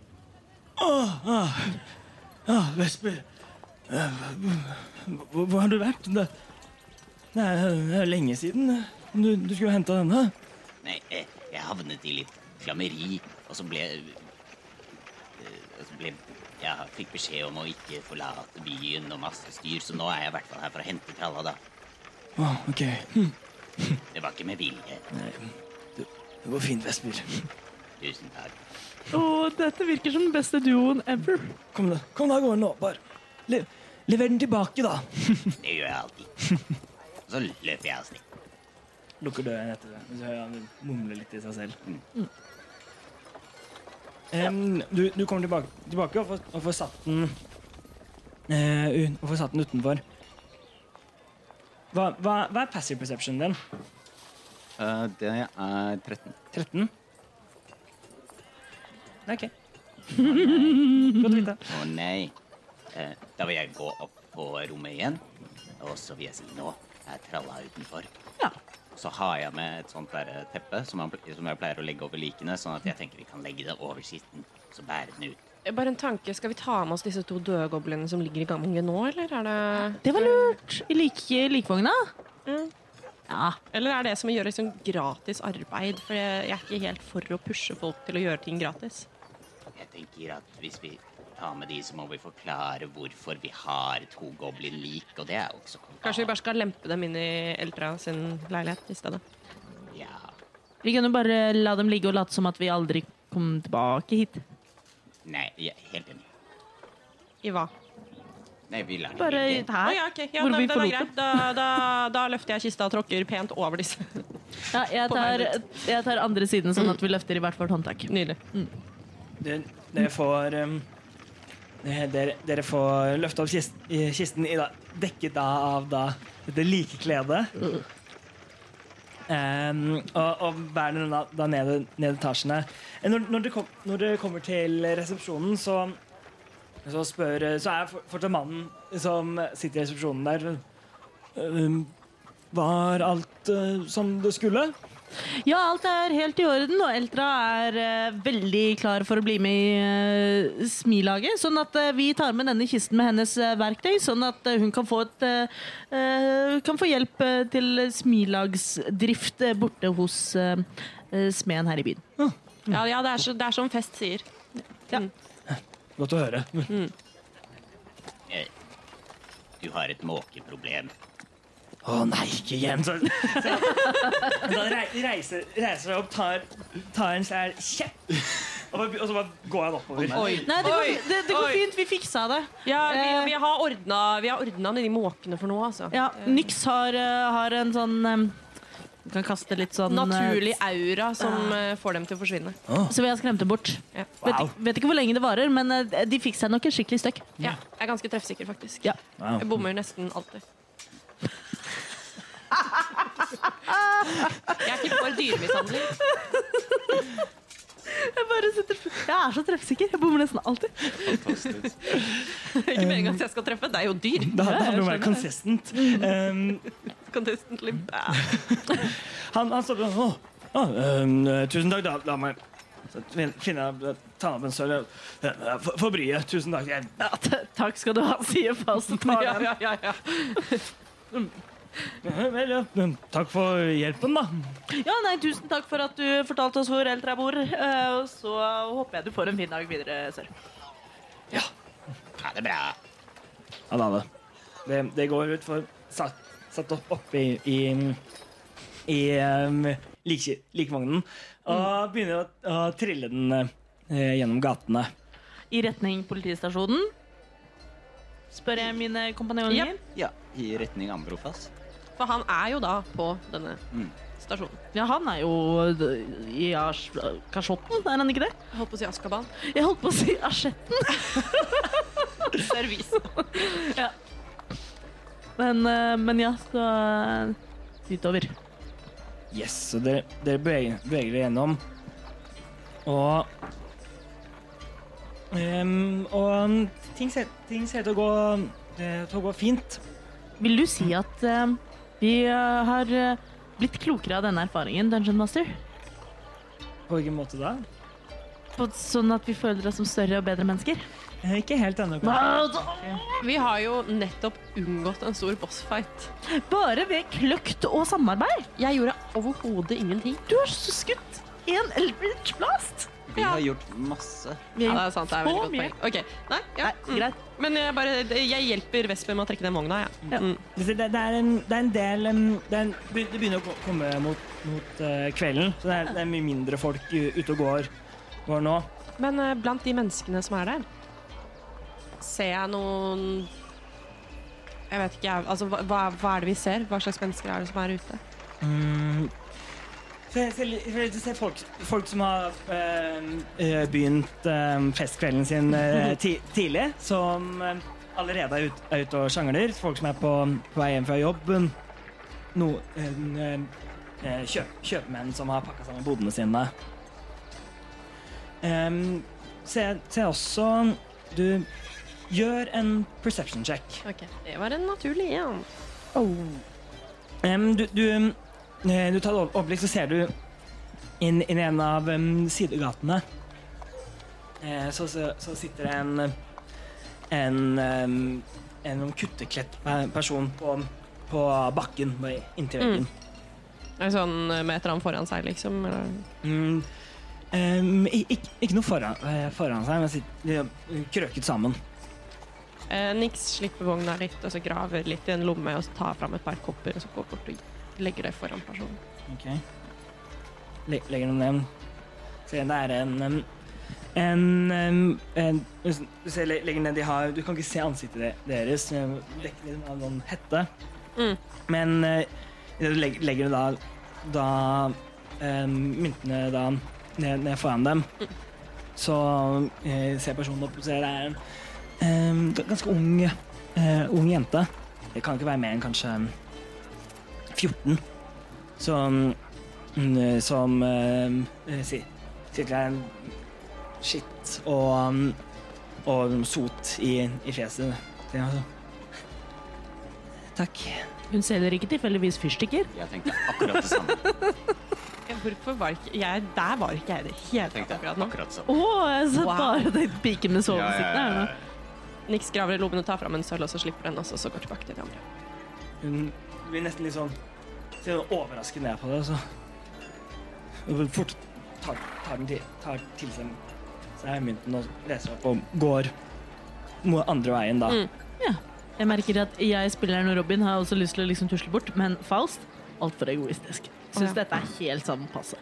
[SPEAKER 1] Ja, Vesper. Eh, Hvor, hvor har du vært? Det, det, er, det er lenge siden. Du, du skulle henta denne.
[SPEAKER 5] Nei, eh, jeg havnet i litt klammeri, og så ble eh, og så ble Jeg fikk beskjed om å ikke forlate byen og masse styr, så nå er jeg i hvert fall her for å hente tralla, da.
[SPEAKER 1] Å, ok. Hm,
[SPEAKER 5] Det var ikke med vilje.
[SPEAKER 1] Det går fint, Vesper.
[SPEAKER 5] Tusen takk.
[SPEAKER 3] Og dette virker som den beste duoen ever.
[SPEAKER 1] Kom da, kom da av gårde nå. Bare le, lever den tilbake, da.
[SPEAKER 5] Det gjør jeg alltid. Og så løper jeg av sted.
[SPEAKER 1] Lukker døren etter deg. Så hører jeg han mumle litt i seg selv.
[SPEAKER 5] Mm.
[SPEAKER 1] Em, du, du kommer tilbake, tilbake og, får, og får satt den eh, un- Og får satt den utenfor. Hva, hva, hva er passive perception din?
[SPEAKER 9] Eh, det er 13.
[SPEAKER 1] 13? Nei, OK. Godt å vite.
[SPEAKER 5] Å nei. Eh, Da vil jeg gå opp på rommet igjen, og så vil jeg si nå er tralla utenfor.
[SPEAKER 3] Ja.
[SPEAKER 5] Så har jeg med et sånt der eh, teppe som, han, som jeg pleier å legge over likene, sånn at jeg tenker vi kan legge det over skitten, så bærer den ut.
[SPEAKER 6] Eh, Bare en tanke, Skal vi ta med oss disse to døde goblene som ligger i gangen nå, eller er det
[SPEAKER 3] Det var lurt. I like, likvogna. Ja.
[SPEAKER 6] Eller er det som å gjøre liksom gratis arbeid? For jeg jeg er ikke helt for å pushe folk til å gjøre ting gratis.
[SPEAKER 5] Jeg tenker at hvis vi tar med de, så må vi forklare hvorfor vi har to goblin-lik, og det er jo ikke så kompakt.
[SPEAKER 6] Kanskje vi bare skal lempe dem inn i Eltra sin leilighet i stedet.
[SPEAKER 5] Ja.
[SPEAKER 3] Vi kan jo bare la dem ligge og late som at vi aldri kom tilbake hit.
[SPEAKER 5] Nei, jeg er helt enig.
[SPEAKER 6] I hva?
[SPEAKER 5] Nei, vi lar den
[SPEAKER 3] Bare
[SPEAKER 5] ligge.
[SPEAKER 3] her.
[SPEAKER 6] Å ja, ok. Ja,
[SPEAKER 3] Hvor
[SPEAKER 6] nei,
[SPEAKER 3] vi
[SPEAKER 6] den er
[SPEAKER 3] forlot
[SPEAKER 6] greit. Da, da, da løfter jeg kista og tråkker pent over disse.
[SPEAKER 3] Ja, jeg,
[SPEAKER 6] På
[SPEAKER 3] tar,
[SPEAKER 6] veien
[SPEAKER 3] jeg tar andre siden, sånn at vi løfter i hvert vårt håndtak.
[SPEAKER 6] Nydelig.
[SPEAKER 1] Dere, dere får um, eh, dere, dere får løfta opp kist, i- kisten i da, dekket da av da, dette likekledet. Um, og, og bærer den da, da ned, ned etasjene. Eh, Når, når, det kom, når det kommer til resepsjonen, så, så, spør, så er for- fortsatt mannen som sitter i resepsjonen der um, Var alt eh, som det skulle?
[SPEAKER 3] Ja, alt er helt i orden, og Eltra er eh, veldig klar for å bli med i eh, smilaget. Sånn at eh, vi tar med denne kisten med hennes eh, verktøy, sånn at eh, hun kan få, et, eh, eh, kan få hjelp eh, til smilagsdrift eh, borte hos eh, eh, smeden her i byen.
[SPEAKER 6] Ja, ja det, er så, det er som Fest sier.
[SPEAKER 1] Godt å høre.
[SPEAKER 5] Eh, Du har et måkeproblem.
[SPEAKER 1] Å nei, ikke igjen! Så, så, så han rei- reiser, reiser seg opp, tar, tar en svær kjepp, og, bare, og så bare går han oppover.
[SPEAKER 3] Nei, det går,
[SPEAKER 6] Oi,
[SPEAKER 3] det, det går
[SPEAKER 6] oi.
[SPEAKER 3] fint. Vi fiksa det.
[SPEAKER 6] Ja, vi, vi har ordna, vi har ordna de måkene for noe, altså.
[SPEAKER 3] Ja, Nyx har, eh, har en sånn eh, Du kan kaste litt sånn eh,
[SPEAKER 6] Naturlig aura som eh, får dem til å forsvinne.
[SPEAKER 3] Så vi har skremt dem bort.
[SPEAKER 6] Ja.
[SPEAKER 1] Wow.
[SPEAKER 3] Vet, vet ikke hvor lenge det varer, men eh, de fikk seg nok en skikkelig støkk.
[SPEAKER 6] Ja, jeg er ganske treffsikker, faktisk.
[SPEAKER 3] Ja.
[SPEAKER 6] Jeg bommer nesten alltid. Jeg er ikke for dyremishandling.
[SPEAKER 3] Jeg bare sitter Jeg er så treffsikker. Jeg bommer nesten alltid.
[SPEAKER 6] Ikke meningen at jeg skal treffe. Det er jo dyr.
[SPEAKER 1] Da, da blir han mer consistent. Um,
[SPEAKER 6] Contestantly bad.
[SPEAKER 1] han, han står sånn Å, å, um, eh, tusen takk, da, da må jeg Så fin- finner jeg tar opp en sølv eh, for, for bryet. Tusen takk. Jeg,
[SPEAKER 3] Ja, t- takk skal du ha, sier Faust og tar den.
[SPEAKER 6] ja, ja, ja.
[SPEAKER 1] vel, ja, men takk for hjelpen, da.
[SPEAKER 3] Ja, nei, tusen takk for at du fortalte oss hvor eldre jeg bor. eh, Og så håper jeg du får en fin dag videre, sør.
[SPEAKER 5] Ha det bra.
[SPEAKER 1] Ja, da, det. Det, det går ut for satt, satt opp oppi i, i um, like, likvognen og begynner å, å trille den eh, gjennom gatene.
[SPEAKER 3] I retning politistasjonen. Spør jeg mine kompanjonger.
[SPEAKER 5] Ja, i retning Ambrofas.
[SPEAKER 6] For han er jo da på denne
[SPEAKER 5] Mm.
[SPEAKER 6] stasjonen.
[SPEAKER 3] Ja, han er jo d- i Ars- kasjotten, er han ikke det?
[SPEAKER 6] Jeg holdt på å si Askaban.
[SPEAKER 3] Jeg holdt på å si asjetten.
[SPEAKER 6] Servis.
[SPEAKER 3] Men, eh, men ja, så eh, utover.
[SPEAKER 1] Yes, så dere, dere beveger, beveger dere gjennom. Og em, Og ting ser, ting ser ut til å gå, eh, til å gå fint.
[SPEAKER 3] Vil du si at eh, vi eh, har eh, blitt klokere av denne erfaringen, Dungeon Master?
[SPEAKER 1] På hvilken måte da?
[SPEAKER 3] På, sånn at vi føler oss som større og bedre mennesker?
[SPEAKER 1] Eh, Ikke helt ennå. kanskje.
[SPEAKER 6] Vi har jo nettopp unngått en stor bossfight.
[SPEAKER 3] Bare ved kløkt og samarbeid?
[SPEAKER 6] Jeg gjorde overhodet ingenting.
[SPEAKER 3] Du har så skutt en Elbridge Blast!
[SPEAKER 5] Vi har gjort masse.
[SPEAKER 3] Vi
[SPEAKER 6] Ja,
[SPEAKER 3] har
[SPEAKER 6] det er sant. Det er
[SPEAKER 3] Så
[SPEAKER 6] veldig godt
[SPEAKER 3] mye.
[SPEAKER 6] poeng. Ok, Nei, ja.
[SPEAKER 3] Nei,
[SPEAKER 6] mm.
[SPEAKER 3] greit.
[SPEAKER 6] Men jeg, bare, eh, jeg hjelper Vesper med å trekke den vogna, jeg. Ja. Mm.
[SPEAKER 1] Det, det, det, er en, det er en del em, det, er en, det begynner å ko- komme mot, mot eh, kvelden, så det er, det er mye mindre folk u- ute og går, går nå.
[SPEAKER 6] Men eh, blant de menneskene som er der, ser jeg noen Jeg vet ikke, jeg. Altså, hva, hva- hva er det vi ser? Hva slags mennesker er det som er ute?
[SPEAKER 1] Mm. Så jeg ser, litt- jeg ser folk, folk som har em, eh, begynt em, festkvelden sin eh, ti, tidlig, som em, allerede er ute er ute og sjangler. Folk som er på, på vei hjem fra jobb. em, No, em, em, eh, kjøp, kjøpmenn som har pakka sammen bodene sine. Em, se, se også Du gjør en perception check.
[SPEAKER 6] Ok, Det var en naturlig en.
[SPEAKER 1] Em, du, du, em, eh, du tar et over- overblikk, så ser du inn inn i en av em, sidegatene. Eh, så, så, så sitter det en en, em, en kutteklett pe- person på, på bakken bare inntil veggen.
[SPEAKER 6] Er det Sånn eh, med et eller annet foran seg, liksom. Eller?
[SPEAKER 1] Mm. Em, i- ikke, ikke noe foran, eh, foran seg, men sitter eh, krøket sammen.
[SPEAKER 6] Eh, Nix slipper vogna litt, og så graver litt i en lomme og så tar fram et par kopper og så går bort og legger det foran personen.
[SPEAKER 1] Ok. Le legger noen ned. Se, det er en um, en, um, en hvis- Du ser le lenger ned de har Du kan ikke se ansiktet de- deres. um, Dekket inn av noen hette.
[SPEAKER 6] Mm.
[SPEAKER 1] Men uh, i det du leg legger da, da um, myntene da ned, ned foran dem, så eh, ser personen opp og ser det er en um, g- ganske ung, eh, ung jente. Det kan ikke være mer enn kanskje um, 14 som mm, som eh, eh, si- sitter der en skitt og um, og sot i, i fjeset. Det er altså- Takk.
[SPEAKER 3] Hun selger ikke tilfeldigvis fyrstikker.
[SPEAKER 5] Jeg tenkte akkurat det samme.
[SPEAKER 6] Ja, Hvorfor var ikke jeg Der var ikke jeg i det hele
[SPEAKER 5] Jeg
[SPEAKER 6] tatt
[SPEAKER 5] tenkte
[SPEAKER 6] akkurat nå.
[SPEAKER 5] akkurat det
[SPEAKER 3] Å,
[SPEAKER 5] samme.
[SPEAKER 3] jeg så
[SPEAKER 6] Wow.
[SPEAKER 3] bare den piken med sovesikten her nå.
[SPEAKER 6] Nix graver i lommen og tar fram en sølv, og så slipper den også, og så går tilbake til de andre.
[SPEAKER 1] Hun blir nesten litt sånn ser overrasket ned på det, så Hun fort tar, tar, den til, tar til seg seg mynten og leser opp og går mo- andre veien, da.
[SPEAKER 6] Mm.
[SPEAKER 3] Jeg merker at jeg, spilleren og Robin har også lyst til å liksom tusle bort, men Faust altfor egoistisk. Syns
[SPEAKER 6] Å, ja.
[SPEAKER 3] dette er helt sånn passe.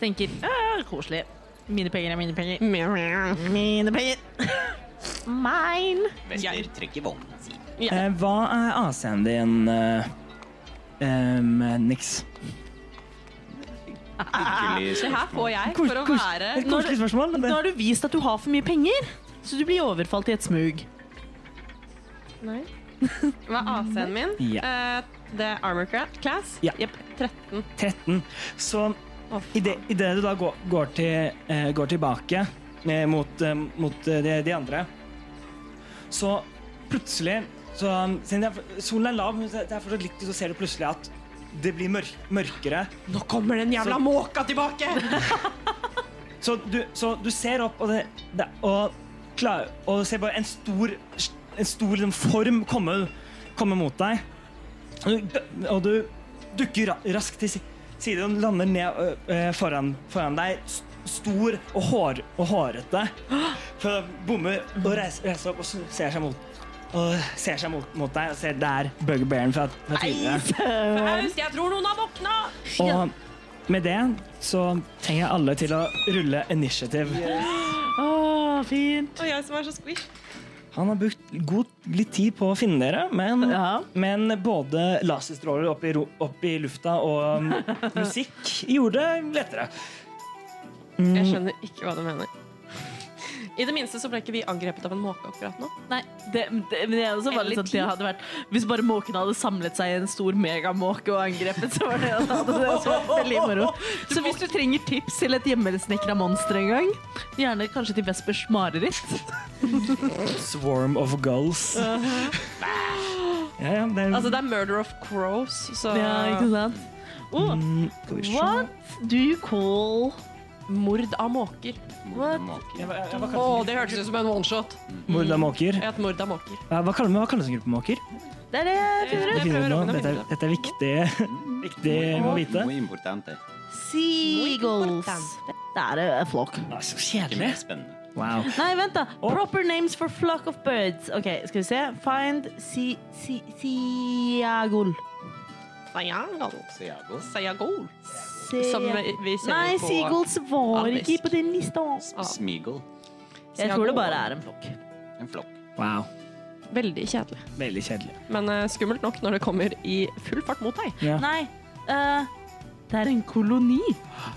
[SPEAKER 3] Tenker «Ah, koselig. Mine penger er mine penger. Mine penger. Mine.
[SPEAKER 5] Vester trekker vognen sin.
[SPEAKER 6] Ja.
[SPEAKER 1] Eh, hva er AC-en din, eh, em, Nix?
[SPEAKER 5] Hyggelig
[SPEAKER 6] Det her får jeg
[SPEAKER 1] Kos-
[SPEAKER 6] for å
[SPEAKER 1] kos-
[SPEAKER 6] være
[SPEAKER 1] Et koselig spørsmål. Men
[SPEAKER 3] Nå
[SPEAKER 1] det,
[SPEAKER 3] har du vist at du har for mye penger, så du blir overfalt i et smug.
[SPEAKER 6] Nei. Hva er AC-en min?
[SPEAKER 1] Ja.
[SPEAKER 6] Eh, det er armor cra- class.
[SPEAKER 1] Ja.
[SPEAKER 6] Jepp. 13.
[SPEAKER 1] 13. Så
[SPEAKER 6] Å,
[SPEAKER 1] idet det du da går, går, til, eh, går tilbake eh, mot, eh, mot eh, de, de andre, så plutselig så, um, Siden det er, solen er lav, men det er fortsatt litt, så ser du plutselig at det blir mørk, mørkere.
[SPEAKER 6] Nå kommer den jævla måka tilbake!
[SPEAKER 1] Så du, så du ser opp, og, det, det, og, klar, og ser bare en stor, en stor liksom, form komme, komme mot deg. Og du, og du dukker ra- raskt til si- side og lander ned ø, ø, foran, foran deg. s- Stor og, hår, og hårete. For bommer og reiser, reiser opp og så ser seg mot, og ser seg mot, mot deg og ser der bugbearen fra, fra tidligere.
[SPEAKER 3] Eh,
[SPEAKER 6] Faust, jeg tror noen har våkna!
[SPEAKER 1] Og med det så trenger jeg alle til å rulle initiativ.
[SPEAKER 3] Å, fint.
[SPEAKER 6] Og jeg som er så squish.
[SPEAKER 1] Han har brukt god, litt tid på å finne dere, men,
[SPEAKER 3] Ja.
[SPEAKER 1] men både laserstråler opp i, ro- opp i lufta og um, musikk gjorde det lettere.
[SPEAKER 6] Jeg skjønner ikke hva du mener. I det minste så ble ikke vi angrepet av en måke akkurat nå.
[SPEAKER 3] Nei, det, det, men jeg også var litt sånn
[SPEAKER 6] Eller
[SPEAKER 3] at det hadde vært Hvis bare måken hadde samlet seg i en stor megamåke og angrepet, så var det, da hadde det også vært veldig moro. Så hvis du trenger tips til et hjemmesnekra monster en gang, gjerne kanskje til Vespers mareritt.
[SPEAKER 1] Swarm of gulls. Ja, ja, det er,
[SPEAKER 6] Altså, det er murder of crows, så
[SPEAKER 3] Ja, ikke sant? Oh,
[SPEAKER 1] skal vi se.
[SPEAKER 3] what do you call
[SPEAKER 6] Mord av måker.
[SPEAKER 3] What?
[SPEAKER 1] Jeg var- jeg var
[SPEAKER 6] Å,
[SPEAKER 1] kanskje-
[SPEAKER 6] det hørtes ut som en one-shot.
[SPEAKER 1] Mord av måker.
[SPEAKER 6] Et mord av måker.
[SPEAKER 1] Ja, Hva kaller hva kalles en gruppe måker?
[SPEAKER 3] Det er det jeg finner
[SPEAKER 1] Det
[SPEAKER 6] Jeg
[SPEAKER 1] finner
[SPEAKER 6] prøver
[SPEAKER 1] vi nå.
[SPEAKER 6] å finne
[SPEAKER 1] Dette, er-
[SPEAKER 6] ut.
[SPEAKER 1] dette er viktig, viktig å vite.
[SPEAKER 8] Muy importante.
[SPEAKER 3] ut. Seagulls. Det er en flokk.
[SPEAKER 1] Ah, Så
[SPEAKER 5] Ikke mer
[SPEAKER 1] kjedelig.
[SPEAKER 5] spennende.
[SPEAKER 1] Wow.
[SPEAKER 3] Nei, vent, da. Proper names for flock of birds. OK, skal vi se. Find si... si... siagol.
[SPEAKER 6] Sayangol.
[SPEAKER 5] Seago.
[SPEAKER 6] Sayagol.
[SPEAKER 3] Se-
[SPEAKER 6] Som vi, vi ser
[SPEAKER 3] Nei,
[SPEAKER 6] på
[SPEAKER 3] seagulls var
[SPEAKER 6] Alice.
[SPEAKER 3] ikke på den lista.
[SPEAKER 5] Smeagol.
[SPEAKER 3] Jeg tror det bare er en flokk.
[SPEAKER 5] En flokk.
[SPEAKER 1] wow.
[SPEAKER 6] Veldig kjedelig.
[SPEAKER 1] Veldig kjedelig.
[SPEAKER 6] Men eh, skummelt nok når det kommer i full fart mot deg.
[SPEAKER 1] Ja.
[SPEAKER 3] Nei, eh, det er en koloni.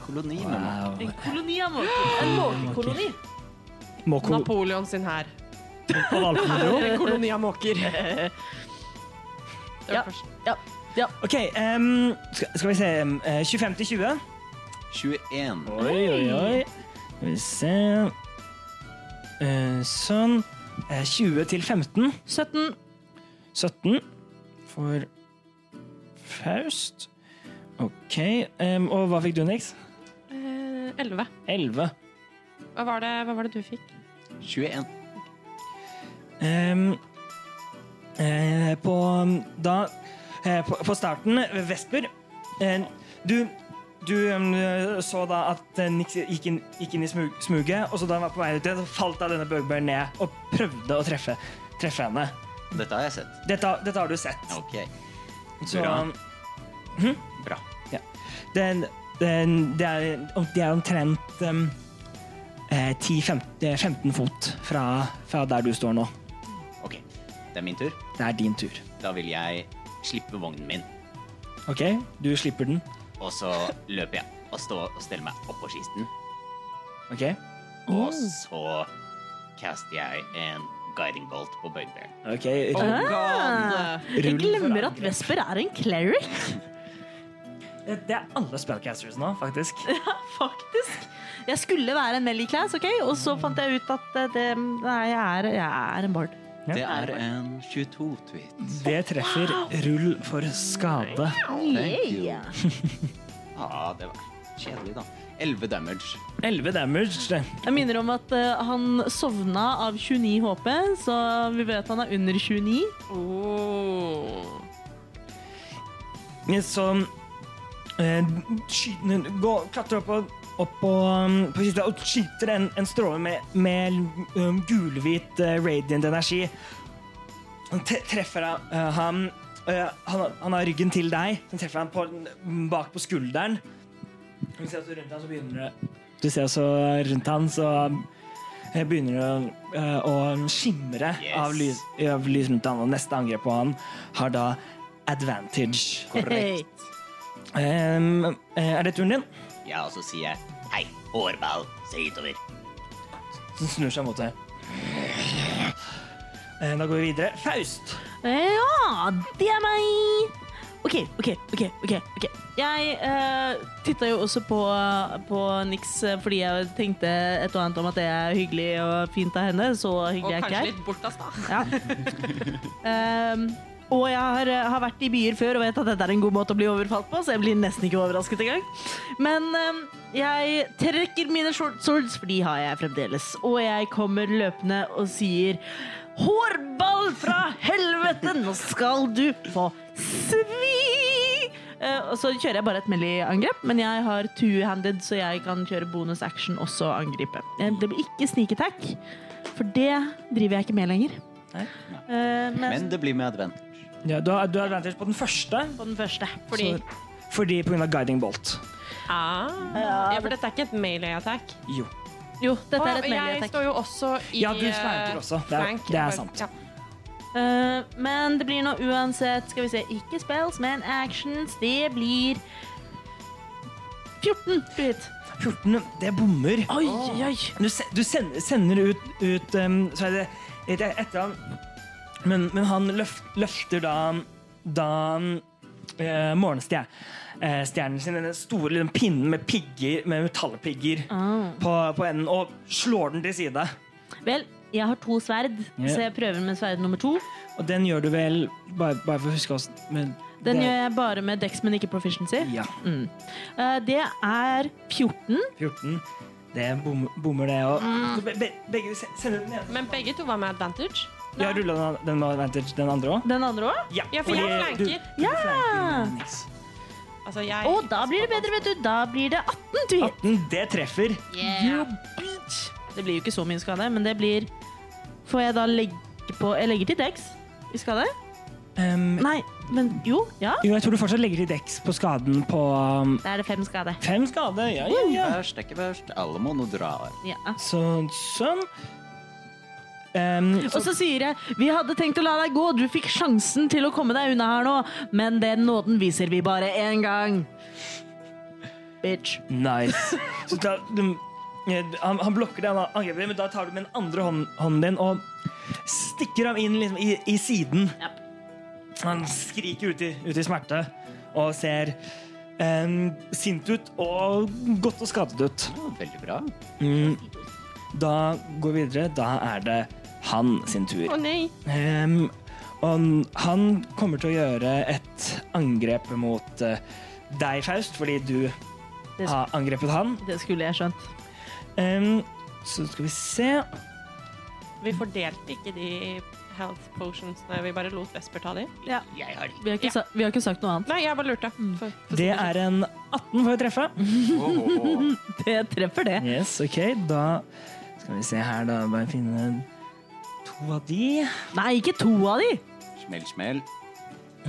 [SPEAKER 5] Koloni. men-
[SPEAKER 1] Wow.
[SPEAKER 3] En koloni av måker. En måkekoloni.
[SPEAKER 1] Moko
[SPEAKER 6] Napoleon sin hær.
[SPEAKER 1] på Valpendro.
[SPEAKER 6] En koloni av måker.
[SPEAKER 3] Ja.
[SPEAKER 1] Ok, ehm, skal, skal vi se. ehm, eh, 25 til 20.
[SPEAKER 5] 21.
[SPEAKER 1] Oi, oi, oi. Skal vi se Eh, Sånn. Eh, 20 til 15.
[SPEAKER 3] 17.
[SPEAKER 1] 17 for Faust. OK. ehm, og hva fikk du, Nix?
[SPEAKER 6] Eh, 11.
[SPEAKER 1] 11.
[SPEAKER 6] Hva var, det, hva var det du fikk?
[SPEAKER 5] 21.
[SPEAKER 1] Ehm, eh, på da eh, på, på starten, Vesper eh, Du, du em, så da at eh, Nix gikk inn, gikk inn i smug, smuget, og så da han var på vei ut igjen, så falt da denne bøgbæren ned og prøvde å treffe, treffe henne.
[SPEAKER 5] Dette har jeg sett.
[SPEAKER 1] Dette, dette har du sett.
[SPEAKER 5] Ok.
[SPEAKER 1] Så,
[SPEAKER 5] bra. Bra.
[SPEAKER 1] hm? den, den, det, er, det er omtrent em, eh, 10-15 fot fra, fra der du står nå.
[SPEAKER 5] Ok, det er min tur.
[SPEAKER 1] Det er din tur.
[SPEAKER 5] Da vil jeg slippe vognen min,
[SPEAKER 1] OK, du slipper den.
[SPEAKER 5] og så løper jeg og står og steller meg oppå kisten.
[SPEAKER 1] OK?
[SPEAKER 5] Og
[SPEAKER 6] Mm.
[SPEAKER 5] så caster jeg en guiding bolt på bugbearen.
[SPEAKER 1] Ok,
[SPEAKER 3] Eh, Jeg
[SPEAKER 1] rull for
[SPEAKER 3] glemmer at Vesper er en cleric,
[SPEAKER 1] angrep. Det er alle spellcasters nå, faktisk.
[SPEAKER 3] faktisk. Jeg skulle være en melee class, ok? og så fant jeg ut at eh, det, nei, jeg, er, jeg er en bard.
[SPEAKER 5] Det er en 22-tweet.
[SPEAKER 1] Det treffer rull for skade.
[SPEAKER 5] Thank you.
[SPEAKER 3] Yeah.
[SPEAKER 5] Ah, det var kjedelig, da. 11 damage.
[SPEAKER 1] 11 damage.
[SPEAKER 3] Jeg minner om at eh, han sovna av 29 HP, så vi vet han er under 29.
[SPEAKER 6] Oh.
[SPEAKER 1] Så eh, skyten, gå, klatrer opp, på- opp på, um, på kista og skyter en, en stråle med, med um, gulhvit eh, radiant energi. Han te- treffer han, eh, ham eh, han, han har ryggen til deg. Den treffer han på, den- bak på skulderen. Du ser også rundt han, så begynner det Du ser også rundt han, så eh, begynner det eh, å skimre
[SPEAKER 5] Yes.
[SPEAKER 1] av, lys, av lys rundt han, og liksom, neste angrep på han har da advantage.
[SPEAKER 3] Hey.
[SPEAKER 1] Em, eh, er det turen din?
[SPEAKER 5] Ja, og så sier jeg hei, hårball, se hitover.
[SPEAKER 1] Den snur seg mot deg. Eh, Da går vi videre. Faust.
[SPEAKER 3] Ja, det er meg! OK, OK, OK. ok, ok. Jeg uh, titta jo også på, på Nix eh, fordi jeg tenkte et og annet om at det er hyggelig og fint av henne. Så
[SPEAKER 6] Og
[SPEAKER 3] hyggelig er
[SPEAKER 6] kanskje
[SPEAKER 3] ikke
[SPEAKER 6] altså.
[SPEAKER 3] jeg.
[SPEAKER 6] litt bortast, da.
[SPEAKER 3] Ja. Ehm, Og jeg har, eh, har vært i byer før og vet at dette er en god måte å bli overfalt på, så jeg blir nesten ikke overrasket engang. Men eh, jeg trekker mine short swords, for de har jeg fremdeles. Og jeg kommer løpende og sier Hårball fra helvete! Nå skal du få svi! Eh, Og så kjører jeg bare et melee-angrep, men jeg har two-handed, så jeg kan kjøre bonus action også og angripe. Eh, Det blir ikke sneak attack, for det driver jeg ikke med lenger.
[SPEAKER 1] Nei.
[SPEAKER 3] Eh,
[SPEAKER 8] Men
[SPEAKER 3] Men
[SPEAKER 8] det blir med advent.
[SPEAKER 1] Ja, du, har, du har advantage på den første
[SPEAKER 3] på den første.
[SPEAKER 6] Fordi
[SPEAKER 1] Så- fordi pga. guiding bolt.
[SPEAKER 6] ah, Ja, for dette er ikke et melee-attack.
[SPEAKER 1] Jo.
[SPEAKER 3] Jo, dette er et
[SPEAKER 6] Jeg
[SPEAKER 3] melee-attack.
[SPEAKER 6] står jo også i
[SPEAKER 1] Ja, du flanker
[SPEAKER 6] eh,
[SPEAKER 1] også. Det er-
[SPEAKER 6] flank.
[SPEAKER 1] det er sant.
[SPEAKER 6] Ja.
[SPEAKER 3] Eh, men det blir nå uansett Skal vi se, ikke spells, men actions. Det blir 14 på hit.
[SPEAKER 1] 14, det bommer.
[SPEAKER 3] Oi, oi.
[SPEAKER 1] Du, se- du sender, sender ut, ut um, Så er det et et- etter han Men, men han løf, løfter da Da eh, morgenstjer- eh, stjernen sin, den store liksom, pinnen med pigger Med metallpigger
[SPEAKER 6] Ah.
[SPEAKER 1] på, på enden, og slår den til side.
[SPEAKER 3] Ah. Vel, jeg har to sverd,
[SPEAKER 1] Ja.
[SPEAKER 3] så jeg prøver med sverd nummer to.
[SPEAKER 1] Og den gjør du vel Bare, bare for å huske oss men
[SPEAKER 3] Den
[SPEAKER 1] det-
[SPEAKER 3] gjør jeg bare med dex, men ikke proficiency.
[SPEAKER 1] Ja.
[SPEAKER 3] Eh, det er 14.
[SPEAKER 1] 14. Det bom, bommer, det òg.
[SPEAKER 6] Ah.
[SPEAKER 1] Be, be, begge se- sender den ene.
[SPEAKER 6] Men begge to var med advantage.
[SPEAKER 1] Jeg har rulla den, den, med advantage, den andre òg.
[SPEAKER 3] Den andre òg.
[SPEAKER 6] Ja, for
[SPEAKER 1] fordi
[SPEAKER 6] jeg
[SPEAKER 1] du-
[SPEAKER 6] flanker.
[SPEAKER 1] du flanker den, Nix.
[SPEAKER 6] Altså, jeg
[SPEAKER 3] Og da blir det bedre, vet du. Da blir det 18 to hit.
[SPEAKER 1] 18, det treffer.
[SPEAKER 3] You bitch. Det blir jo ikke så mye skade, men det blir Får jeg da legge på Jeg legger til dex i skade.
[SPEAKER 1] Um,
[SPEAKER 3] Nei, men jo. Ja.
[SPEAKER 1] jo, jeg tror du fortsatt legger litt X på skaden på um,
[SPEAKER 3] Da er det fem skade.
[SPEAKER 1] fem skade. Ja, ja, ja.
[SPEAKER 8] Verst er ikke verst. Alle må nå dra.
[SPEAKER 3] Ja.
[SPEAKER 1] Så, sånn. Um,
[SPEAKER 3] Og så sier jeg Vi hadde tenkt å la deg gå, du fikk sjansen til å komme deg unna her nå, men den nåden viser vi bare én gang. Bitch.
[SPEAKER 1] Nice. Så da, du, eh, han, han blokker det, han angriper det, men da tar du med den andre hånden, hånden din og stikker ham inn liksom, i, i siden. Han skriker ut i, ut i smerte og ser eh, sint ut og godt og skadet ut.
[SPEAKER 8] Veldig bra.
[SPEAKER 1] Mm. Da går vi videre. Da er det han sin tur.
[SPEAKER 6] Å nei.
[SPEAKER 1] Ehm, og han- han kommer til å gjøre et angrep mot eh, deg, Faust, fordi du
[SPEAKER 3] Det-
[SPEAKER 1] har angrepet han.
[SPEAKER 3] Det skulle jeg skjønt.
[SPEAKER 1] Ehm, så skal vi se.
[SPEAKER 6] Vi fordelte ikke de health potionsene. Vi bare lot Vesper ta de.
[SPEAKER 5] Jeg har
[SPEAKER 3] Vi har ikke, sa, vi har ikke sagt noe annet.
[SPEAKER 6] Nei, jeg bare lurte. For, for
[SPEAKER 1] Det er en 18 for å treffe.
[SPEAKER 3] Det treffer det.
[SPEAKER 1] Yes, ok, da skal vi se her, da. Bare finne to av de.
[SPEAKER 3] Nei, ikke to av de!
[SPEAKER 8] Smell, smell.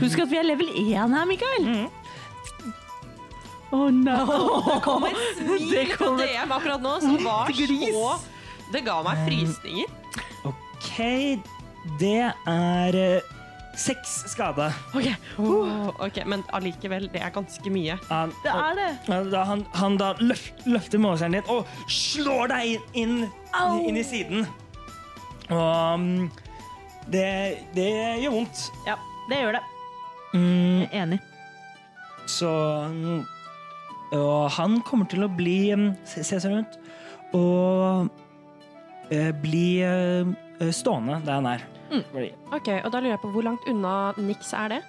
[SPEAKER 3] Husk at vi er level 1 her, Mikael. Oh no!
[SPEAKER 6] kommer smil
[SPEAKER 3] Det
[SPEAKER 6] på
[SPEAKER 3] kommer-
[SPEAKER 6] DM akkurat nå, som var
[SPEAKER 3] Gris.
[SPEAKER 6] så Det ga meg frysninger.
[SPEAKER 1] Ok, det er eh, seks skade.
[SPEAKER 6] OK, Åh, ok, Men allikevel, det er ganske mye.
[SPEAKER 1] Han-
[SPEAKER 3] Det er det.
[SPEAKER 1] Ja, Da han, han da løf, løfter målseieren din og slår deg inn, inn, inn i siden. Og mm, det, det gjør vondt.
[SPEAKER 3] Ja, det gjør det.
[SPEAKER 1] Mm,
[SPEAKER 3] Jeg er enig.
[SPEAKER 1] så mm, Og han kommer til å bli mm, Se, se seg rundt. Og eh, bli eh, stående der han er. Fordi,
[SPEAKER 6] Ok, og da lurer jeg på Hvor langt unna Nix er det?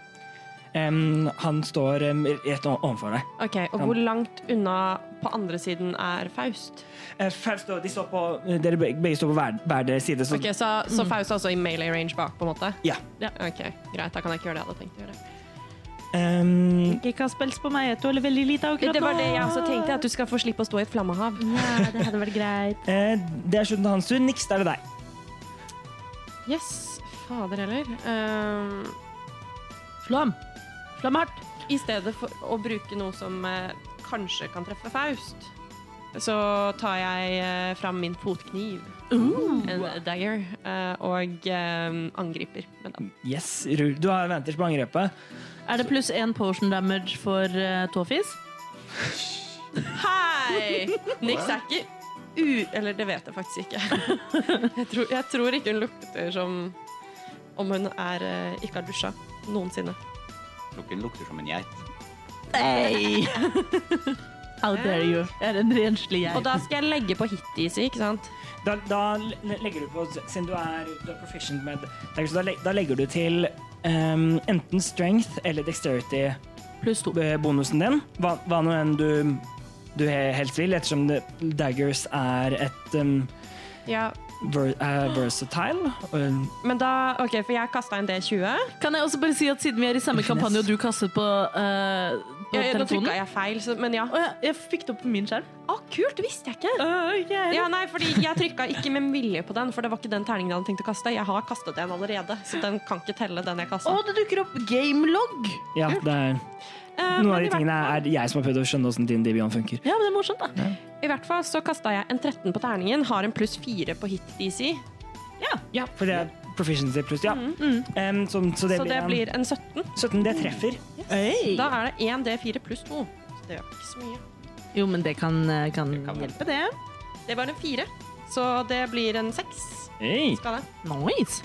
[SPEAKER 1] em, han står em, rett o- overfor deg.
[SPEAKER 6] Ok, Og hvor langt unna på andre siden er Faust?
[SPEAKER 1] Eh, Faust og- de står på, eh, dere begge begge står på hver, hver deres side. Så
[SPEAKER 6] Ok, Så, så Faust er også i melee range bak, på en måte?
[SPEAKER 1] Ja.
[SPEAKER 6] Ok, Greit, da kan jeg ikke gjøre det jeg hadde tenkt å gjøre.
[SPEAKER 1] em,
[SPEAKER 3] Ikke kast pels på meg, du holder veldig lite akkurat
[SPEAKER 6] Det var
[SPEAKER 3] nå.
[SPEAKER 6] det jeg også tenkte, at du skal få slippe å stå i et flammehav.
[SPEAKER 3] Ja, det hadde vært greit.
[SPEAKER 1] eh, Det er slutten av hans tur. Niks, da er det deg.
[SPEAKER 6] Yes, fader heller. Ehm,
[SPEAKER 3] Slå ham. Slå ham hardt.
[SPEAKER 6] I stedet for å bruke noe som eh, kanskje kan treffe Faust, så tar jeg eh, fram min fotkniv, en dagger, eh, og eh, angriper med den.
[SPEAKER 1] Yes, rull. Du har advantage på angrepet.
[SPEAKER 3] Er det pluss én potion damage for uh, tåfis?
[SPEAKER 6] Hei! Nix er ikke u... Eller det vet jeg faktisk ikke. Jeg tror, jeg tror ikke hun lukter som om hun er, eh, ikke har dusja noensinne.
[SPEAKER 8] Tror ikke den lukter som en geit.
[SPEAKER 3] Hey. How dare you. Eh? Jeg er en renslig
[SPEAKER 6] Og
[SPEAKER 3] jeg.
[SPEAKER 6] da skal jeg legge på hit-easy, ikke sant?
[SPEAKER 1] Da, da le- legger du på Siden du er, du er proficient med dagger, så da, le- da legger du til ehm, enten strength eller dexterity-bonusen
[SPEAKER 3] Pluss to.
[SPEAKER 1] din. Hva, hva nå enn du, du he- helst vil, ettersom det, daggers er et ehm,
[SPEAKER 6] Ja,
[SPEAKER 1] ver, er versatile. og-
[SPEAKER 6] men da, ok, for jeg kastet en D20.
[SPEAKER 3] Kan jeg også bare si at siden vi er i samme kampanje, og du kastet på, eh, på
[SPEAKER 6] Ja, ja, nå
[SPEAKER 3] telefonen
[SPEAKER 6] trykket jeg feil, så, men ja.
[SPEAKER 3] Å ja, jeg fikk det opp på min skjerm.
[SPEAKER 6] Å, kult, det visste jeg ikke. Ja, nei, fordi jeg trykket ikke med vilje på den, for det var ikke den terningen jeg hadde tenkt å kaste. Jeg har kastet en allerede, så den kan ikke telle den jeg
[SPEAKER 10] Å,
[SPEAKER 6] kastet.
[SPEAKER 10] det dukker opp gamelog!
[SPEAKER 1] Ja, det er,
[SPEAKER 6] Eh,
[SPEAKER 1] noen av de
[SPEAKER 6] men i hvert
[SPEAKER 1] tingene
[SPEAKER 6] fall-
[SPEAKER 1] er er jeg som har prøvd å skjønne hvordan din Dibion funker.
[SPEAKER 3] Ja, men det er morsomt, da.
[SPEAKER 6] I hvert fall så kasta jeg en 13 på terningen, har en pluss 4 på hit DC.
[SPEAKER 1] Ja, for det er proficiency pluss, ja. Ehm, så, så det
[SPEAKER 6] så det
[SPEAKER 1] blir,
[SPEAKER 6] blir en 17.
[SPEAKER 1] en 17. Det treffer.
[SPEAKER 6] Da er det 1 D4 pluss 2. Så det gjør ikke så mye.
[SPEAKER 3] Jo, men det kan, eh, kan hjelpe, det.
[SPEAKER 6] Det var en 4, så det blir en 6.
[SPEAKER 1] Hey.
[SPEAKER 6] Skal det?
[SPEAKER 3] Nice.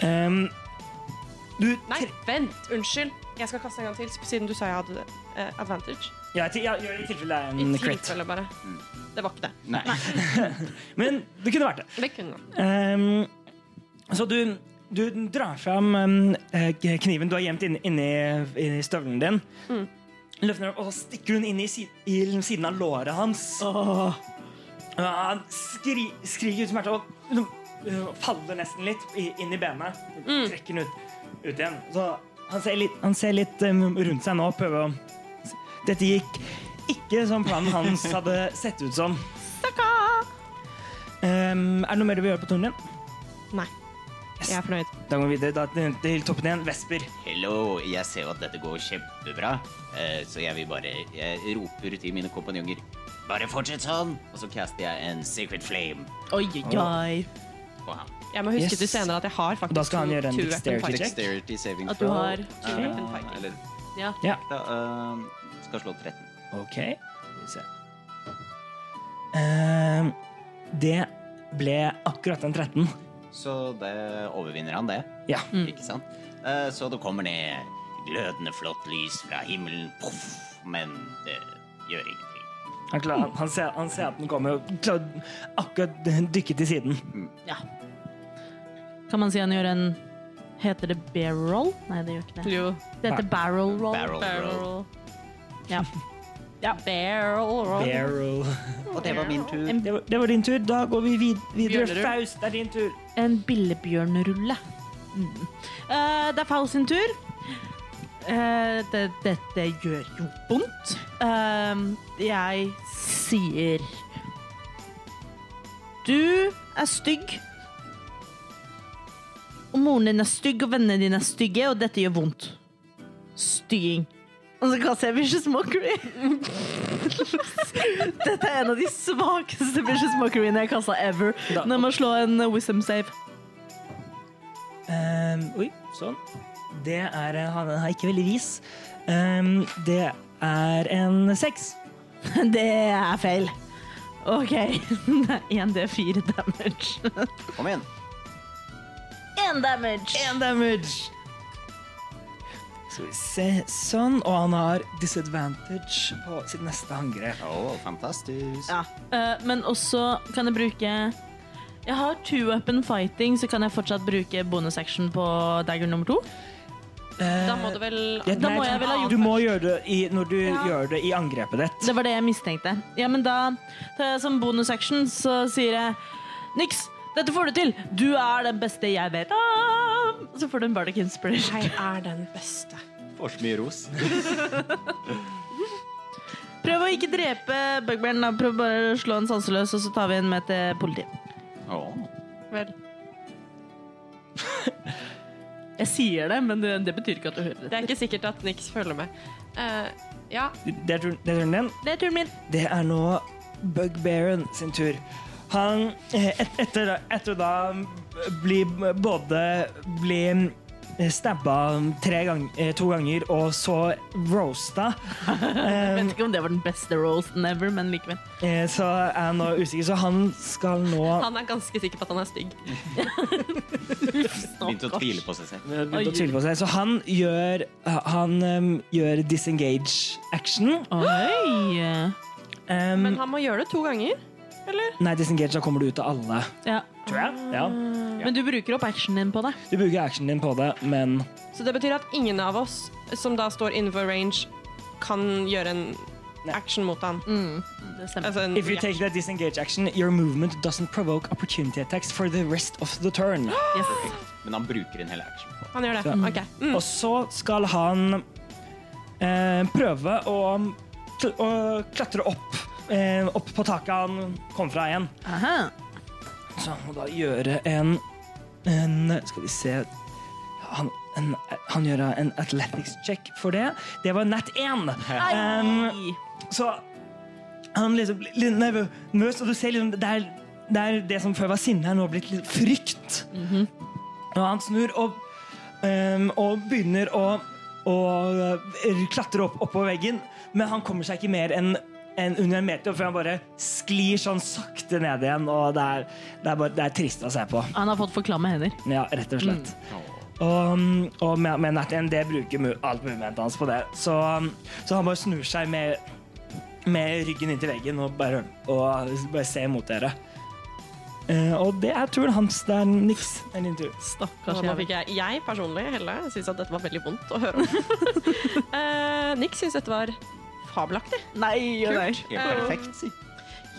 [SPEAKER 1] Ehm, du
[SPEAKER 6] Nei,
[SPEAKER 1] tre-
[SPEAKER 6] vent! Unnskyld. Jeg skal kaste en gang til, siden du sa jeg hadde eh, advantage.
[SPEAKER 1] Ja, til, ja, gjør det i tilfelle det er
[SPEAKER 6] I
[SPEAKER 1] en crit.
[SPEAKER 6] tilfelle bare. Det var ikke det.
[SPEAKER 11] Nei.
[SPEAKER 1] Men det kunne vært det.
[SPEAKER 6] Det kunne man.
[SPEAKER 1] Ehm, så du, du drar fram ehm, eh, kniven du har gjemt inn- inni inni støvelen din. Løfter den opp, og så stikker hun inn i, si- i siden av låret hans. Ja, han skri, skriker ut smerte og liksom, øh, faller nesten litt i, inn i benet. Trekker den ut, ut igjen. Så han ser litt, han ser litt øhm, rundt seg nå. Prøver å Dette gikk ikke som planen hans hadde sett ut som. Ehm, er det noe mer du vil gjøre på turen din?
[SPEAKER 6] Nei. Jeg er fornøyd.
[SPEAKER 1] Da går vi videre da, til, til toppen igjen. Vesper.
[SPEAKER 5] Hello, jeg ser jo at dette går kjempebra, eh, så jeg vil bare Jeg roper til mine kompanjonger Bare fortsett sånn! Og så caster jeg en Secret Flame
[SPEAKER 3] Oi, oi, oi.
[SPEAKER 5] på ham.
[SPEAKER 6] Jeg må huske
[SPEAKER 1] Yes.
[SPEAKER 6] til senere at jeg har faktisk
[SPEAKER 1] Da skal han gjøre en
[SPEAKER 6] two
[SPEAKER 1] dexterity
[SPEAKER 6] weapon fight.
[SPEAKER 1] check.
[SPEAKER 11] Dexterity saving
[SPEAKER 3] At du
[SPEAKER 11] throw,
[SPEAKER 3] har-
[SPEAKER 11] eh,
[SPEAKER 6] Weapon fighting.
[SPEAKER 11] Eller
[SPEAKER 3] Ja.
[SPEAKER 11] da, eh, skal slå 13.
[SPEAKER 1] OK. Skal vi se. Ehm, det ble akkurat en 13.
[SPEAKER 5] Så det overvinner han, det.
[SPEAKER 1] Ja.
[SPEAKER 5] Ikke sant? Eh, Så det kommer ned glødende flott lys fra himmelen, poff, men det gjør ingenting.
[SPEAKER 1] Han, klar, han, ser, han ser at den kommer og klar, akkurat dykker til siden.
[SPEAKER 3] Kan man si han gjør en Heter det bear roll? Nei, det gjør ikke det.
[SPEAKER 6] Jo.
[SPEAKER 3] Det heter barrel roll.
[SPEAKER 5] Barrel roll.
[SPEAKER 3] Ja. ja. Barrel roll.
[SPEAKER 1] Barrel.
[SPEAKER 5] Og det var min tur.
[SPEAKER 1] Det var, det var din tur. Da går vi vid, videre.
[SPEAKER 6] Bjørnerud.
[SPEAKER 1] Faust, det er din tur.
[SPEAKER 3] En billebjørnrulle. Mm. Eh, det er Faust sin tur. Eh, det- Dette gjør jo vondt. Eh, jeg sier Du er stygg. Og moren din er stygg, og vennene dine er stygge, og dette gjør vondt. Stygging. Og så kaster jeg Vicious Mockery. Dette er en av de svakeste Vicious Mockeryene jeg har kasta ever.
[SPEAKER 1] Da-
[SPEAKER 3] Når man slår en eh, wisdom save.
[SPEAKER 1] Ehm, oi, sånn. Det er eh, Han er ikke veldig vis. Ehm, det er en seks.
[SPEAKER 3] Det er feil. OK. Det er 1D4 damage.
[SPEAKER 5] Kom igjen.
[SPEAKER 3] 1 damage.
[SPEAKER 1] Én damage. Skal vi se. Sånn. Og han har disadvantage på sitt neste angrep.
[SPEAKER 5] Å, fantastisk.
[SPEAKER 3] Ja. eh, men også kan jeg bruke Jeg har two weapon fighting, så kan jeg fortsatt bruke bonus action på dagger nummer to.
[SPEAKER 6] Da må du vel
[SPEAKER 1] Ja,
[SPEAKER 3] da
[SPEAKER 1] nei,
[SPEAKER 3] må jeg vel ha gjort
[SPEAKER 1] Du må gjøre det i, når du gjør det i angrepet ditt.
[SPEAKER 3] Det var det jeg mistenkte. Ja, men da tar jeg som bonus action, så sier jeg Niks, dette får du til! Du er den beste jeg vet om! Så får du en Bardic Inspiration.
[SPEAKER 6] Jeg er den beste.
[SPEAKER 11] Får så mye ros.
[SPEAKER 3] Prøv å ikke drepe bugbearen, da. Prøv bare å slå en sanseløs, og så tar vi en med til politiet.
[SPEAKER 5] Å.
[SPEAKER 6] Vel,
[SPEAKER 3] Jeg sier det, men det, det betyr ikke at du hører
[SPEAKER 6] det er ikke sikkert at Nix følger med. Eh, ja,
[SPEAKER 1] Det er tur- det er turen din.
[SPEAKER 3] Det er turen min.
[SPEAKER 1] Det er nå Bugbearen sin tur. Han eh, et, etter, etter å da bli både bli eh, stabba tre gang, eh, to ganger og så roasta,
[SPEAKER 3] Jeg vet ikke om det var den beste roasten ever, men likevel.
[SPEAKER 1] eh, så er han nå usikker. Så han skal nå
[SPEAKER 6] han er ganske sikker på at han er stygg.
[SPEAKER 5] Begynte å tvile på seg selv.
[SPEAKER 1] begynne å tvile på seg. Så han gjør, han, em, gjør disengage-action.
[SPEAKER 3] Oi!
[SPEAKER 1] Em,
[SPEAKER 6] Men han må gjøre det to ganger.
[SPEAKER 1] nei, disengage, da kommer du ut av alle.
[SPEAKER 3] Ja.
[SPEAKER 1] tror jeg. Ja.
[SPEAKER 7] Men du bruker opp actionen din på det.
[SPEAKER 1] Du bruker actionen din på det, men
[SPEAKER 6] Så det betyr at ingen av oss som da står innenfor range, kan gjøre en action mot han.
[SPEAKER 7] Det stemmer.
[SPEAKER 6] Altså en
[SPEAKER 1] If you take that disengage action, your movement doesn't provoke opportunity attacks for the rest of the turn.
[SPEAKER 7] Yes.
[SPEAKER 5] Men han bruker en hel action. på.
[SPEAKER 6] Han gjør det.
[SPEAKER 1] Ja.
[SPEAKER 6] Ok. Mm.
[SPEAKER 1] Og så skal han eh, prøve å, kl- å klatre opp, eh, opp på taket han kom fra igjen.
[SPEAKER 7] Aha.
[SPEAKER 1] Så han må da gjøre en, en Skal vi se han, en, han gjør en athletics check for det. Det var nat 1. Um, så han liksom blir litt nervøs, og du ser liksom det er, det er det som før var sinne, er nå blitt litt frykt. Og han snur og, ehm, og begynner å, å eh, klatre opp oppå veggen, men han kommer seg ikke mer enn enn under en meter før han bare sklir sånn sakte ned igjen. Og det er, det er, bare, det er trist å se på.
[SPEAKER 7] Han har fått for klamme hender.
[SPEAKER 1] Ja, rett og slett. Og, um, og med, med Nat 1, det bruker mu- alt movementet hans på det. Så, um, så han bare snur seg med, med ryggen inntil veggen og bare, og bare ser mot dere. Eh, og det er turen hans. Det er niks. Det er din tur.
[SPEAKER 7] Stakkars
[SPEAKER 6] Og Nå
[SPEAKER 7] jævel.
[SPEAKER 6] fikk jeg, jeg personlig Helle, synes at dette var veldig vondt å høre om. Eh, Nick synes dette var fabelaktig.
[SPEAKER 7] Nei, nei.
[SPEAKER 5] Helt perfekt, si.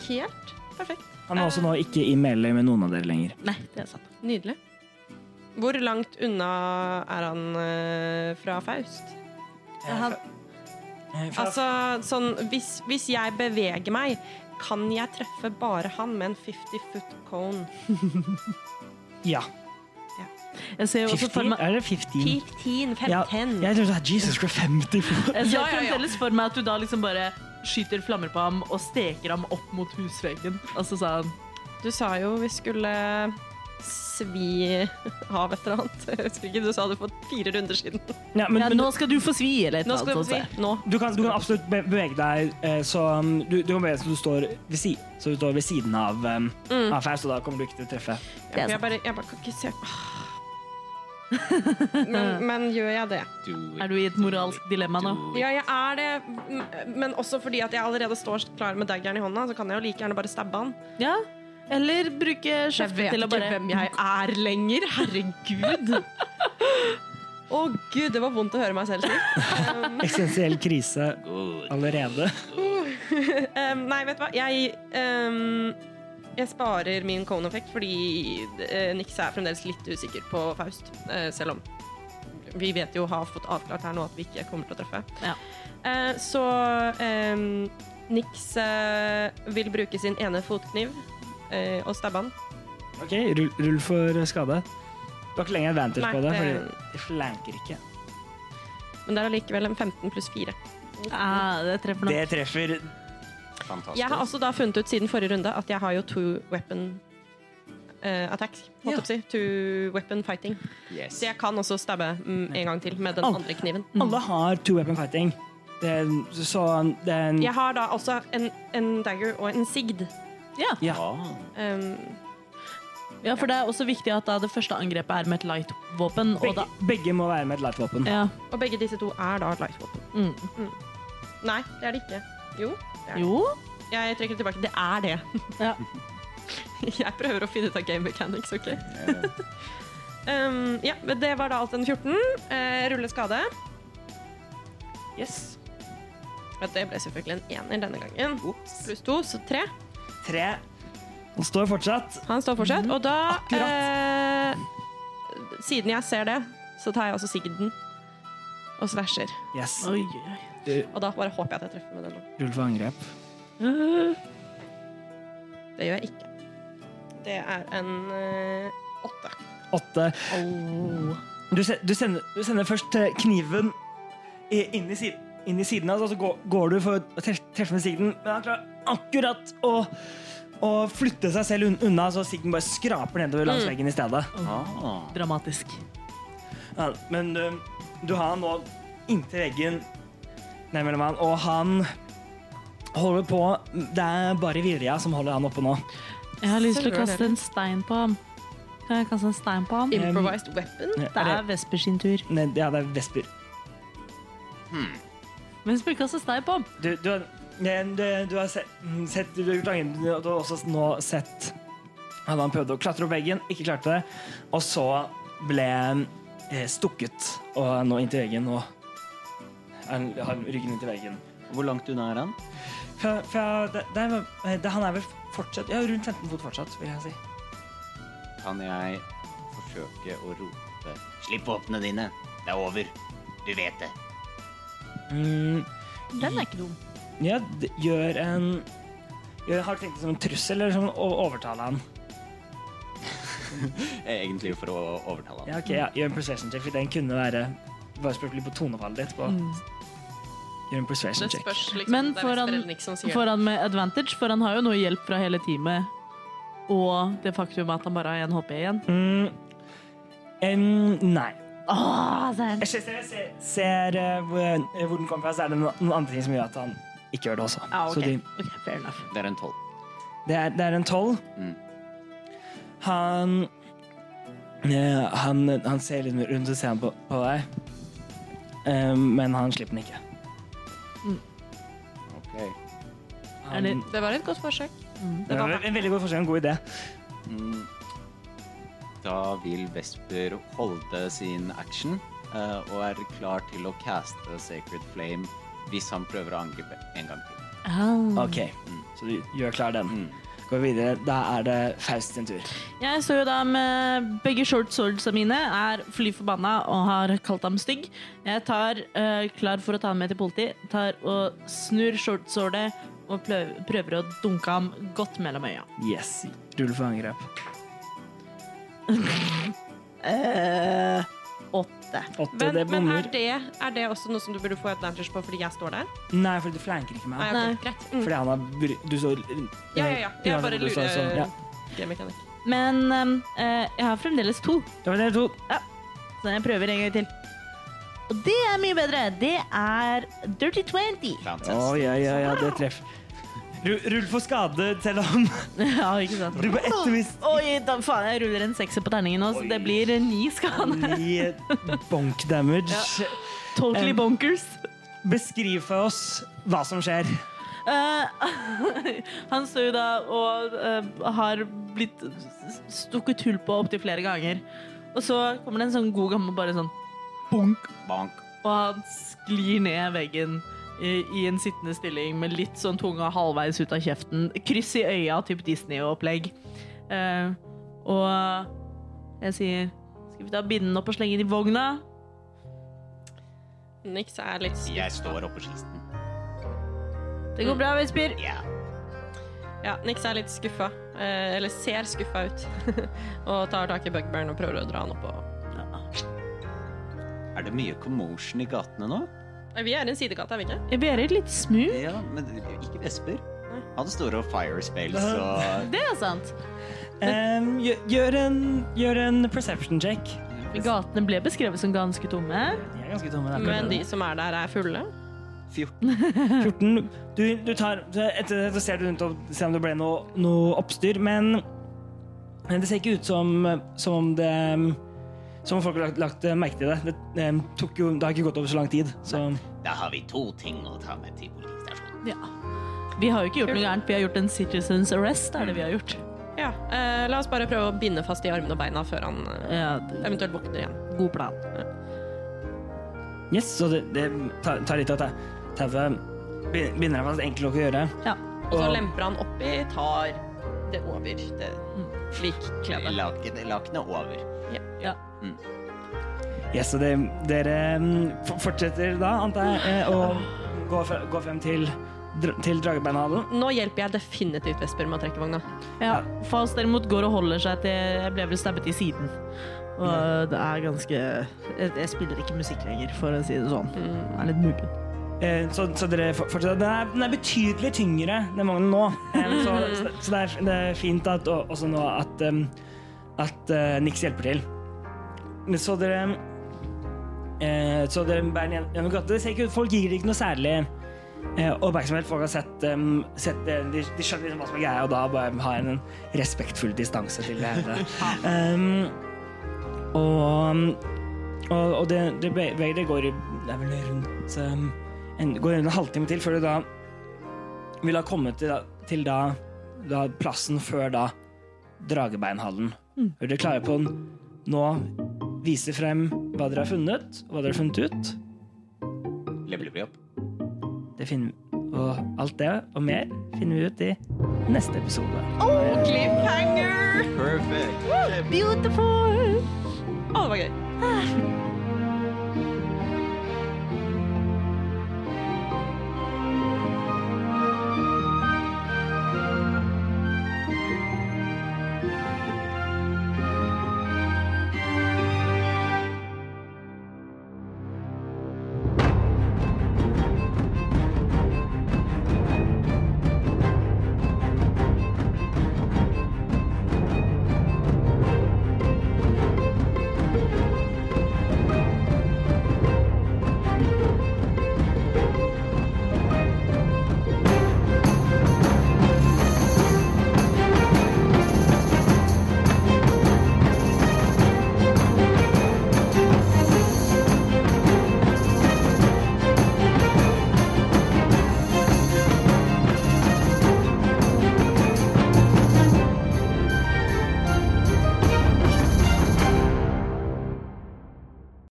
[SPEAKER 6] Helt perfekt.
[SPEAKER 1] Han er også nå ikke i melee med noen av dere lenger.
[SPEAKER 7] nei, det er sant.
[SPEAKER 6] Nydelig. Hvor langt unna er han eh, fra Faust?
[SPEAKER 7] Han,
[SPEAKER 1] Eh, fra-
[SPEAKER 6] Altså, sånn, hvis, hvis jeg beveger meg, kan jeg treffe bare han med en 50 foot cone?
[SPEAKER 1] ja.
[SPEAKER 7] jeg ser jo også for
[SPEAKER 1] 15?
[SPEAKER 7] meg
[SPEAKER 1] Er det 15?
[SPEAKER 6] 15,
[SPEAKER 1] Ja,
[SPEAKER 6] 15.
[SPEAKER 1] jeg tror det er Jesus Christ 50 fot.
[SPEAKER 7] Jeg ser
[SPEAKER 6] Ja, ja, ja.
[SPEAKER 7] fremdeles for meg at du da liksom bare skyter flammer på ham og steker ham opp mot husveggen. Og så sa han
[SPEAKER 6] Du sa jo vi skulle svi av et eller annet. Jeg husker ikke, du sa det for fire runder siden.
[SPEAKER 1] Ja, men,
[SPEAKER 7] ja,
[SPEAKER 1] men
[SPEAKER 7] Nå skal du få svi, eller et
[SPEAKER 6] Nå skal
[SPEAKER 7] eller
[SPEAKER 6] vi
[SPEAKER 7] annet.
[SPEAKER 6] på
[SPEAKER 7] sånt.
[SPEAKER 6] svi. Nå.
[SPEAKER 1] du, kan, du kan absolutt be- bevege deg eh, så um, du, du kan bevege deg så du står ved, si, så du står ved siden av, um,
[SPEAKER 7] Mm.
[SPEAKER 1] av Faust, og da kommer du ikke til å treffe.
[SPEAKER 7] Det er
[SPEAKER 6] Jeg
[SPEAKER 7] sant.
[SPEAKER 6] bare, jeg bare kan ikke se men, men gjør jeg det?
[SPEAKER 5] Do it.
[SPEAKER 7] Er du i et moralsk dilemma nå?
[SPEAKER 5] Do it.
[SPEAKER 6] Ja, jeg er det. m- Men også fordi at jeg allerede står klar med daggeren i hånda, så kan jeg jo like gjerne bare stabbe han.
[SPEAKER 7] Ja? Eller bruke kjeften til å bare
[SPEAKER 6] jeg er lenger. Herregud. Å gud, det var vondt å høre meg selv si.
[SPEAKER 1] Eksistensiell krise
[SPEAKER 5] Good.
[SPEAKER 1] allerede.
[SPEAKER 6] Um, nei, vet du hva. Jeg, um, jeg sparer min cone effect fordi uh, Nix er fremdeles litt usikker på Faust. eh, selv om vi vet jo har fått avklart her nå at vi ikke kommer til å treffe.
[SPEAKER 7] Ja.
[SPEAKER 6] Eh, så um, Nix eh, vil bruke sin ene fotkniv eh, og stabbe han.
[SPEAKER 1] Ok, rull, rull for skade. Du har ikke lenger advantage
[SPEAKER 6] Nei,
[SPEAKER 1] på det,
[SPEAKER 6] det-
[SPEAKER 1] fordi de flanker ikke.
[SPEAKER 6] Men det er allikevel en 15 pluss 4.
[SPEAKER 7] ah, Det treffer nok.
[SPEAKER 1] Det treffer
[SPEAKER 5] Fantastisk.
[SPEAKER 6] Jeg har også da funnet ut siden forrige runde at jeg har jo two weapon eh, attacks. Holdt
[SPEAKER 1] Ja.
[SPEAKER 6] opp å si. Two weapon fighting.
[SPEAKER 5] Yes.
[SPEAKER 6] Så jeg kan også stabbe mm, en gang til med den
[SPEAKER 1] Au.
[SPEAKER 6] andre kniven.
[SPEAKER 7] Mm.
[SPEAKER 1] Alle har two weapon fighting. Det, så um, det er en
[SPEAKER 6] Jeg har da også en, en dagger og en sigd.
[SPEAKER 1] ja.
[SPEAKER 5] Ah,
[SPEAKER 6] Um,
[SPEAKER 7] Ja, for det er også viktig at da det første angrepet er med et light-våpen. Og
[SPEAKER 1] begge,
[SPEAKER 7] da
[SPEAKER 1] begge må være med et lightvåpen.
[SPEAKER 7] ja.
[SPEAKER 6] og begge disse to er da light weapon.
[SPEAKER 7] mm.
[SPEAKER 6] Nei, det er det ikke. Jo.
[SPEAKER 7] Jo.
[SPEAKER 6] Jeg trekker det tilbake. Det er det.
[SPEAKER 7] Ja.
[SPEAKER 6] jeg prøver å finne ut av game mechanics, OK? um, ja, men det var da alt en 14. Eh, rulle skade.
[SPEAKER 1] Yes.
[SPEAKER 6] Ja, Det ble selvfølgelig en ener denne gangen.
[SPEAKER 1] Ops.
[SPEAKER 6] Pluss to, så tre.
[SPEAKER 1] Tre. Han står fortsatt.
[SPEAKER 6] Han står fortsatt. Og da
[SPEAKER 1] Mm, Akkurat.
[SPEAKER 6] eh, Siden jeg ser det, så tar jeg også sigden og slasher.
[SPEAKER 1] Yes.
[SPEAKER 7] Oi, oi, oi.
[SPEAKER 6] Og da bare håper jeg at jeg treffer med den.
[SPEAKER 1] Rull for angrep.
[SPEAKER 6] Det gjør jeg ikke. Det er en eh, åtte.
[SPEAKER 1] Åtte. Du, se, du, sender, du sender først eh, kniven i- inn i, siden, inn i siden hans, og så går, går du for å tref- treffe med sigden, men han klarer akkurat å, å flytte seg selv un- unna, så sigden bare skraper nedover langs veggen i stedet.
[SPEAKER 5] ah.
[SPEAKER 7] Dramatisk.
[SPEAKER 1] Ja, men eh, du har han nå inntil veggen ned mellom han, og han holder på Det er bare Virja som holder han oppe nå.
[SPEAKER 7] Jeg har lyst til å
[SPEAKER 6] Selvfølgelig.
[SPEAKER 7] kaste en stein på ham. Kan jeg kaste en stein på ham?
[SPEAKER 6] Improvised weapon.
[SPEAKER 7] Det er Vesper sin tur.
[SPEAKER 1] Nei, ja, det er Vesper.
[SPEAKER 7] Vesper kaster stein på ham.
[SPEAKER 1] Du, eh, du, har- men du, du har sett, mm, sett du, har gjort angrep, og du har også nå sett Han han prøvde å klatre opp veggen, ikke klarte det. Og så ble eh, stukket og er nå inntil veggen og han har ryggen inntil veggen.
[SPEAKER 5] Hvor langt unna er han?
[SPEAKER 1] Fra, fra, det, det, er, vel- eh, det, han er vel fortsatt Ja, rundt 15 fot fortsatt, vil jeg si.
[SPEAKER 5] Kan jeg forsøke å rope Slipp våpnene dine! Det er over. Du vet det.
[SPEAKER 1] Mm,
[SPEAKER 3] Den er ikke dum.
[SPEAKER 1] ja, d- gjør en gjør, Har du tenkt det som en trussel, eller som å overtale han?
[SPEAKER 5] Eh, Egentlig for å overtale
[SPEAKER 1] Ja, ok, ja. Gjør en persuasion check, for den kunne være Bare spørs litt på tonefallet ditt. På.
[SPEAKER 3] Mm.
[SPEAKER 1] Gjør en persuasion
[SPEAKER 6] Det
[SPEAKER 1] check.
[SPEAKER 6] spørs liksom.
[SPEAKER 3] Men
[SPEAKER 6] det er
[SPEAKER 3] får han-
[SPEAKER 6] Vesper Elnik som sier
[SPEAKER 12] Får han med advantage, for han har jo noe hjelp fra hele teamet. Og det faktum at han bare har én HP igjen.
[SPEAKER 1] Mm, en, nei.
[SPEAKER 3] Åh, Søren.
[SPEAKER 1] Jeg ser, ser, ser, ser eh, hvor, eh, hvor den kommer fra, så er det noen, noen andre ting som gjør at han ikke gjør det også.
[SPEAKER 3] Ah, ok.
[SPEAKER 1] Så de,
[SPEAKER 3] Ok, fair enough.
[SPEAKER 5] Det er en tolv.
[SPEAKER 1] det, er, det er en tolv.
[SPEAKER 5] Mm.
[SPEAKER 1] Han, eh, han Han ser litt rundt og ser han på, på deg, Eh, men han slipper den ikke. Han,
[SPEAKER 7] Mm.
[SPEAKER 12] Er det-
[SPEAKER 6] Det var et godt forsøk.
[SPEAKER 1] det var en veldig god forskjell, en god idé.
[SPEAKER 5] Mm. Da vil Vesper holde sin action eh, og er klar til å caste Sacred Flame hvis han prøver å angripe en gang til.
[SPEAKER 1] Ok,
[SPEAKER 5] Mm.
[SPEAKER 1] så du gjør klar den. Går vi videre. Da er det Faust sin tur.
[SPEAKER 3] Jeg står jo da med begge short swordsa mine, er fly forbanna og har kalt ham stygg. Jeg tar eh, klar for å ta ham med til politiet, tar og snur short swordet og plø- prøver å dunke ham godt mellom øya.
[SPEAKER 1] Yes. Rull for angrep.
[SPEAKER 3] Eh, åtte.
[SPEAKER 1] Åtte,
[SPEAKER 6] Men,
[SPEAKER 1] det
[SPEAKER 6] men er,
[SPEAKER 1] bommer.
[SPEAKER 6] det, er det også noe som du burde få advantage på fordi jeg står der?
[SPEAKER 1] Nei, for du flanker ikke
[SPEAKER 6] Nei,
[SPEAKER 1] meg.
[SPEAKER 6] ok,
[SPEAKER 3] Nei.
[SPEAKER 6] greit. Mm.
[SPEAKER 1] Fordi han har br- Du så
[SPEAKER 6] Ja, ja, ja. Jeg bare
[SPEAKER 1] du så-
[SPEAKER 6] lurer.
[SPEAKER 1] sånn, ja.
[SPEAKER 6] G-mekanikk.
[SPEAKER 3] Men eh, jeg har fremdeles to,
[SPEAKER 1] Det var dere to.
[SPEAKER 3] så jeg prøver en gang til. Og det er mye bedre. Det er dirty 20.
[SPEAKER 5] Fantastisk.
[SPEAKER 1] Å, ja, ja, ja, det treffer. Ru- Rull for skade, selv om
[SPEAKER 3] ja, ikke sant?
[SPEAKER 1] du på ett vis
[SPEAKER 3] Oi, da, faen, jeg ruller en sekser på terningen nå, så det blir ni skade.
[SPEAKER 1] i bonk damage.
[SPEAKER 3] Totally
[SPEAKER 1] Em.
[SPEAKER 3] bonkers.
[SPEAKER 1] Beskriv for oss hva som skjer.
[SPEAKER 3] Eh, han står jo da og eh, har blitt s- stukket hull på opptil flere ganger. Og så kommer det en sånn god gammel bare sånn bunk,
[SPEAKER 5] Bank.
[SPEAKER 3] og han sklir ned veggen i, i en sittende stilling med litt sånn tunga halvveis ut av kjeften. Kryss i øya, typ Disney-opplegg. Eh, og jeg sier Skal vi da binde den opp og slenge den i vogna?
[SPEAKER 6] Nix er litt
[SPEAKER 5] Jeg står oppå kisten.
[SPEAKER 3] Det går bra, Vesper.
[SPEAKER 5] Ja.
[SPEAKER 6] Ja, Nix er litt skuffa. Eh, eller ser skuffa ut. og tar tak i bugbearen og prøver å dra han opp. Og...
[SPEAKER 5] Er det mye commotion i gatene nå?
[SPEAKER 6] Nei, Eh, Vi er i en sidegate, er vi ikke?
[SPEAKER 3] Vi er i et litt smug.
[SPEAKER 5] Ja, men ikke Vesper.
[SPEAKER 6] Nei.
[SPEAKER 5] Han står og fire spells og
[SPEAKER 3] Det er sant.
[SPEAKER 1] Em, gjø- gjør, en, gjør en perception check.
[SPEAKER 3] Gatene ble beskrevet som ganske tomme.
[SPEAKER 1] De er ganske tomme. der.
[SPEAKER 6] Men de som er der, er fulle.
[SPEAKER 5] 14.
[SPEAKER 1] 14. Du, du tar Etter det så ser du rundt og ser om det ble noe, noe oppstyr, men men det ser ikke ut som, som om det Som om folk har lagt, lagt merke til det. Det, em, tok jo, det har ikke gått over så lang tid. Så
[SPEAKER 5] Da har vi to ting å ta med til politistasjonen.
[SPEAKER 3] Ja. Vi har jo ikke gjort noe gærent. Vi har gjort en citizens arrest. er det vi har gjort.
[SPEAKER 6] Ja, eh, La oss bare prøve å binde fast i armene og beina før han eh,
[SPEAKER 3] Ja,
[SPEAKER 6] eventuelt våkner igjen.
[SPEAKER 3] god plan.
[SPEAKER 1] yes, så det, det tar, tar litt av tau- tauet. Begyn- Begynner deg fast enkelt nok å gjøre.
[SPEAKER 3] Ja.
[SPEAKER 6] Og så
[SPEAKER 1] Og-
[SPEAKER 6] lemper han oppi, tar det over det
[SPEAKER 3] Mm.
[SPEAKER 6] flikkledet.
[SPEAKER 5] Laken- Lakenet over.
[SPEAKER 1] Yes, så det, dere em, f- fortsetter da, antar jeg, eh, å gå, fre- gå frem til, dra- til Dragebeinhallen.
[SPEAKER 6] Nå hjelper jeg definitivt Vesper med å trekke vogna.
[SPEAKER 3] Ja, Fals derimot går og holder seg til Jeg ble vel stabbet i siden. Og det er ganske Jeg, jeg spiller ikke musikk lenger, for å si det sånn. Jeg er litt muggen.
[SPEAKER 1] Eh, Så, så dere for- fortsetter. Den er, den er betydelig tyngre, den vognen nå. Eh, Så, så, så det, er, det er fint at, og, også nå at, um, at eh, Nix hjelper til. Men Så dere eh, Så dere bærer den gjennom- gjennom gata. Det ser ikke ut, folk gir ikke noe særlig eh, oppmerksomhet. Folk har sett, um, sett det. de, de skjønner liksom hva som er greia, og da bare har en respektfull distanse til det hele. um, og og, og det, det beveger det går i Det er vel rundt um, en, Går rundt en halvtime til før du da vil ha kommet til, da- til da, da plassen før da dragebeinhallen. Er dere klare på den? Nå vise frem hva dere har funnet, og hva dere har funnet ut.
[SPEAKER 5] Leveler vi opp?
[SPEAKER 1] Det finner Og alt det og mer finner vi ut i neste episode.
[SPEAKER 6] Cliffhanger!
[SPEAKER 8] Perfect.
[SPEAKER 3] Beautiful!
[SPEAKER 6] Å, det var gøy.